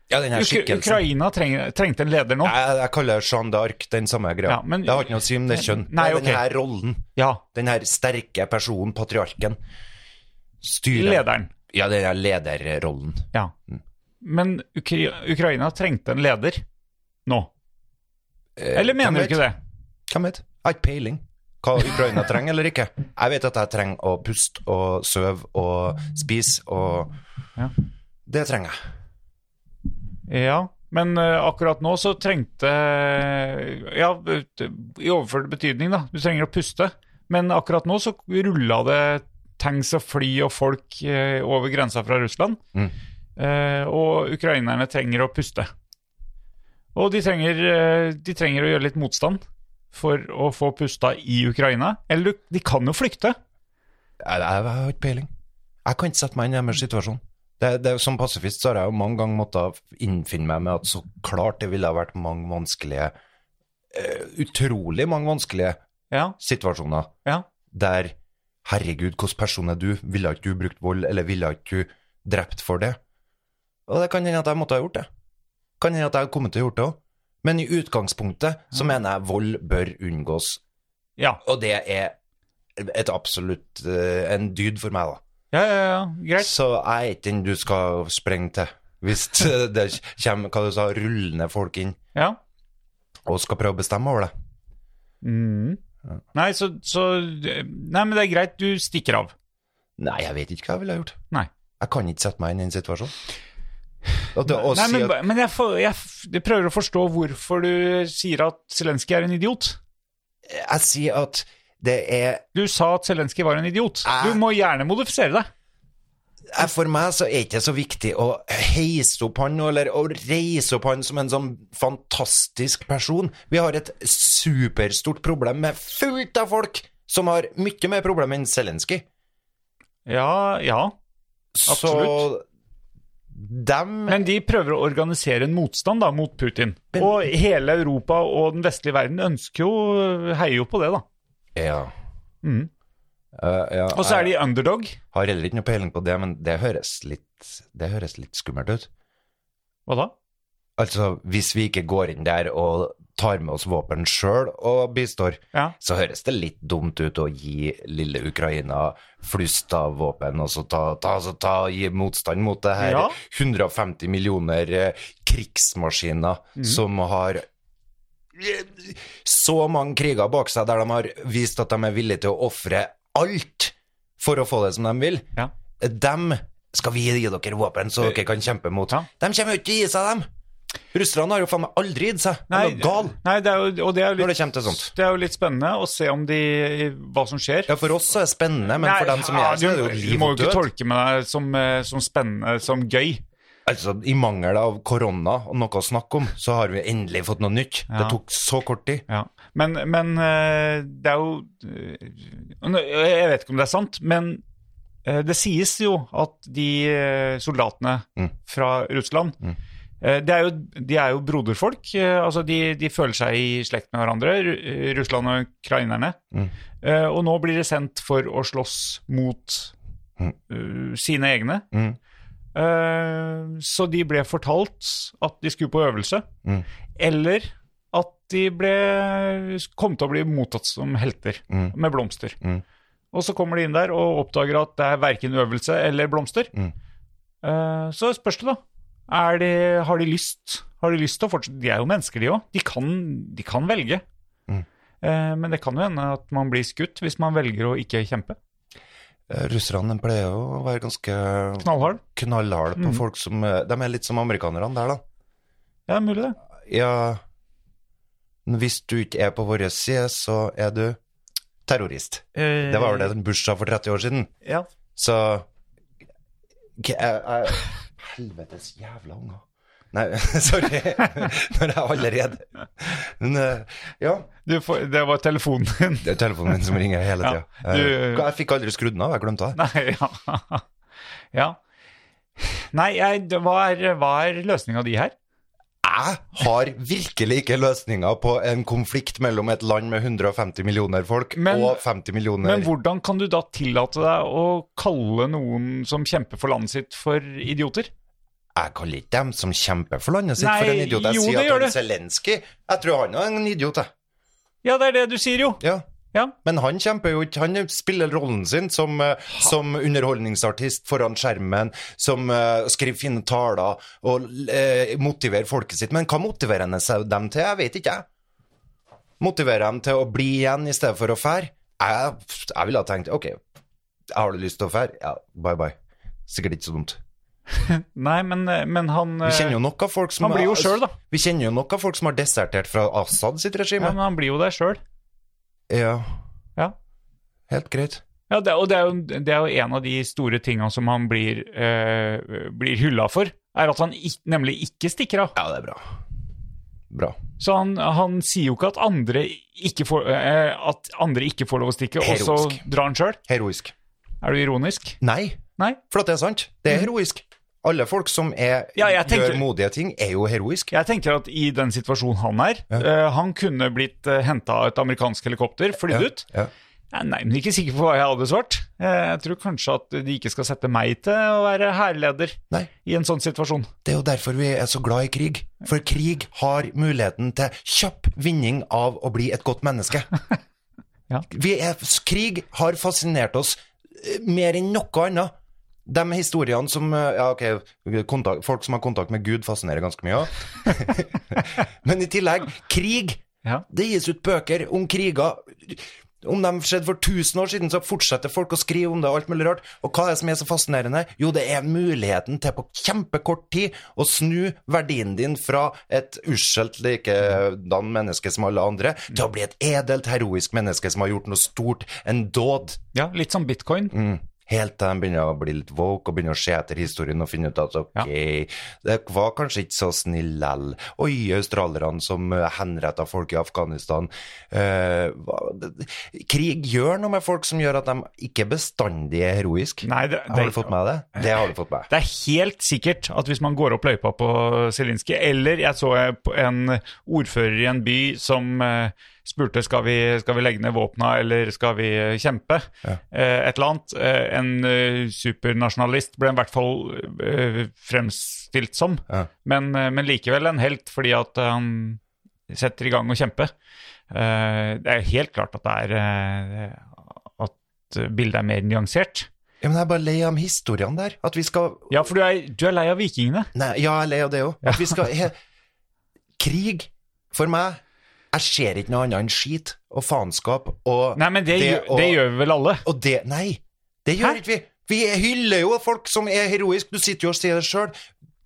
[SPEAKER 2] Ja, den her
[SPEAKER 4] Ukra
[SPEAKER 2] skikkelsen.
[SPEAKER 4] Ukraina trenger, trengte en leder nå.
[SPEAKER 2] Jeg, jeg kaller Jeanne d'Arc den samme greia.
[SPEAKER 4] Ja, men-
[SPEAKER 2] det har ikke noe å si om det er kjønn.
[SPEAKER 4] Nei,
[SPEAKER 2] det er
[SPEAKER 4] ok.
[SPEAKER 2] den her rollen.
[SPEAKER 4] Ja,
[SPEAKER 2] Den her sterke personen, patriarken. Styrer.
[SPEAKER 4] lederen.
[SPEAKER 2] Ja, den her lederrollen.
[SPEAKER 4] Ja. Men Ukra Ukraina trengte en leder nå.
[SPEAKER 2] Eh,
[SPEAKER 4] Eller
[SPEAKER 2] hvem
[SPEAKER 4] mener
[SPEAKER 2] vet?
[SPEAKER 4] du ikke det?
[SPEAKER 2] Hvem vet? Jeg har ikke peiling hva Ukraina trenger eller ikke. Jeg vet at jeg trenger å puste og søve og spise og
[SPEAKER 4] Ja.
[SPEAKER 2] Det trenger jeg.
[SPEAKER 4] Ja. Men eh, akkurat nå så trengte eh, Ja, i overført betydning, da. Du trenger å puste. Men akkurat nå så rulla det tanks og fly og folk eh, over grensa fra Russland.
[SPEAKER 2] Mm.
[SPEAKER 4] Eh, og ukrainerne trenger å puste. Og de trenger, eh, de trenger å gjøre litt motstand for å få pusta i Ukraina. Eller du- de kan jo flykte.
[SPEAKER 2] Jeg, jeg, jeg har ikke peiling. Jeg kan ikke sette meg inn i deres situasjon. Det, det, som pasifist så har jeg jo mange ganger måttet innfinne meg med at så klart det ville ha vært mange vanskelige eh, Utrolig mange vanskelige
[SPEAKER 4] Ja,
[SPEAKER 2] situasjoner
[SPEAKER 4] ja.
[SPEAKER 2] der Herregud, hvilken person er du? Ville ikke du brukt vold, eller ville ikke du drept for det? Og det kan hende at jeg måtte ha gjort det. Kan hende at jeg kommer til å ha gjort det òg. Men i utgangspunktet så mener jeg vold bør unngås,
[SPEAKER 4] Ja,
[SPEAKER 2] og det er et absolutt eh, en dyd for meg, da.
[SPEAKER 4] ja, ja, ja. greit.
[SPEAKER 2] Så jeg er ikke den du skal sprenge til. Hvis (laughs) det kommer hva du sa, rullende folk inn
[SPEAKER 4] Ja.
[SPEAKER 2] og skal prøve å bestemme over det.
[SPEAKER 4] Mm. Nei, så, så Nei, men det er greit, du stikker av.
[SPEAKER 2] Nei, jeg vet ikke hva jeg ville ha gjort.
[SPEAKER 4] Nei.
[SPEAKER 2] Jeg kan ikke sette meg inn i en situasjon. Og det, å
[SPEAKER 4] Nei,
[SPEAKER 2] si
[SPEAKER 4] men,
[SPEAKER 2] at,
[SPEAKER 4] men jeg, får- jeg, f- jeg prøver å forstå hvorfor du sier at Zelenskyj er en idiot.
[SPEAKER 2] jeg sier at det er
[SPEAKER 4] Du sa at Zelenskyj var en idiot.
[SPEAKER 2] Æ.
[SPEAKER 4] Du må gjerne modifisere deg.
[SPEAKER 2] jeg, For meg så er det ikke så viktig å heise opp han, eller å reise opp han som en sånn fantastisk person. Vi har et superstort problem med fullt av folk som har mye mer problemer enn Zelenskyj.
[SPEAKER 4] Ja, ja.
[SPEAKER 2] Så
[SPEAKER 4] Absolutt.
[SPEAKER 2] dem
[SPEAKER 4] Men de prøver å organisere en motstand da, mot Putin.
[SPEAKER 2] Men-
[SPEAKER 4] Og hele Europa og den vestlige verden ønsker jo, heier jo på det, da.
[SPEAKER 2] Ja.
[SPEAKER 4] Mm.
[SPEAKER 2] Eh, ja,
[SPEAKER 4] Og så er
[SPEAKER 2] jeg
[SPEAKER 4] de underdog.
[SPEAKER 2] har heller ikke noe peiling på det, men det høres litt, det høres litt skummelt ut.
[SPEAKER 4] Hva da?
[SPEAKER 2] Altså, hvis vi ikke går inn der og tar med oss våpen sjøl og bistår,
[SPEAKER 4] Ja.
[SPEAKER 2] så høres det litt dumt ut å gi lille Ukraina flust av våpen, og så ta, ta, så ta gi motstand mot det her
[SPEAKER 4] Ja.
[SPEAKER 2] 150 millioner eh, krigsmaskiner
[SPEAKER 4] Mm.
[SPEAKER 2] som har eh, så mange kriger bak seg der de har vist at de er villige til å ofre alt for å få det som de vil.
[SPEAKER 4] Ja. Eh,
[SPEAKER 2] Dem skal vi gi dere våpen så dere kan kjempe mot.
[SPEAKER 4] Ja.
[SPEAKER 2] De kommer jo ikke til å gi seg, dem! Russerne har jo faen meg aldri gitt seg. De er jo gal
[SPEAKER 4] nei det er jo, og det er jo
[SPEAKER 2] når det
[SPEAKER 4] litt
[SPEAKER 2] kommer til sånt.
[SPEAKER 4] Det er jo litt spennende å se om de, hva som skjer.
[SPEAKER 2] Ja, for oss så er det spennende, men for dem som
[SPEAKER 4] Nei,
[SPEAKER 2] gjør så er det
[SPEAKER 4] du-
[SPEAKER 2] jo
[SPEAKER 4] Du
[SPEAKER 2] liv
[SPEAKER 4] må
[SPEAKER 2] og
[SPEAKER 4] jo ikke
[SPEAKER 2] død.
[SPEAKER 4] tolke med deg som, eh, som spennende, som gøy.
[SPEAKER 2] Altså, I mangel av korona og noe å snakke om, så har vi endelig fått noe nytt. Det
[SPEAKER 4] Ja.
[SPEAKER 2] tok så kort tid.
[SPEAKER 4] Ja. Men, men eh, det er jo eh, nå- Jeg vet ikke om det er sant, men eh, det sies jo at de eh, soldatene
[SPEAKER 2] Mm.
[SPEAKER 4] fra Russland eh, det er jo, de er jo broderfolk. eh, altså de, de føler seg i slekt med hverandre, Ru- eh, Russland og ukrainerne.
[SPEAKER 2] Mm.
[SPEAKER 4] Eh, og nå blir de sendt for å slåss mot eh, sine egne.
[SPEAKER 2] Mm.
[SPEAKER 4] Eh, så de ble fortalt at de skulle på øvelse,
[SPEAKER 2] Mm.
[SPEAKER 4] eller at de ble, kom til å bli mottatt som helter
[SPEAKER 2] Mm.
[SPEAKER 4] med blomster.
[SPEAKER 2] Mm.
[SPEAKER 4] Og så kommer de inn der og oppdager at det er verken øvelse eller blomster.
[SPEAKER 2] Mm.
[SPEAKER 4] Eh, så spørs det, da. Er de, har, de lyst, har de lyst til å fortsette? De er jo mennesker, de òg. De, kan- de kan velge.
[SPEAKER 2] Mm.
[SPEAKER 4] Eh, men det kan jo hende at man blir skutt hvis man velger å ikke kjempe.
[SPEAKER 2] Eh, Russerne pleier jo å være ganske
[SPEAKER 4] Knallhard.
[SPEAKER 2] knallharde på
[SPEAKER 4] Mm.
[SPEAKER 2] folk som eh, De er litt som amerikanerne der, da.
[SPEAKER 4] Det er mulig, det.
[SPEAKER 2] Ja Hvis du ikke er på vår side, så er du terrorist. Det var vel
[SPEAKER 4] Eh.
[SPEAKER 2] det som Bush sa for 30 år siden.
[SPEAKER 4] Ja.
[SPEAKER 2] Så K- jeg, jeg, Helvetes jævla unger. Nei, (laughs) sorry. Når jeg allerede Men eh, ja,
[SPEAKER 4] Du får, det var telefonen din.
[SPEAKER 2] det er telefonen min som ringer hele tida.
[SPEAKER 4] Ja, du-
[SPEAKER 2] jeg fikk aldri skrudd den av, jeg glemte det.
[SPEAKER 4] (laughs) Nei, ja. (laughs) ja. Nei, jeg, det- hva er, hva er løsninga di her?
[SPEAKER 2] Jeg har virkelig ikke løsninga på en konflikt mellom et land med 150 millioner folk
[SPEAKER 4] Men-
[SPEAKER 2] og 50 millioner
[SPEAKER 4] Men hvordan kan du da tillate deg å kalle noen som kjemper for landet sitt, for idioter?
[SPEAKER 2] Jeg kaller ikke dem som kjemper for landet sitt,
[SPEAKER 4] Nei,
[SPEAKER 2] for en idiot. Jeg
[SPEAKER 4] jo, det
[SPEAKER 2] sier at han
[SPEAKER 4] gjør det.
[SPEAKER 2] Zelenskyj Jeg tror han er en idiot, jeg.
[SPEAKER 4] Ja, det er det du sier, jo.
[SPEAKER 2] Ja.
[SPEAKER 4] Ja.
[SPEAKER 2] Men han kjemper jo ikke. Han spiller rollen sin som, eh, som underholdningsartist foran skjermen, som eh, skriver fine taler og eh, motiverer folket sitt. Men hva motiverer han seg dem til? Jeg vet ikke, jeg. Motiverer dem til å bli igjen i stedet for å fære? Jeg, jeg ville ha tenkt OK, har du lyst til å fære? Ja, bye bye. Sikkert ikke så dumt.
[SPEAKER 4] Nei, men, men han
[SPEAKER 2] Vi kjenner jo nok av folk som
[SPEAKER 4] Han blir jo selv, da.
[SPEAKER 2] Vi kjenner jo nok av folk som har desertert fra Assad sitt
[SPEAKER 4] ja,
[SPEAKER 2] regime.
[SPEAKER 4] men han blir jo der sjøl.
[SPEAKER 2] Ja,
[SPEAKER 4] Ja.
[SPEAKER 2] helt greit.
[SPEAKER 4] Ja, det, og det er, jo, det er jo en av de store tinga som han blir, eh, blir hylla for, er at han ik nemlig ikke stikker av.
[SPEAKER 2] Ja, det er bra. Bra.
[SPEAKER 4] Så han, han sier jo ikke at andre ikke får, eh, at andre ikke får lov å stikke, og så
[SPEAKER 2] Heroisk.
[SPEAKER 4] drar han sjøl.
[SPEAKER 2] Heroisk.
[SPEAKER 4] Er du ironisk?
[SPEAKER 2] Nei,
[SPEAKER 4] Nei?
[SPEAKER 2] for at det er sant. Det er heroisk. Alle folk som er,
[SPEAKER 4] Mhm. Ja, jeg tenker-
[SPEAKER 2] gjør modige ting, er jo heroisk.
[SPEAKER 4] Jeg tenker at i den situasjonen han er, eh, han kunne blitt uh, henta av et amerikansk helikopter, flydd ut.
[SPEAKER 2] Ja.
[SPEAKER 4] Jeg er nærmere ikke sikker på hva jeg hadde svart. Eh, jeg tror kanskje at de ikke skal sette meg til å være hærleder
[SPEAKER 2] Nei,
[SPEAKER 4] i en sånn situasjon.
[SPEAKER 2] det er jo derfor vi er så glad i krig. For krig har muligheten til kjapp vinning av å bli et godt menneske.
[SPEAKER 4] (laughs) Ja.
[SPEAKER 2] vi er, krig har fascinert oss eh, mer enn noe annet. De historiene som eh, Ja, ok, kontakt, folk som har kontakt med Gud, fascinerer ganske mye òg. (laughs) Men i tillegg, krig
[SPEAKER 4] Ja.
[SPEAKER 2] Det gis ut bøker om kriger. Om de skjedde for 1000 år siden, så fortsetter folk å skrive om det. og alt mulig rart. Og hva er det som er så fascinerende? Jo, det er muligheten til på kjempekort tid å snu verdien din fra et uskjelt likedan menneske som alle andre, til å bli et edelt, heroisk menneske som har gjort noe stort, en dåd.
[SPEAKER 4] ja, litt som bitcoin.
[SPEAKER 2] Mm. Helt til de begynner å bli litt woke og begynner å se etter historien og finne ut at ok, det var kanskje ikke så snill lell. Oi, australierne som eh, henretta folk i Afghanistan. Eh, hva- d- d- krig gjør noe med folk som gjør at de ikke bestandig er heroiske.
[SPEAKER 4] Nei, det,
[SPEAKER 2] Har
[SPEAKER 4] det,
[SPEAKER 2] du fått med deg det? Det har du fått med.
[SPEAKER 4] det er helt sikkert at hvis man går opp løypa på Zelinskyj, eller jeg så på en ordfører i en by som eh, spurte skal vi skal vi legge ned våpna eller skal vi eh, kjempe, eh, et eller annet. Eh, en eh, supernasjonalist ble i hvert fall eh, fremstilt som,
[SPEAKER 2] Ja.
[SPEAKER 4] men, eh, men likevel en helt fordi at eh, han setter i gang å kjempe. Eh, det er helt klart at det er eh, at bildet er mer nyansert.
[SPEAKER 2] Ja, men jeg er bare lei av de historiene der. At vi skal
[SPEAKER 4] Ja, for du er, du er lei av vikingene.
[SPEAKER 2] Nei, ja, jeg er lei av det òg. At vi skal he, Krig, for meg Jeg ser ikke noe annet enn skit og faenskap og
[SPEAKER 4] Nei, men det,
[SPEAKER 2] Det
[SPEAKER 4] gjør,
[SPEAKER 2] og-
[SPEAKER 4] det gjør vi vel alle.
[SPEAKER 2] Og det Nei, det gjør
[SPEAKER 4] Hæ?
[SPEAKER 2] ikke vi. Vi hyller jo folk som er heroiske. Du sitter jo og sier det sjøl.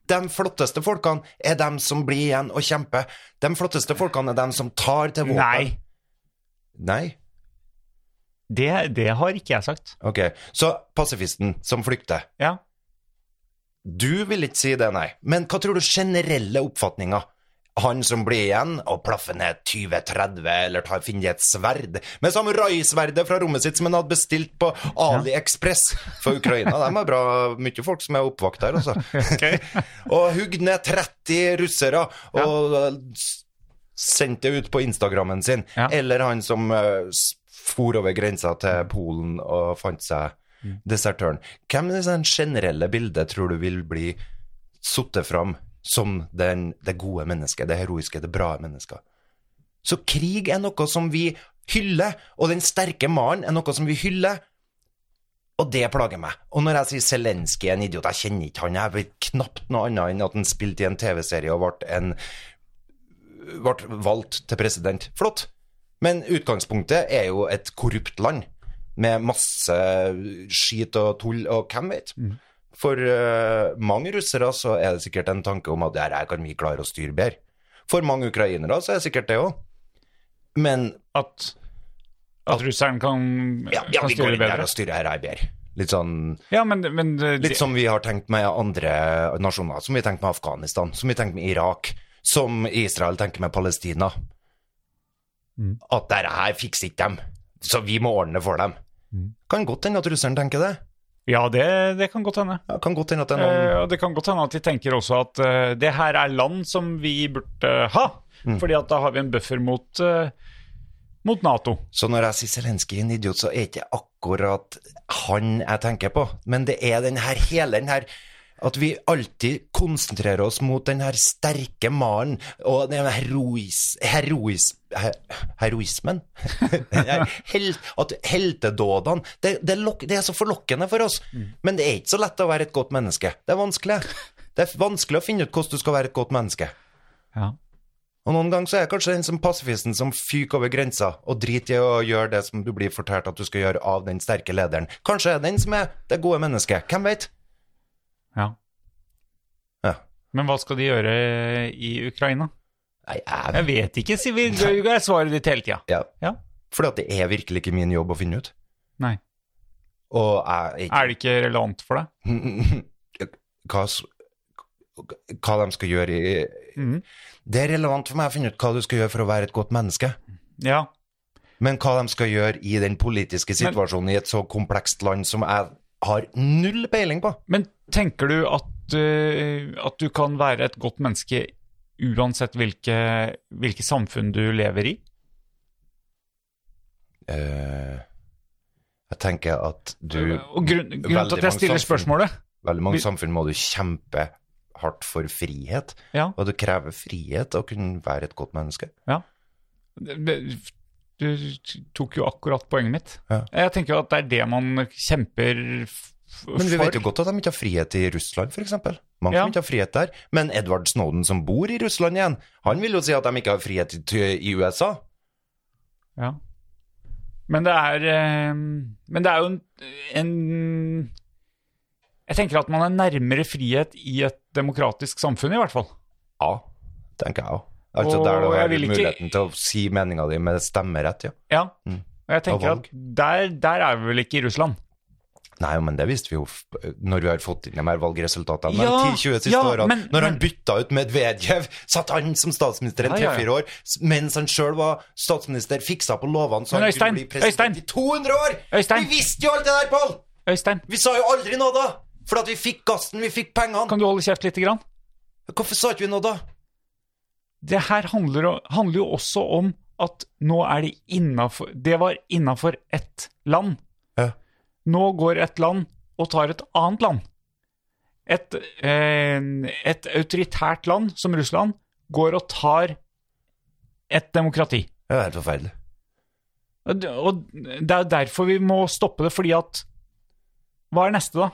[SPEAKER 2] De flotteste folkene er dem som blir igjen og kjemper. De flotteste folkene er dem som tar til våpen.
[SPEAKER 4] Nei,
[SPEAKER 2] Nei?
[SPEAKER 4] det, det har ikke jeg sagt.
[SPEAKER 2] Ok. Så pasifisten som flykter.
[SPEAKER 4] Ja.
[SPEAKER 2] Du vil ikke si det, nei. Men hva tror du generelle oppfatninga? Han som blir igjen og plaffer ned 20-30 eller tar, finner et sverd med samuraisverdet fra rommet sitt som han hadde bestilt på AliExpress for Ukraina. De har bra mye folk som er oppvakt der, altså. (laughs) Og hugd ned 30 russere og s- sendt det ut på Instagrammen sin.
[SPEAKER 4] Ja.
[SPEAKER 2] Eller han som eh, s- for over grensa til Polen og fant seg desertøren. Hvem i det sånn generelle bildet tror du vil bli suttet fram som den, det gode mennesket, det heroiske, det bra mennesket? Så krig er noe som vi hyller, og den sterke mannen er noe som vi hyller. Og det plager meg. Og når jeg sier Zelenskyj er en idiot, jeg kjenner ikke han. Jeg vet knapt noe annet enn at han spilte i en TV-serie og ble, en, ble valgt til president. Flott. Men utgangspunktet er jo et korrupt land med masse skit og tull og hvem vet.
[SPEAKER 4] Mm.
[SPEAKER 2] For eh, mange russere så er det sikkert en tanke om at det her kan vi klare å styre bedre. For mange ukrainere så er det sikkert det òg. Men
[SPEAKER 4] At At russeren kan,
[SPEAKER 2] Ja, ja
[SPEAKER 4] kan
[SPEAKER 2] vi går
[SPEAKER 4] styre
[SPEAKER 2] inn der
[SPEAKER 4] bedre?
[SPEAKER 2] og styrer her, jeg ber. Litt sånn
[SPEAKER 4] Ja, men, men eh, det-
[SPEAKER 2] Litt som vi har tenkt med andre nasjoner, som vi har tenkt med Afghanistan, som vi har tenkt med Irak, som Israel tenker med Palestina.
[SPEAKER 4] Mm.
[SPEAKER 2] At dette her fikser ikke dem, så vi må ordne det for dem.
[SPEAKER 4] Mm.
[SPEAKER 2] Kan godt hende at russeren tenker det.
[SPEAKER 4] Ja, det, det kan godt hende.
[SPEAKER 2] Ja, kan godt hende at det er noen
[SPEAKER 4] Eh, og det kan godt hende at de tenker også at eh, det her er land som vi burde ha. Fordi at da har vi en buffer mot, eh, mot Nato.
[SPEAKER 2] Så når jeg sier Zelenskyj er en idiot, så er ikke akkurat han jeg tenker på, men det er den her hele den her at vi alltid konsentrerer oss mot den her sterke mannen og den her herois, herois, he, heroismen. (laughs) Den her hel, at heltedådene det, det, lok- det er så forlokkende for oss. Men det er ikke så lett å være et godt menneske. Det er vanskelig. Det er vanskelig å finne ut hvordan du skal være et godt menneske.
[SPEAKER 4] Ja.
[SPEAKER 2] Og noen ganger så er jeg kanskje den som pasifisten som fyker over grensa og driter i å gjøre det som du blir fortalt at du skal gjøre av den sterke lederen. Kanskje er det den som er det gode mennesket. Hvem vet?
[SPEAKER 4] ja.
[SPEAKER 2] Ja.
[SPEAKER 4] Men hva skal de gjøre i Ukraina?
[SPEAKER 2] Nei, jeg
[SPEAKER 4] Jeg vet ikke, sier vi. Det er svaret ditt hele tida.
[SPEAKER 2] ja.
[SPEAKER 4] Ja.
[SPEAKER 2] Fordi at det er virkelig ikke min jobb å finne ut.
[SPEAKER 4] Nei.
[SPEAKER 2] Og jeg
[SPEAKER 4] Er det ikke relevant for deg?
[SPEAKER 2] ikke (laughs) hva, s- hva de skal gjøre i
[SPEAKER 4] Mhm.
[SPEAKER 2] Det er relevant for meg å finne ut hva du skal gjøre for å være et godt menneske.
[SPEAKER 4] Ja.
[SPEAKER 2] Men hva de skal gjøre i den politiske
[SPEAKER 4] Men-
[SPEAKER 2] situasjonen i et så komplekst land som jeg har null peiling på.
[SPEAKER 4] Men tenker du at, eh, at du kan være et godt menneske uansett hvilke, hvilke samfunn du lever i?
[SPEAKER 2] Eh, jeg tenker at du
[SPEAKER 4] og grunn, grunnen til
[SPEAKER 2] veldig
[SPEAKER 4] at jeg
[SPEAKER 2] mange
[SPEAKER 4] stiller
[SPEAKER 2] samfunn-
[SPEAKER 4] spørsmålet
[SPEAKER 2] Veldig mange
[SPEAKER 4] vi-
[SPEAKER 2] samfunn må du kjempe hardt for frihet,
[SPEAKER 4] ja,
[SPEAKER 2] og det krever frihet å kunne være et godt menneske.
[SPEAKER 4] Du tok jo akkurat poenget mitt.
[SPEAKER 2] Ja.
[SPEAKER 4] Jeg tenker jo at det er det man kjemper f for.
[SPEAKER 2] Men vi vet jo godt at de ikke har frihet i Russland, f.eks. Mange
[SPEAKER 4] Ja.
[SPEAKER 2] som ikke har frihet der. Men Edward Snowden, som bor i Russland igjen, han vil jo si at de ikke har frihet i, i USA.
[SPEAKER 4] Ja. Men det er eh, Men det er jo en, en Jeg tenker at man er nærmere frihet i et demokratisk samfunn, i hvert fall.
[SPEAKER 2] Ja, tenker jeg òg. Altså
[SPEAKER 4] Og
[SPEAKER 2] der du
[SPEAKER 4] jeg
[SPEAKER 2] har
[SPEAKER 4] vil ikke-
[SPEAKER 2] muligheten til å si meninga di med stemmerett, ja.
[SPEAKER 4] Ja.
[SPEAKER 2] Mm.
[SPEAKER 4] Og jeg tenker
[SPEAKER 2] Og
[SPEAKER 4] at der, der er vi vel ikke i Russland.
[SPEAKER 2] Nei, men det visste vi jo f- når vi har fått inn de her valgresultatene de
[SPEAKER 4] Ja,
[SPEAKER 2] 10-20 siste
[SPEAKER 4] ja,
[SPEAKER 2] årene.
[SPEAKER 4] men-
[SPEAKER 2] når
[SPEAKER 4] men-
[SPEAKER 2] han bytta ut Medvedev, (laughs) satt han som statsminister en
[SPEAKER 4] Ja, ja, ja.
[SPEAKER 2] tre-fire år, s- mens han sjøl var statsminister, fiksa på lovene så
[SPEAKER 4] Men
[SPEAKER 2] han
[SPEAKER 4] Øystein,
[SPEAKER 2] kunne bli president
[SPEAKER 4] Øystein!
[SPEAKER 2] i 200 år!
[SPEAKER 4] Øystein!
[SPEAKER 2] Vi visste jo alt det der, Pål!
[SPEAKER 4] Øystein,
[SPEAKER 2] Vi sa jo aldri noe da! For at vi fikk gassen, vi fikk pengene.
[SPEAKER 4] kan du holde kjeft lite grann?
[SPEAKER 2] Hvorfor sa ikke vi noe da?
[SPEAKER 4] det her handler, o- handler jo også om at nå er det innafor Det var innafor ett land.
[SPEAKER 2] Ja.
[SPEAKER 4] Nå går et land og tar et annet land. Et, eh, et autoritært land som Russland går og tar et demokrati.
[SPEAKER 2] Det er helt forferdelig.
[SPEAKER 4] Og det- Og det er derfor vi må stoppe det, fordi at Hva er neste, da?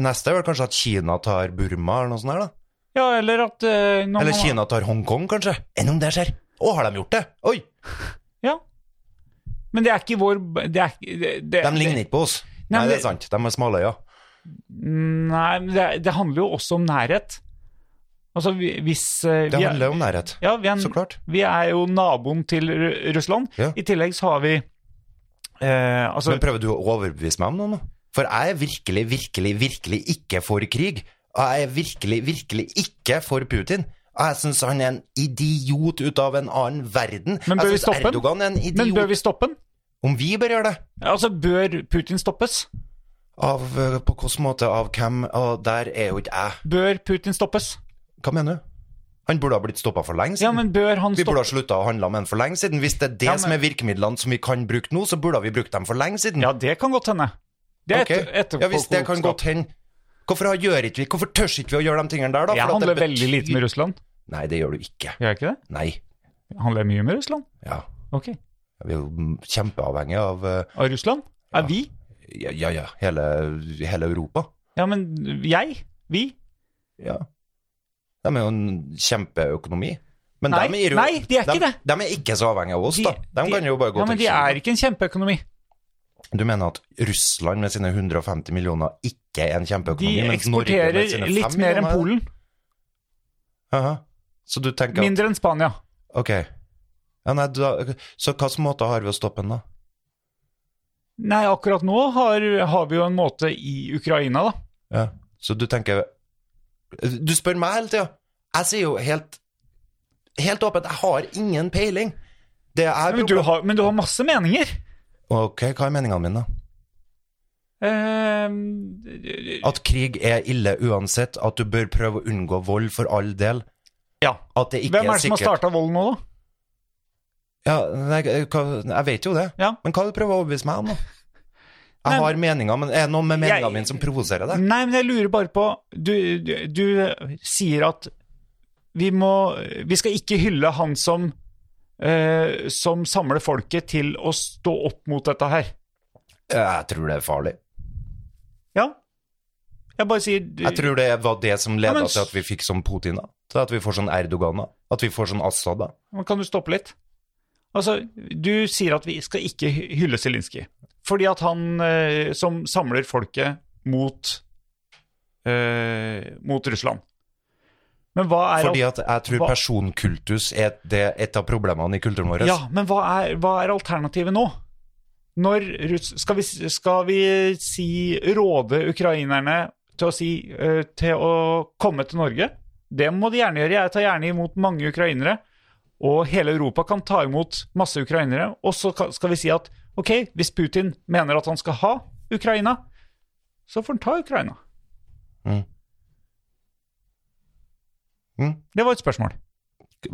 [SPEAKER 2] Neste er vel kanskje at Kina tar Burma eller noe sånt her, da.
[SPEAKER 4] Ja, eller at eh, nå må
[SPEAKER 2] Eller
[SPEAKER 4] man-
[SPEAKER 2] Kina tar Hongkong, kanskje. Enn om det skjer? Å, har de gjort det? Oi!
[SPEAKER 4] Ja. Men det er ikke vår det er, ikke- det, det,
[SPEAKER 2] De ligner ikke på oss.
[SPEAKER 4] Nei,
[SPEAKER 2] Nei,
[SPEAKER 4] men
[SPEAKER 2] det
[SPEAKER 4] det-
[SPEAKER 2] er sant. De er smale, ja.
[SPEAKER 4] Nei, men det, det handler jo også om nærhet. Altså vi- hvis eh,
[SPEAKER 2] Det
[SPEAKER 4] vi er-
[SPEAKER 2] handler om nærhet.
[SPEAKER 4] ja, vi er,
[SPEAKER 2] Så klart.
[SPEAKER 4] Vi er jo naboen til Ru- Russland.
[SPEAKER 2] Ja.
[SPEAKER 4] I tillegg så har vi eh, altså,
[SPEAKER 2] Men prøver du å overbevise meg om noe nå? For jeg er virkelig, virkelig, virkelig ikke for krig. Og jeg er virkelig, virkelig ikke for Putin. Og jeg syns han er en idiot ut av en annen verden.
[SPEAKER 4] Men bør vi
[SPEAKER 2] jeg syns
[SPEAKER 4] stoppe den?
[SPEAKER 2] Erdogan er en idiot.
[SPEAKER 4] Men bør vi stoppe den?
[SPEAKER 2] Om vi bør gjøre det?
[SPEAKER 4] Altså, bør Putin stoppes?
[SPEAKER 2] Av, eh, på hvilken måte? Av hvem? Og der er jo ikke jeg.
[SPEAKER 4] Bør Putin stoppes?
[SPEAKER 2] Hva mener du? Han burde ha blitt stoppa for lenge
[SPEAKER 4] Ja,
[SPEAKER 2] siden.
[SPEAKER 4] men bør han
[SPEAKER 2] vi burde
[SPEAKER 4] stoppes?
[SPEAKER 2] ha slutta å handle med han for lenge siden. Hvis det er det
[SPEAKER 4] Ja, men-
[SPEAKER 2] som er virkemidlene som vi kan bruke nå, så burde vi brukt dem for lenge siden.
[SPEAKER 4] Ja, det kan godt hende. Det er
[SPEAKER 2] Ok.
[SPEAKER 4] etter, etter
[SPEAKER 2] ja, hvis det kan godt hende. Hvorfor har- gjør ikke vi Hvorfor tør ikke vi å gjøre de tingene der, da?
[SPEAKER 4] Jeg
[SPEAKER 2] For at
[SPEAKER 4] handler
[SPEAKER 2] det
[SPEAKER 4] veldig lite med Russland.
[SPEAKER 2] Nei, det gjør du ikke.
[SPEAKER 4] Gjør jeg ikke det?
[SPEAKER 2] Nei.
[SPEAKER 4] Jeg handler mye med Russland.
[SPEAKER 2] Ja.
[SPEAKER 4] Ok.
[SPEAKER 2] Vi er jo kjempeavhengige av eh,
[SPEAKER 4] Av Russland? Er
[SPEAKER 2] Ja.
[SPEAKER 4] vi?
[SPEAKER 2] Ja, ja, ja hele, hele Europa.
[SPEAKER 4] Ja, men jeg? Vi?
[SPEAKER 2] Ja. De er jo en kjempeøkonomi. Men
[SPEAKER 4] Nei,
[SPEAKER 2] dem er jo,
[SPEAKER 4] nei, de er ikke
[SPEAKER 2] dem-
[SPEAKER 4] det.
[SPEAKER 2] dem er ikke så avhengige av oss, da. De, kan jo bare gå
[SPEAKER 4] ja, men
[SPEAKER 2] til
[SPEAKER 4] de
[SPEAKER 2] Kina.
[SPEAKER 4] er ikke en kjempeøkonomi.
[SPEAKER 2] Du mener at Russland med sine 150 millioner ikke er en
[SPEAKER 4] De
[SPEAKER 2] kjempeøkonomi? mens Norge med
[SPEAKER 4] eksporterer
[SPEAKER 2] sine
[SPEAKER 4] litt
[SPEAKER 2] fem
[SPEAKER 4] mer enn
[SPEAKER 2] millioner er det?
[SPEAKER 4] Polen.
[SPEAKER 2] Aha. Så du tenker at
[SPEAKER 4] Mindre enn Spania.
[SPEAKER 2] Ok. Ja, nei, da, så hvilken måte har vi å stoppe den, da?
[SPEAKER 4] Nei, akkurat nå har, har vi jo en måte i Ukraina, da.
[SPEAKER 2] Ja. Så du tenker Du spør meg hele tida. Jeg sier jo helt Helt åpent, jeg har ingen peiling. Det er
[SPEAKER 4] Men du
[SPEAKER 2] problem-
[SPEAKER 4] har, men du har masse meninger.
[SPEAKER 2] Ok, hva er meningene mine, da?
[SPEAKER 4] Eh,
[SPEAKER 2] At krig er ille uansett, at du bør prøve å unngå vold for all del.
[SPEAKER 4] ja.
[SPEAKER 2] At det ikke
[SPEAKER 4] Hvem er det
[SPEAKER 2] sikkert.
[SPEAKER 4] som har starta volden nå, da?
[SPEAKER 2] Ja, nei, hva, jeg vet jo det.
[SPEAKER 4] Ja.
[SPEAKER 2] Men hva er det du prøver å overbevise meg om, da?
[SPEAKER 4] Nei,
[SPEAKER 2] Jeg har meninger, men er det noe med meningene
[SPEAKER 4] Jeg-
[SPEAKER 2] mine som provoserer deg?
[SPEAKER 4] Nei, men jeg lurer bare på Du, du, du sier at vi må Vi skal ikke hylle han som eh, som samler folket til å stå opp mot dette her.
[SPEAKER 2] Jeg tror det er farlig.
[SPEAKER 4] Ja. Jeg bare sier du,
[SPEAKER 2] Jeg tror det var det som leda
[SPEAKER 4] Ja, men-
[SPEAKER 2] til at vi fikk sånn Putin, da. Til at vi får sånn Erdogan, da. At vi får sånn Assad, da.
[SPEAKER 4] Men Kan du stoppe litt? Altså, du sier at vi skal ikke hy- hylle Zelinskyj. Fordi at han eh, som samler folket mot eh, mot Russland. Men hva er
[SPEAKER 2] Fordi
[SPEAKER 4] al-
[SPEAKER 2] at jeg tror
[SPEAKER 4] hva-
[SPEAKER 2] personkultus er det, et av problemene i kulturen vår.
[SPEAKER 4] Ja, men hva er, hva er alternativet nå? Når Russ skal, vi, skal vi si råde ukrainerne til å, si, eh, til å komme til Norge? Det må de gjerne gjøre. Jeg tar gjerne imot mange ukrainere. Og hele Europa kan ta imot masse ukrainere. Og så ka- skal vi si at ok, hvis Putin mener at han skal ha Ukraina, så får han ta Ukraina.
[SPEAKER 2] Mm. Mm.
[SPEAKER 4] Det var et spørsmål.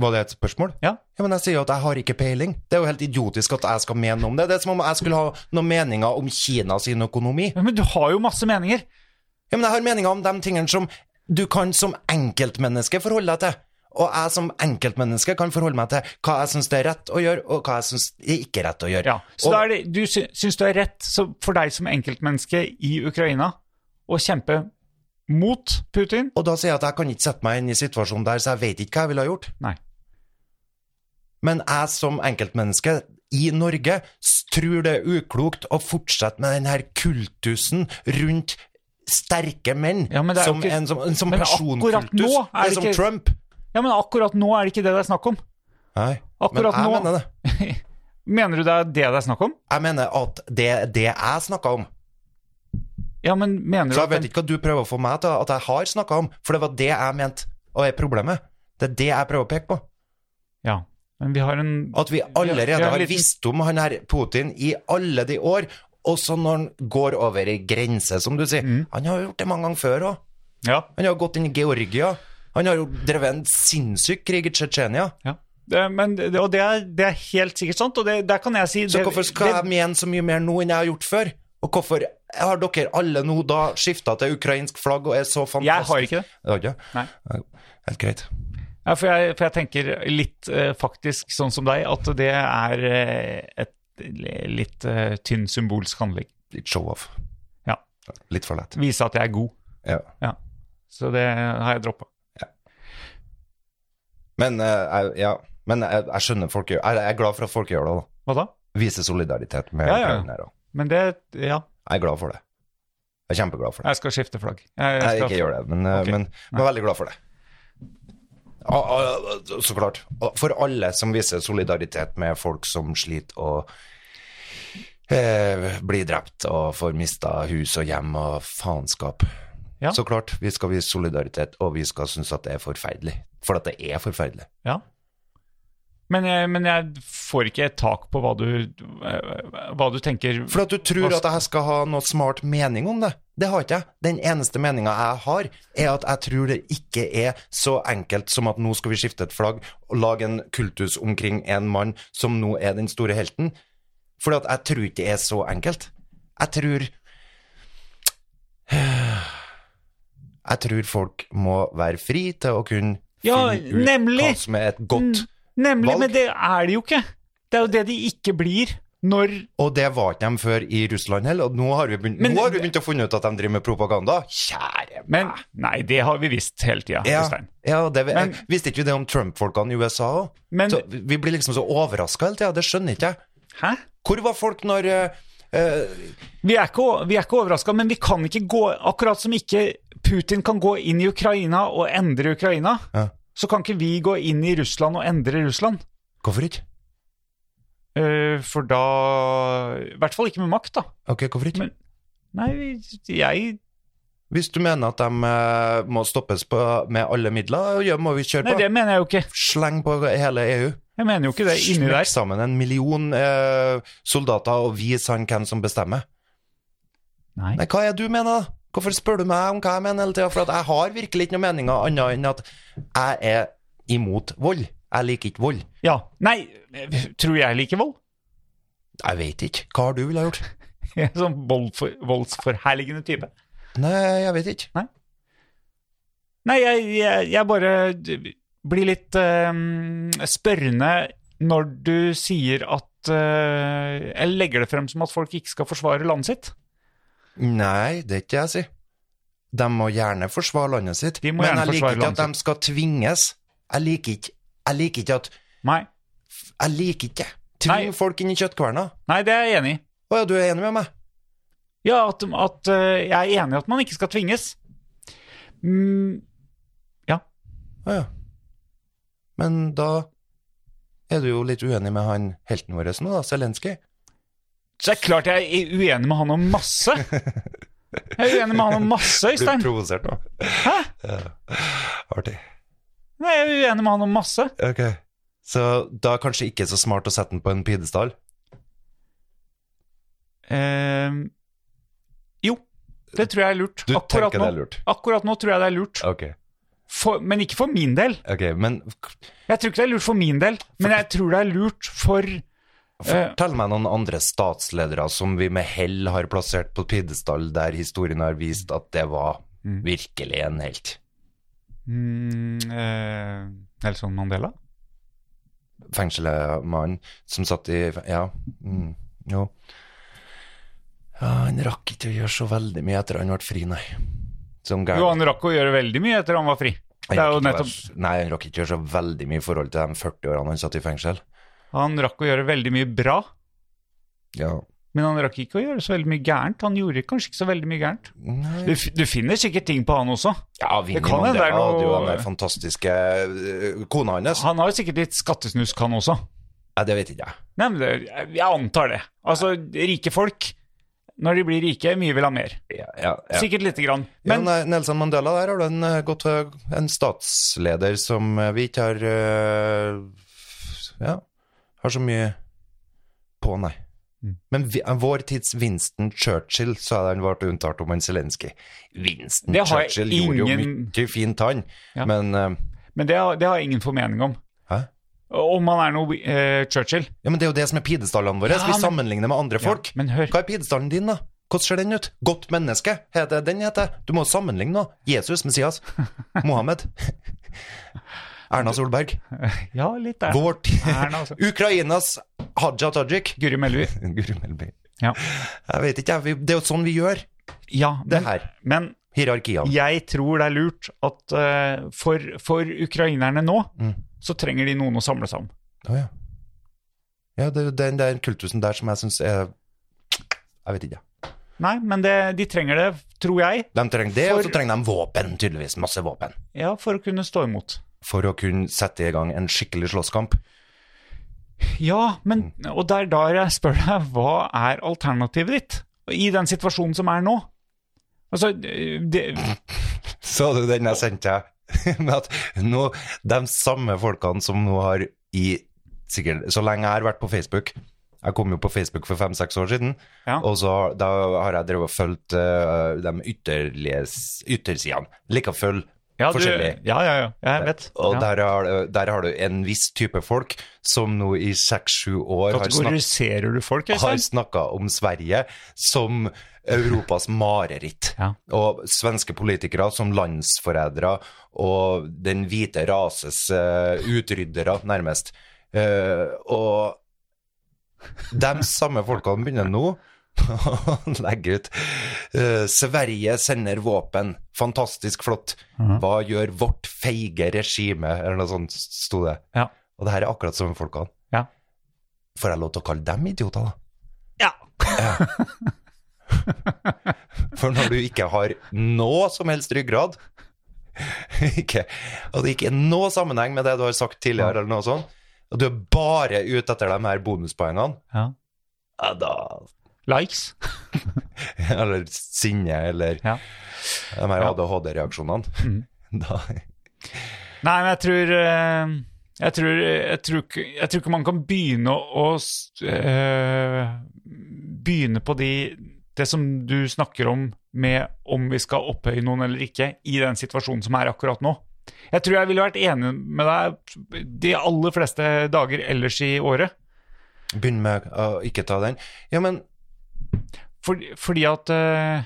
[SPEAKER 2] Var det et spørsmål?
[SPEAKER 4] Ja.
[SPEAKER 2] Ja, men jeg sier jo at jeg har ikke peiling. Det er jo helt idiotisk at jeg skal mene noe om det. Det er som om jeg skulle ha noen meninger om Kina sin økonomi.
[SPEAKER 4] Men du har jo masse meninger.
[SPEAKER 2] Ja, men jeg har meninger om de tingene som du kan som enkeltmenneske forholde deg til. Og jeg som enkeltmenneske kan forholde meg til hva jeg syns det er rett å gjøre, og hva jeg syns det er ikke rett å gjøre.
[SPEAKER 4] Ja, så
[SPEAKER 2] og,
[SPEAKER 4] da er det, du sy syns du er rett så for deg som enkeltmenneske i Ukraina å kjempe mot Putin?
[SPEAKER 2] og da sier jeg at jeg kan ikke sette meg inn i situasjonen der, så jeg vet ikke hva jeg ville ha gjort.
[SPEAKER 4] Nei.
[SPEAKER 2] Men jeg som enkeltmenneske i Norge s- tror det er uklokt å fortsette med denne kultusen rundt sterke menn.
[SPEAKER 4] Ja, men det er jo
[SPEAKER 2] som
[SPEAKER 4] ikke-
[SPEAKER 2] en som, en som
[SPEAKER 4] Men
[SPEAKER 2] personkultus.
[SPEAKER 4] akkurat nå er det
[SPEAKER 2] som
[SPEAKER 4] ikke-
[SPEAKER 2] Trump.
[SPEAKER 4] Ja, men akkurat nå er det ikke det det er snakk om.
[SPEAKER 2] Nei, men
[SPEAKER 4] Akkurat
[SPEAKER 2] jeg
[SPEAKER 4] nå-
[SPEAKER 2] mener det.
[SPEAKER 4] Mener du det er det det er snakk om?
[SPEAKER 2] Jeg mener at det er det jeg snakka om.
[SPEAKER 4] Ja, men
[SPEAKER 2] Så
[SPEAKER 4] mener du
[SPEAKER 2] jeg
[SPEAKER 4] at
[SPEAKER 2] vet ikke hva du prøver å få meg til at jeg har snakka om, for det var det jeg mente og er problemet. Det er det jeg prøver å peke på.
[SPEAKER 4] Ja, men vi har en
[SPEAKER 2] At vi allerede
[SPEAKER 4] Ja, vi har
[SPEAKER 2] har
[SPEAKER 4] en liten-
[SPEAKER 2] visst om han her Putin i alle de år, også når han går over i grense, som du sier.
[SPEAKER 4] Mm.
[SPEAKER 2] Han har gjort det mange ganger før òg.
[SPEAKER 4] Ja.
[SPEAKER 2] Han har gått inn i Georgia. Han har jo drevet en sinnssyk krig i Tsjetsjenia.
[SPEAKER 4] ja. Det, men, det- og det er, det er helt sikkert sant, og det, der kan jeg si
[SPEAKER 2] Så
[SPEAKER 4] det,
[SPEAKER 2] hvorfor skal jeg
[SPEAKER 4] det,
[SPEAKER 2] mene så mye mer nå enn jeg har gjort før? Og hvorfor har dere alle nå da skifta til ukrainsk flagg og er så
[SPEAKER 4] Jeg
[SPEAKER 2] fantastiske?
[SPEAKER 4] har ikke det.
[SPEAKER 2] Jeg har ikke
[SPEAKER 4] Nei.
[SPEAKER 2] Helt greit.
[SPEAKER 4] Ja, for, jeg, for jeg tenker litt eh, faktisk sånn som deg, at det er eh, et litt eh, tynn symbolsk handling.
[SPEAKER 2] Litt show-off.
[SPEAKER 4] Ja.
[SPEAKER 2] Litt for lett.
[SPEAKER 4] Vise at jeg er god.
[SPEAKER 2] Ja.
[SPEAKER 4] Ja. Så det har jeg droppa.
[SPEAKER 2] Men, eh, jeg, ja. Men jeg, jeg skjønner folk gjør Jeg er glad for at folk gjør det, da.
[SPEAKER 4] Hva da?
[SPEAKER 2] Vise solidaritet med
[SPEAKER 4] Ja, ja.
[SPEAKER 2] ukrainere.
[SPEAKER 4] Men det Ja,
[SPEAKER 2] Jeg er glad for det. Jeg er kjempeglad for det.
[SPEAKER 4] jeg skal skifte flagg. Jeg,
[SPEAKER 2] Jeg
[SPEAKER 4] skal,
[SPEAKER 2] ikke gjør det, men, eh,
[SPEAKER 4] Ok.
[SPEAKER 2] men, men veldig glad for det. Ah, ah, ah, Så klart. Ah, For alle som viser solidaritet med folk som sliter og eh, blir drept og får mista hus og hjem og faenskap.
[SPEAKER 4] Ja.
[SPEAKER 2] Så klart, vi skal vise solidaritet, og vi skal synes at det er forferdelig. For at det er forferdelig.
[SPEAKER 4] Ja. Men, jeg, men jeg får ikke et tak på hva du, eh, hva du tenker
[SPEAKER 2] For at du tror at jeg skal ha noe smart mening om det. Det har ikke jeg. Den eneste meninga jeg har, er at jeg tror det ikke er så enkelt som at nå skal vi skifte et flagg og lage en kultus omkring en mann som nå er den store helten. For at jeg tror ikke det er så enkelt. Jeg tror Jeg tror folk må være fri til å kunne
[SPEAKER 4] Ja,
[SPEAKER 2] finne ut
[SPEAKER 4] nemlig! Mm.
[SPEAKER 2] hva som er et godt
[SPEAKER 4] Nemlig,
[SPEAKER 2] valg.
[SPEAKER 4] men det er det jo ikke! Det er jo det de ikke blir når
[SPEAKER 2] Og det var ikke de før i Russland heller, og nå har vi begynt,
[SPEAKER 4] Men-
[SPEAKER 2] nå har vi begynt å finne ut at de driver med propaganda. Kjære meg.
[SPEAKER 4] Men nei, det har vi visst hele tida,
[SPEAKER 2] Ja,
[SPEAKER 4] Øystein.
[SPEAKER 2] ja det,
[SPEAKER 4] Men-
[SPEAKER 2] visste ikke vi det om Trump-folkene i USA òg?
[SPEAKER 4] Men-
[SPEAKER 2] Vi vi blir liksom så overraska hele tida, det skjønner ikke jeg.
[SPEAKER 4] Hæ?
[SPEAKER 2] Hvor var folk når eh, eh,
[SPEAKER 4] Vi er ikke, vi er ikke overraska, men vi kan ikke gå Akkurat som ikke Putin kan gå inn i Ukraina og endre Ukraina,
[SPEAKER 2] Ja.
[SPEAKER 4] så kan ikke vi gå inn i Russland og endre Russland.
[SPEAKER 2] Hvorfor ikke?
[SPEAKER 4] Eh, for da I hvert fall ikke med makt, da.
[SPEAKER 2] Ok, hvorfor ikke?
[SPEAKER 4] Men- Nei, jeg
[SPEAKER 2] Hvis du mener at de eh, må stoppes på, med alle midler, ja, må vi kjøre
[SPEAKER 4] Nei,
[SPEAKER 2] på.
[SPEAKER 4] det mener jeg jo ikke.
[SPEAKER 2] Sleng på hele EU.
[SPEAKER 4] Jeg mener jo ikke det inni der.
[SPEAKER 2] Smekk sammen en million eh, soldater og vis han hvem som bestemmer.
[SPEAKER 4] Nei.
[SPEAKER 2] Nei, hva er det du mener, da? Hvorfor spør du meg om hva jeg mener hele tida? For at jeg har virkelig ikke noen meninger annet enn at jeg er imot vold. Jeg liker ikke vold.
[SPEAKER 4] Ja. Nei, eh, tror jeg liker vold? (laughs)
[SPEAKER 2] Jeg vet ikke. Hva har du ville ha gjort?
[SPEAKER 4] Jeg er sånn vold for, voldsforherligende type.
[SPEAKER 2] Nei, jeg vet ikke.
[SPEAKER 4] Nei, jeg, jeg, jeg bare d- blir litt eh, spørrende når du sier at eh, Jeg legger det frem som at folk ikke skal forsvare landet sitt.
[SPEAKER 2] Nei, det er ikke det jeg sier. De må gjerne forsvare landet sitt,
[SPEAKER 4] De må
[SPEAKER 2] men
[SPEAKER 4] gjerne
[SPEAKER 2] jeg liker
[SPEAKER 4] forsvare
[SPEAKER 2] ikke at
[SPEAKER 4] landet
[SPEAKER 2] de skal tvinges. Jeg liker ikke, jeg liker ikke at
[SPEAKER 4] Nei,
[SPEAKER 2] Jeg liker ikke Tving
[SPEAKER 4] Nei.
[SPEAKER 2] folk inn i kjøttkverna.
[SPEAKER 4] Nei det er jeg enig i.
[SPEAKER 2] Å ja, du er enig med meg?
[SPEAKER 4] Ja, at, at eh, jeg er enig i at man ikke skal tvinges. Mm,
[SPEAKER 2] Å ja. Men da er du jo litt uenig med han helten vår nå, da, Zelenskyj.
[SPEAKER 4] så er det klart jeg er uenig med han om masse. Jeg er uenig med han om
[SPEAKER 2] (laughs)
[SPEAKER 4] masse,
[SPEAKER 2] Blir
[SPEAKER 4] Øystein.
[SPEAKER 2] provosert nå. (laughs)
[SPEAKER 4] Hæ?
[SPEAKER 2] Artig.
[SPEAKER 4] Nei, jeg er uenig med han om masse.
[SPEAKER 2] Ok. Så da er kanskje ikke så smart å sette den på en pidestall?
[SPEAKER 4] Eh, jo, det tror jeg er lurt.
[SPEAKER 2] Du
[SPEAKER 4] Akkurat
[SPEAKER 2] tenker
[SPEAKER 4] nå.
[SPEAKER 2] det er lurt?
[SPEAKER 4] Akkurat nå tror jeg det er lurt,
[SPEAKER 2] Ok.
[SPEAKER 4] for, men ikke for min del.
[SPEAKER 2] Ok, men
[SPEAKER 4] Jeg tror ikke det er lurt for min del, men jeg tror det er lurt for eh,
[SPEAKER 2] Fortell meg noen andre statsledere som vi med hell har plassert på pidestall der historien har vist at det var virkelig en helt.
[SPEAKER 4] mm, eh, Nelson Mandela.
[SPEAKER 2] Fengselmannen som satt i Ja. Mm, jo. Ja, han rakk ikke å gjøre så veldig mye etter han ble fri, nei. Som
[SPEAKER 4] Jo,
[SPEAKER 2] gæren.
[SPEAKER 4] han rakk å gjøre veldig mye etter han var fri.
[SPEAKER 2] Han
[SPEAKER 4] Det er jo
[SPEAKER 2] rakk ikke å
[SPEAKER 4] nettopp,
[SPEAKER 2] være- Nei, han rakk ikke å gjøre så veldig mye i forhold til de 40 årene han satt i fengsel.
[SPEAKER 4] han rakk å gjøre veldig mye bra,
[SPEAKER 2] Ja.
[SPEAKER 4] men han rakk ikke å gjøre så veldig mye gærent. Han gjorde kanskje ikke så veldig mye gærent. Du,
[SPEAKER 2] Nei.
[SPEAKER 4] f- du finner sikkert ting på han også.
[SPEAKER 2] Ja, Vinni
[SPEAKER 4] Det kan hende det
[SPEAKER 2] Mandela
[SPEAKER 4] er
[SPEAKER 2] hadde jo
[SPEAKER 4] noe-
[SPEAKER 2] den der fantastiske øh, kona hans.
[SPEAKER 4] Han har jo sikkert litt skattesnusk, han også.
[SPEAKER 2] Nei, det vet ikke jeg.
[SPEAKER 4] Nei, men det, jeg antar det. Altså, rike folk, når de blir rike, mye vil ha mer.
[SPEAKER 2] Ja, ja, ja.
[SPEAKER 4] Sikkert lite grann.
[SPEAKER 2] Men,
[SPEAKER 4] Men
[SPEAKER 2] ja, nei, Nelson Mandela, der har du en, eh, godt, eh, en statsleder som eh, vi ikke har eh, Ja, har så mye på, nei.
[SPEAKER 4] Mm.
[SPEAKER 2] Men vi, eh, vår tids Winston Churchill, så hadde han vært unntatt om han Zelenskyj. Winston
[SPEAKER 4] Det har jeg
[SPEAKER 2] Churchill gjorde jo
[SPEAKER 4] ingen-
[SPEAKER 2] mye fint, han,
[SPEAKER 4] Ja.
[SPEAKER 2] men eh,
[SPEAKER 4] Men det har, det har jeg ingen formening om.
[SPEAKER 2] Hæ?
[SPEAKER 4] Om han er noe eh, Churchill.
[SPEAKER 2] Ja, men det er jo det som er pidestallene våre.
[SPEAKER 4] Ja,
[SPEAKER 2] vi
[SPEAKER 4] men-
[SPEAKER 2] sammenligner med andre folk.
[SPEAKER 4] Ja, men hør.
[SPEAKER 2] Hva er pidestallen din, da? Hvordan ser den ut? Godt menneske, heter den heter. Du må sammenligne nå. Jesus,
[SPEAKER 4] (laughs)
[SPEAKER 2] Messias, Mohammed. Erna Solberg.
[SPEAKER 4] Ja, litt der.
[SPEAKER 2] Vår tid.
[SPEAKER 4] Erna, altså.
[SPEAKER 2] (laughs) Ukrainas Haja Tajik.
[SPEAKER 4] Guri Melby.
[SPEAKER 2] Guri Melby.
[SPEAKER 4] Ja.
[SPEAKER 2] Jeg vet ikke, jeg. Vi- Det er jo sånn vi gjør
[SPEAKER 4] ja
[SPEAKER 2] det
[SPEAKER 4] men,
[SPEAKER 2] her.
[SPEAKER 4] men
[SPEAKER 2] Hierarkiene.
[SPEAKER 4] jeg tror det er lurt at eh, for, for ukrainerne nå,
[SPEAKER 2] Mm.
[SPEAKER 4] så trenger de noen å samle seg om.
[SPEAKER 2] Å ja. Ja, det er jo den der kultusen der som jeg syns er Jeg vet ikke.
[SPEAKER 4] Nei, men det, de trenger det, tror jeg,
[SPEAKER 2] De trenger det, og
[SPEAKER 4] For-
[SPEAKER 2] så trenger de våpen, tydeligvis. Masse våpen.
[SPEAKER 4] ja, for å kunne stå imot.
[SPEAKER 2] for å kunne sette i gang en skikkelig slåsskamp.
[SPEAKER 4] Ja, men
[SPEAKER 2] Mm.
[SPEAKER 4] Og det er da jeg spør deg, hva er alternativet ditt? I den situasjonen som er nå? Altså, det,
[SPEAKER 2] Så du den jeg sendte deg? (laughs) Med at nå, de samme folkene som nå har i sikkert, Så lenge jeg har vært på Facebook Jeg kom jo på Facebook for fem-seks år siden,
[SPEAKER 4] Ja.
[SPEAKER 2] og så har- da har jeg drevet og fulgt eh, de ytterlige s- yttersidene. Liker å følge
[SPEAKER 4] ja, du, ja,
[SPEAKER 2] forskjellig.
[SPEAKER 4] ja, ja, jeg vet.
[SPEAKER 2] Og
[SPEAKER 4] ja.
[SPEAKER 2] der, har, der har du en viss type folk som nå i seks-sju år har snakket
[SPEAKER 4] Kategoriserer du folk,
[SPEAKER 2] har
[SPEAKER 4] Øystein?
[SPEAKER 2] snakka om Sverige som Europas mareritt.
[SPEAKER 4] Ja.
[SPEAKER 2] Og svenske politikere som landsforrædere og den hvite rases eh, utryddere, nærmest. Eh, og de samme folkene begynner nå å (laughs) legge ut eh, Sverige sender våpen. Fantastisk flott. Hva gjør vårt feige regime? Eller noe sånt sto det.
[SPEAKER 4] Ja.
[SPEAKER 2] Og det her er akkurat samme folkene.
[SPEAKER 4] Ja.
[SPEAKER 2] Får jeg lov til å kalle dem idioter, da?
[SPEAKER 4] ja. (laughs)
[SPEAKER 2] For når du ikke har noe som helst ryggrad, ikke, og det ikke er noe sammenheng med det du har sagt tidligere, eller noe sånt, og du er bare ute etter de her bonuspoengene,
[SPEAKER 4] Ja.
[SPEAKER 2] ja, da
[SPEAKER 4] Likes.
[SPEAKER 2] Eller sinne, eller
[SPEAKER 4] Ja.
[SPEAKER 2] de her
[SPEAKER 4] Ja.
[SPEAKER 2] ADHD-reaksjonene.
[SPEAKER 4] Mhm.
[SPEAKER 2] (laughs) Da
[SPEAKER 4] Nei, men jeg tror eh, jeg tror, jeg, tror ikke, jeg tror ikke man kan begynne å s- eh, Begynne på de, det som du snakker om med om vi skal opphøye noen eller ikke, i den situasjonen som er akkurat nå. Jeg tror jeg ville vært enig med deg de aller fleste dager ellers i året.
[SPEAKER 2] Begynn med å ikke ta den. Ja, men
[SPEAKER 4] For, fordi at eh,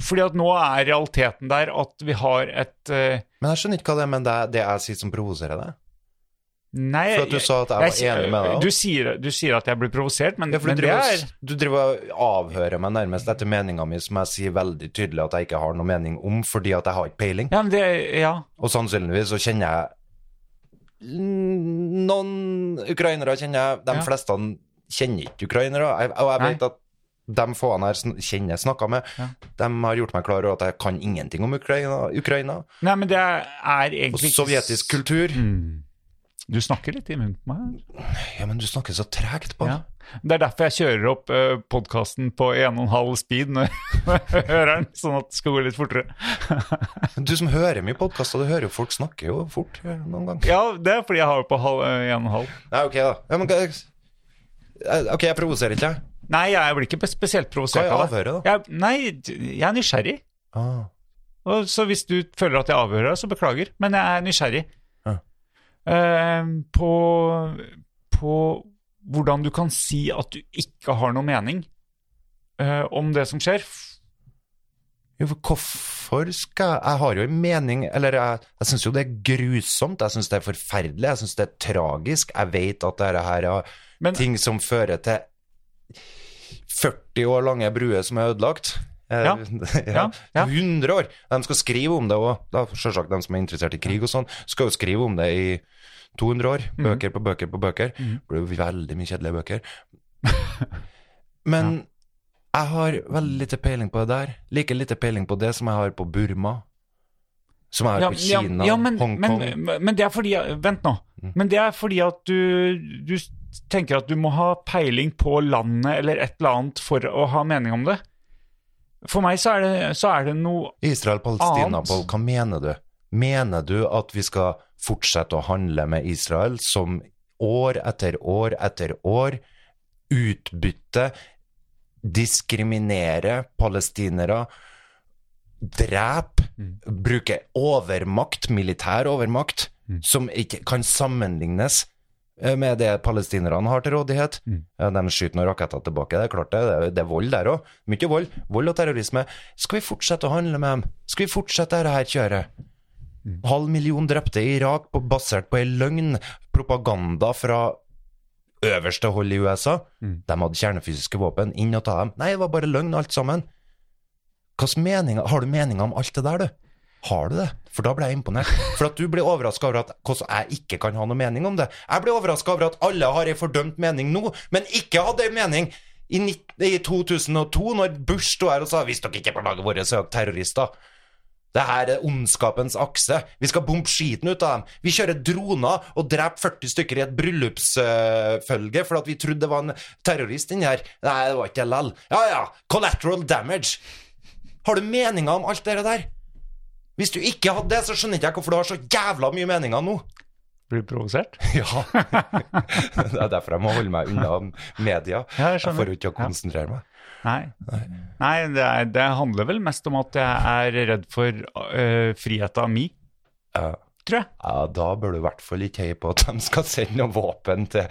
[SPEAKER 4] Fordi at nå er realiteten der at vi har et eh,
[SPEAKER 2] Men jeg skjønner ikke hva det er med det, det jeg sier som provoserer deg.
[SPEAKER 4] Nei
[SPEAKER 2] For at du sa at jeg var enig med deg.
[SPEAKER 4] Du sier, du sier at jeg blir provosert, men,
[SPEAKER 2] ja, for
[SPEAKER 4] men
[SPEAKER 2] du
[SPEAKER 4] det
[SPEAKER 2] driver,
[SPEAKER 4] er
[SPEAKER 2] og- du driver og avhører meg nærmest etter meninga mi, som jeg sier veldig tydelig at jeg ikke har noe mening om, fordi at jeg har ikke peiling.
[SPEAKER 4] Ja, men det Ja.
[SPEAKER 2] Og sannsynligvis så kjenner jeg Noen ukrainere kjenner jeg. De
[SPEAKER 4] Ja.
[SPEAKER 2] fleste kjenner ikke ukrainere. Jeg, og jeg
[SPEAKER 4] Nei.
[SPEAKER 2] vet at de få jeg sn- kjenner jeg snakka med,
[SPEAKER 4] Ja.
[SPEAKER 2] de har gjort meg klar over at jeg kan ingenting om Ukraina. Ukraina.
[SPEAKER 4] Nei, men det er egentlig
[SPEAKER 2] Og
[SPEAKER 4] ikke-
[SPEAKER 2] sovjetisk kultur.
[SPEAKER 4] Mm. Du snakker litt i munnen på meg.
[SPEAKER 2] Ja, men du snakker så tregt på
[SPEAKER 4] Ja.
[SPEAKER 2] det.
[SPEAKER 4] Det er derfor jeg kjører opp uh, podkasten på 1,5 speed når (laughs) jeg hører den, sånn at det skal gå litt fortere. (laughs)
[SPEAKER 2] Men Du som hører mye podkaster, du hører jo folk snakke jo fort eh, noen ganger.
[SPEAKER 4] Ja, det er fordi jeg har det på halv, eh, 1,5.
[SPEAKER 2] Nei, ok, da. Ja, men, hva- eh, ok, jeg provoserer ikke, jeg.
[SPEAKER 4] Nei, jeg blir ikke spesielt
[SPEAKER 2] Hva
[SPEAKER 4] provosert
[SPEAKER 2] er
[SPEAKER 4] av det.
[SPEAKER 2] avhøret,
[SPEAKER 4] Jeg, nei, jeg er nysgjerrig.
[SPEAKER 2] Ah.
[SPEAKER 4] Og så hvis du føler at jeg avhører deg, så beklager, men jeg er nysgjerrig
[SPEAKER 2] Ja.
[SPEAKER 4] Eh, på, på hvordan du kan si at du ikke har noe mening eh, om det som skjer. F-
[SPEAKER 2] Jo, for hvorfor skal jeg Jeg har jo en mening Eller jeg, jeg syns jo det er grusomt, jeg syns det er forferdelig, jeg syns det er tragisk. Jeg vet at dette her er
[SPEAKER 4] Men-
[SPEAKER 2] ting som fører til 40 år lange bruer som er ødelagt. Eh,
[SPEAKER 4] Ja.
[SPEAKER 2] (laughs) ja,
[SPEAKER 4] ja.
[SPEAKER 2] 100 år! De skal skrive om det òg. Selvsagt de som er interessert i krig og sånn, skal jo skrive om det i 200 år. Bøker på bøker på bøker.
[SPEAKER 4] Mhm.
[SPEAKER 2] Det blir jo veldig mye kjedelige bøker. Men jeg har veldig lite peiling på det der. Like lite peiling på det som jeg har på Burma. Som jeg har på Kina,
[SPEAKER 4] ja, men,
[SPEAKER 2] Hongkong.
[SPEAKER 4] Men, men det er fordi Vent nå.
[SPEAKER 2] Mm.
[SPEAKER 4] Men det er fordi at du, du tenker at du må ha peiling på landet eller et eller annet for å ha mening om det. For meg så er det, så er det noe annet.
[SPEAKER 2] Israel-Palestina-Pål, hva mener du? Mener du at vi skal fortsette å handle med Israel som år etter år etter år utbytte, diskriminere palestinere, drepe, bruke overmakt, militær overmakt, som ikke kan sammenlignes eh, med det palestinerne har til rådighet? Ja, De skyter noen raketter tilbake, det er klart det. Det er, det er vold der òg. Mye vold. Vold og terrorisme. Skal vi fortsette å handle med dem? Skal vi fortsette dette her kjøret? Halv million drepte i Irak på, basert på ei løgn. Propaganda fra øverste hold i USA. De hadde kjernefysiske våpen. Inn og ta dem. Nei, det var bare løgn alt sammen. Hvilke meninger, har du meninger om alt det der, du? Har du det? For da ble jeg imponert. For at du blir overraska over at hvordan jeg ikke kan ha noe mening om det. Jeg blir overraska over at alle har ei fordømt mening nå, men ikke hadde ei mening i, nitt- i 2002, når Bush sto her og sa 'hvis dere ikke er på laget vårt, så er dere terrorister'. Det her er ondskapens akse. Vi skal bombe skiten ut av dem. Vi kjører droner og dreper 40 stykker i et bryllupsfølge for at vi trodde det var en terrorist inni her. Nei, det var ikke LL. Ja ja, collateral damage. Har du meninger om alt det der? Hvis du ikke hadde det, så skjønner ikke jeg hvorfor du har så jævla mye meninger
[SPEAKER 4] (laughs)
[SPEAKER 2] nå.
[SPEAKER 4] Blir du provosert?
[SPEAKER 2] Ja. (laughs) det er derfor jeg må holde meg unna media.
[SPEAKER 4] Ja, jeg
[SPEAKER 2] jeg
[SPEAKER 4] skjønner.
[SPEAKER 2] får jo ikke å
[SPEAKER 4] Ja.
[SPEAKER 2] konsentrere meg.
[SPEAKER 4] Nei. Nei, det, er, det handler vel mest om at jeg er redd for uh, friheta mi,
[SPEAKER 2] Ja.
[SPEAKER 4] tror jeg.
[SPEAKER 2] Ja, da bør du i hvert fall ikke heie på at de skal sende noe våpen til,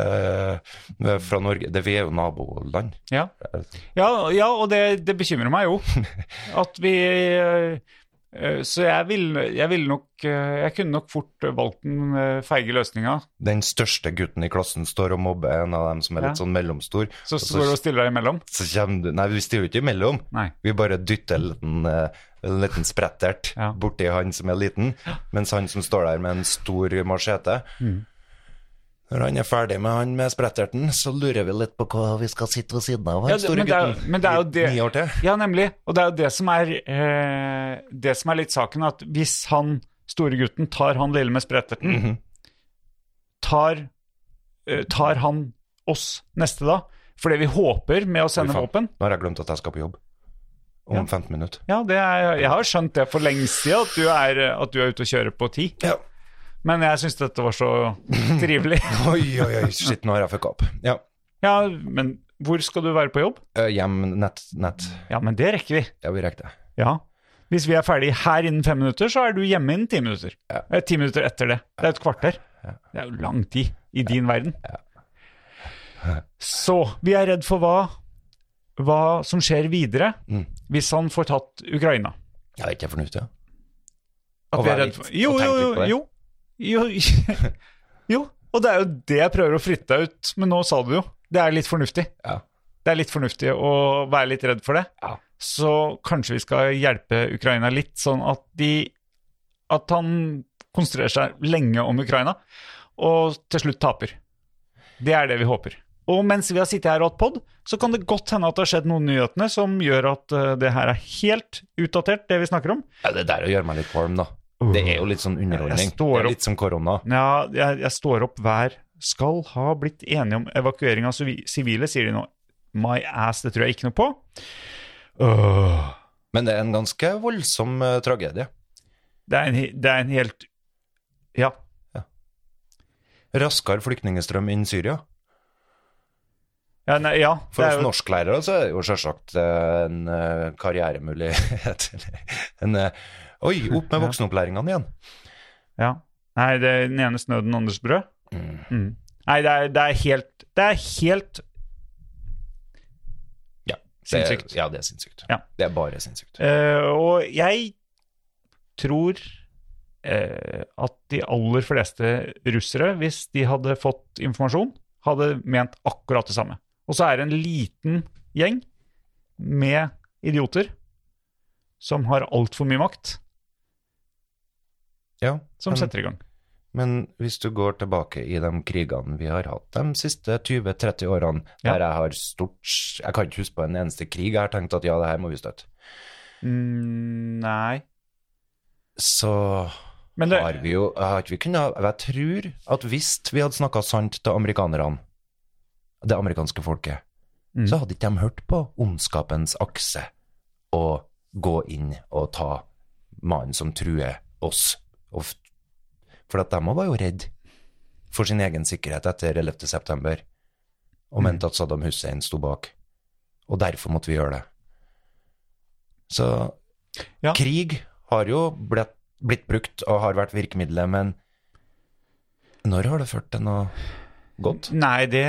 [SPEAKER 2] til fra Norge. Det, vi er jo naboland.
[SPEAKER 4] Ja, ja, ja og det, det bekymrer meg jo. At vi eh, eh, Så jeg ville jeg vil nok eh, Jeg kunne nok fort valgt den eh, feige løsninga.
[SPEAKER 2] Den største gutten i klassen står og mobber en av dem som er litt
[SPEAKER 4] Ja.
[SPEAKER 2] sånn mellomstor.
[SPEAKER 4] Så
[SPEAKER 2] Og så-
[SPEAKER 4] står du og stiller deg imellom.
[SPEAKER 2] Så kommer du Nei, vi stiller jo ikke imellom.
[SPEAKER 4] Nei.
[SPEAKER 2] Vi bare dytter en liten, eh, en liten sprettert
[SPEAKER 4] Ja.
[SPEAKER 2] borti han som er liten, mens han som står der med en stor machete
[SPEAKER 4] Mm.
[SPEAKER 2] Når han er ferdig med han med spretterten, så lurer vi litt på hva vi skal sitte ved siden av han
[SPEAKER 4] Ja, det-
[SPEAKER 2] store
[SPEAKER 4] men det er-
[SPEAKER 2] gutten.
[SPEAKER 4] men det er jo
[SPEAKER 2] Ni-
[SPEAKER 4] det-
[SPEAKER 2] Ni år til.
[SPEAKER 4] Ja, nemlig. Og det er jo det som er eh, Det som er litt saken, at hvis han store gutten tar han lille med spretterten, tar, eh, tar han oss neste da? For det vi håper med å sende
[SPEAKER 2] Fy faen.
[SPEAKER 4] våpen
[SPEAKER 2] Nå har jeg glemt at jeg skal på jobb. Om
[SPEAKER 4] Ja.
[SPEAKER 2] 15 minutter.
[SPEAKER 4] Ja, det er, jeg har skjønt det for lenge siden at du er, at du er ute og kjører på ti.
[SPEAKER 2] Ja.
[SPEAKER 4] Men jeg syns dette var så trivelig.
[SPEAKER 2] Oi, oi, oi, shit, nå har jeg fucka opp. Ja.
[SPEAKER 4] Ja, men hvor skal du være på jobb?
[SPEAKER 2] Eh, hjem, nett, nett.
[SPEAKER 4] Ja, men det rekker vi.
[SPEAKER 2] Ja, vi rekker det.
[SPEAKER 4] Ja. Hvis vi er ferdig her innen fem minutter, så er du hjemme innen ti minutter. Eh, Ti minutter etter det. Det er et kvarter. Det er jo lang tid i din verden. Så vi er redd for hva, hva som skjer videre
[SPEAKER 2] Mm.
[SPEAKER 4] hvis han får tatt Ukraina.
[SPEAKER 2] Ja, det er ikke fornuftig. ja.
[SPEAKER 4] At
[SPEAKER 2] Og
[SPEAKER 4] vi er
[SPEAKER 2] være
[SPEAKER 4] redd
[SPEAKER 2] litt-
[SPEAKER 4] for Jo,
[SPEAKER 2] og tenke
[SPEAKER 4] jo,
[SPEAKER 2] litt på det.
[SPEAKER 4] jo. Jo, (laughs) jo. jo. Og det er jo det jeg prøver å flytte deg ut, men nå sa du det jo. Det er litt fornuftig.
[SPEAKER 2] Ja.
[SPEAKER 4] Det er litt fornuftig å være litt redd for det.
[SPEAKER 2] Ja.
[SPEAKER 4] Så kanskje vi skal hjelpe Ukraina litt, sånn at de At han konsentrerer seg lenge om Ukraina, og til slutt taper. Det er det vi håper. Og mens vi har sittet her og hatt pod, så kan det godt hende at det har skjedd noen nyhetene som gjør at eh, det her er helt utdatert, det vi snakker om.
[SPEAKER 2] Ja, det der å gjøre meg litt kvalm, da. Det er jo litt sånn underholdning.
[SPEAKER 4] Jeg står
[SPEAKER 2] Det er litt som korona.
[SPEAKER 4] Ja, jeg, jeg står opp hver skal ha blitt enige om evakuering av sivi- sivile, sier de nå. My ass, det tror jeg ikke noe på. Åh.
[SPEAKER 2] Men det er en ganske voldsom eh, tragedie.
[SPEAKER 4] Det er en, he- det er en helt Ja.
[SPEAKER 2] Raskere flyktningestrøm inn Syria.
[SPEAKER 4] Ja, nei, ja det
[SPEAKER 2] For
[SPEAKER 4] er
[SPEAKER 2] oss
[SPEAKER 4] jo,
[SPEAKER 2] norsklærere så er det jo selvsagt eh, en eh, karrieremulighet. (laughs) en, eh, oi, opp med voksenopplæringene igjen.
[SPEAKER 4] ja. Nei, det er den ene snø, den andres brød. Mm. Nei, det er, det er helt Det er helt
[SPEAKER 2] Ja, det er,
[SPEAKER 4] Sinnssykt.
[SPEAKER 2] ja, det er sinnssykt.
[SPEAKER 4] Ja.
[SPEAKER 2] Det er bare sinnssykt.
[SPEAKER 4] Eh, og jeg tror eh, at de aller fleste russere, hvis de hadde fått informasjon, hadde ment akkurat det samme. Og så er det en liten gjeng med idioter som har altfor mye makt,
[SPEAKER 2] Ja,
[SPEAKER 4] som
[SPEAKER 2] men,
[SPEAKER 4] setter i gang.
[SPEAKER 2] men hvis du går tilbake i de krigene vi har hatt de siste 20-30 årene,
[SPEAKER 4] Ja.
[SPEAKER 2] der jeg har stort s- Jeg kan ikke huske på en eneste krig jeg har tenkt at ja, det her må vi støtte.
[SPEAKER 4] Mm, nei
[SPEAKER 2] Så
[SPEAKER 4] Men det,
[SPEAKER 2] har vi jo eh, har ikke vi kunnet, Jeg tror at hvis vi hadde snakka sant til amerikanerne, det amerikanske folket,
[SPEAKER 4] Mm.
[SPEAKER 2] så hadde ikke de hørt på ondskapens akse og gå inn og ta mannen som truer oss. Og f- For at de også var jo redd for sin egen sikkerhet etter 11. september, og
[SPEAKER 4] Mm.
[SPEAKER 2] mente at Saddam Hussein sto bak. Og derfor måtte vi gjøre det. Så
[SPEAKER 4] Ja.
[SPEAKER 2] krig har jo blitt, blitt brukt og har vært virkemidlet, men når har det ført til noe godt?
[SPEAKER 4] nei det,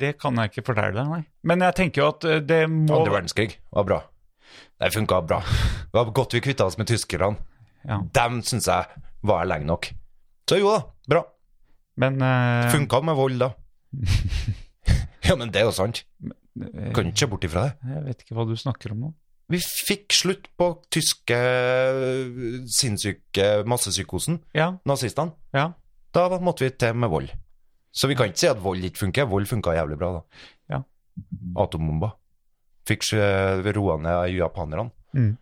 [SPEAKER 4] det kan jeg ikke fortelle deg, nei. Men jeg tenker jo at eh, det må
[SPEAKER 2] Andre verdenskrig var bra. Det funka bra. Det var godt vi kvitta oss med tyskerne.
[SPEAKER 4] Ja.
[SPEAKER 2] Dem syns jeg var lenge nok. Så jo da, bra.
[SPEAKER 4] Men eh,
[SPEAKER 2] Funka med vold,
[SPEAKER 4] (laughs)
[SPEAKER 2] da. ja, men det er jo sant.
[SPEAKER 4] eh,
[SPEAKER 2] Kan ikke se bort ifra det.
[SPEAKER 4] jeg vet ikke hva du snakker om nå.
[SPEAKER 2] Vi fikk slutt på tyske øh, sinnssyke massepsykosen,
[SPEAKER 4] Ja,
[SPEAKER 2] nazistene.
[SPEAKER 4] ja.
[SPEAKER 2] Da måtte vi til med vold. Så vi kan ikke si at vold ikke funker. Vold funka jævlig bra, da.
[SPEAKER 4] Ja.
[SPEAKER 2] Atombomba. Fikk øh, roa ned japanerne.
[SPEAKER 4] Mm.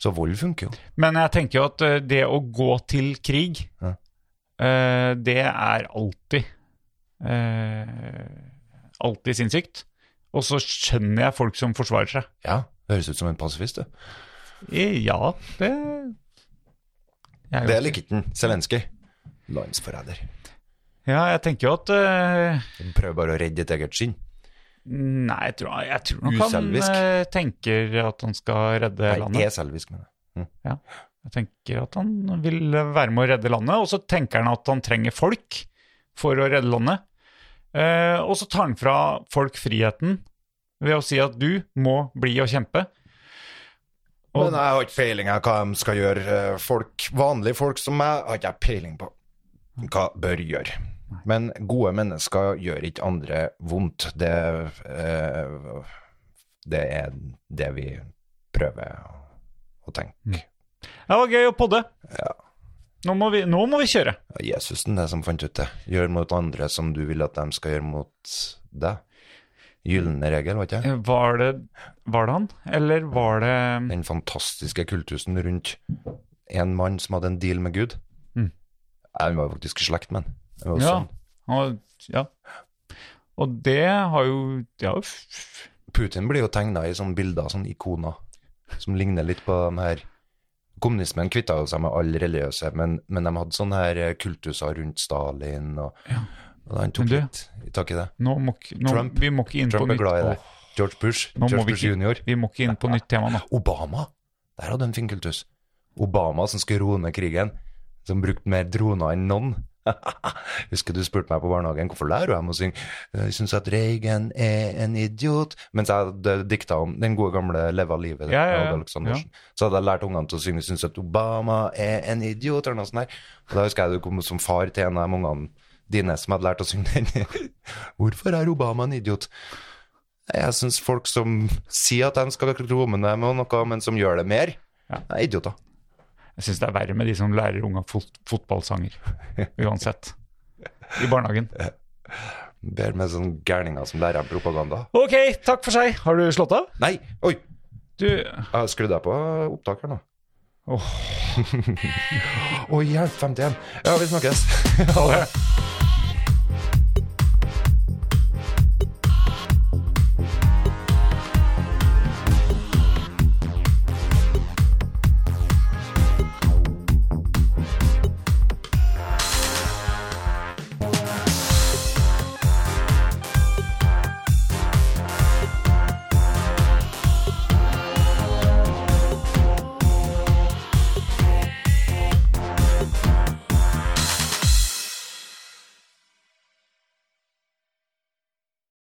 [SPEAKER 2] Så vold funker jo.
[SPEAKER 4] Men jeg tenker jo at eh, det å gå til krig,
[SPEAKER 2] Ja.
[SPEAKER 4] eh, det er alltid eh, Alltid sinnssykt. Og så skjønner jeg folk som forsvarer seg.
[SPEAKER 2] Ja, det høres ut som en pasifist, du.
[SPEAKER 4] Eh, Ja, det jeg er jo-
[SPEAKER 2] Det liker ikke den. Zelenskyj. Landsforræder.
[SPEAKER 4] Ja, jeg tenker jo at eh,
[SPEAKER 2] Prøv bare å redde ditt eget skinn.
[SPEAKER 4] Nei, jeg tror, jeg tror nok han
[SPEAKER 2] Uselvisk.
[SPEAKER 4] eh, tenker at han skal redde
[SPEAKER 2] Nei,
[SPEAKER 4] landet.
[SPEAKER 2] er selvisk, mener jeg.
[SPEAKER 4] Jeg tenker at han vil være med å redde landet, og så tenker han at han trenger folk for å redde landet. Eh, og så tar han fra folk friheten ved å si at du må bli og kjempe. Og-
[SPEAKER 2] Men jeg har ikke peiling av hva de skal gjøre. Eh, Folk, vanlige folk som meg har ikke jeg peiling på hva bør gjøre. Men gode mennesker gjør ikke andre vondt. Det, eh, det er det vi prøver å tenke.
[SPEAKER 4] Ja, det var gøy å podde. Nå, må vi, nå må vi kjøre.
[SPEAKER 2] Jesusen, det som fant ut det. Gjør mot andre som du vil at de skal gjøre mot deg. Gylne regel, var ikke det?
[SPEAKER 4] Eh, Var det, var det han, eller var det
[SPEAKER 2] den fantastiske kultusen rundt en mann som hadde en deal med Gud.
[SPEAKER 4] Mm.
[SPEAKER 2] Han var jo faktisk i slekt med han. Og
[SPEAKER 4] Ja.
[SPEAKER 2] sånn.
[SPEAKER 4] Og, ja. og det har jo ja, f-
[SPEAKER 2] Putin blir jo tegna i sånne bilder, sånne ikoner, som ligner litt på den her Kommunismen kvitta jo seg med all religiøse, men, men de hadde sånne her eh, kultuser rundt Stalin, og, og han tok
[SPEAKER 4] Men du-
[SPEAKER 2] litt i tak i det.
[SPEAKER 4] nå må, ikke- nå,
[SPEAKER 2] Trump-
[SPEAKER 4] Vi må ikke inn
[SPEAKER 2] Trump
[SPEAKER 4] på
[SPEAKER 2] er
[SPEAKER 4] nytt.
[SPEAKER 2] glad i
[SPEAKER 4] Åh,
[SPEAKER 2] det. George Bush,
[SPEAKER 4] Nå må
[SPEAKER 2] George
[SPEAKER 4] vi
[SPEAKER 2] Bush
[SPEAKER 4] ikke-
[SPEAKER 2] junior.
[SPEAKER 4] vi må ikke inn på nytt tema nå.
[SPEAKER 2] Obama, der hadde en fin kultus. Obama som skulle roe ned krigen, som brukte mer droner enn noen. (laughs) Husker du spurte meg på barnehagen hvorfor lærer jeg meg å synge Jeg syns at Reagan er en idiot Mens jeg hadde dikta om den gode gamle Leva livet
[SPEAKER 4] Ja, ja, ja.
[SPEAKER 2] av Aleksandersen. Så hadde jeg lært ungene til å synge Syns at Obama er en idiot, eller noe sånt der. Og da husker jeg du kom som far til en av de ungene dine som hadde lært å synge den. (laughs) Hvorfor er Obama en idiot? Jeg syns folk som sier at de skal roe ned med noe, men som gjør det mer,
[SPEAKER 4] Ja.
[SPEAKER 2] er idioter.
[SPEAKER 4] Jeg syns det er verre med de som lærer unga fot fotballsanger. Uansett. I barnehagen.
[SPEAKER 2] Bedre med sånne gærninger som lærer dem propaganda.
[SPEAKER 4] Ok, takk for seg. Har du slått av?
[SPEAKER 2] Nei, oi,
[SPEAKER 4] Du
[SPEAKER 2] jeg skrudde jeg på opptak her nå.
[SPEAKER 4] Åh.
[SPEAKER 2] (laughs) Å hjelp, 51. Ja, vi snakkes. (laughs)
[SPEAKER 4] Ha det.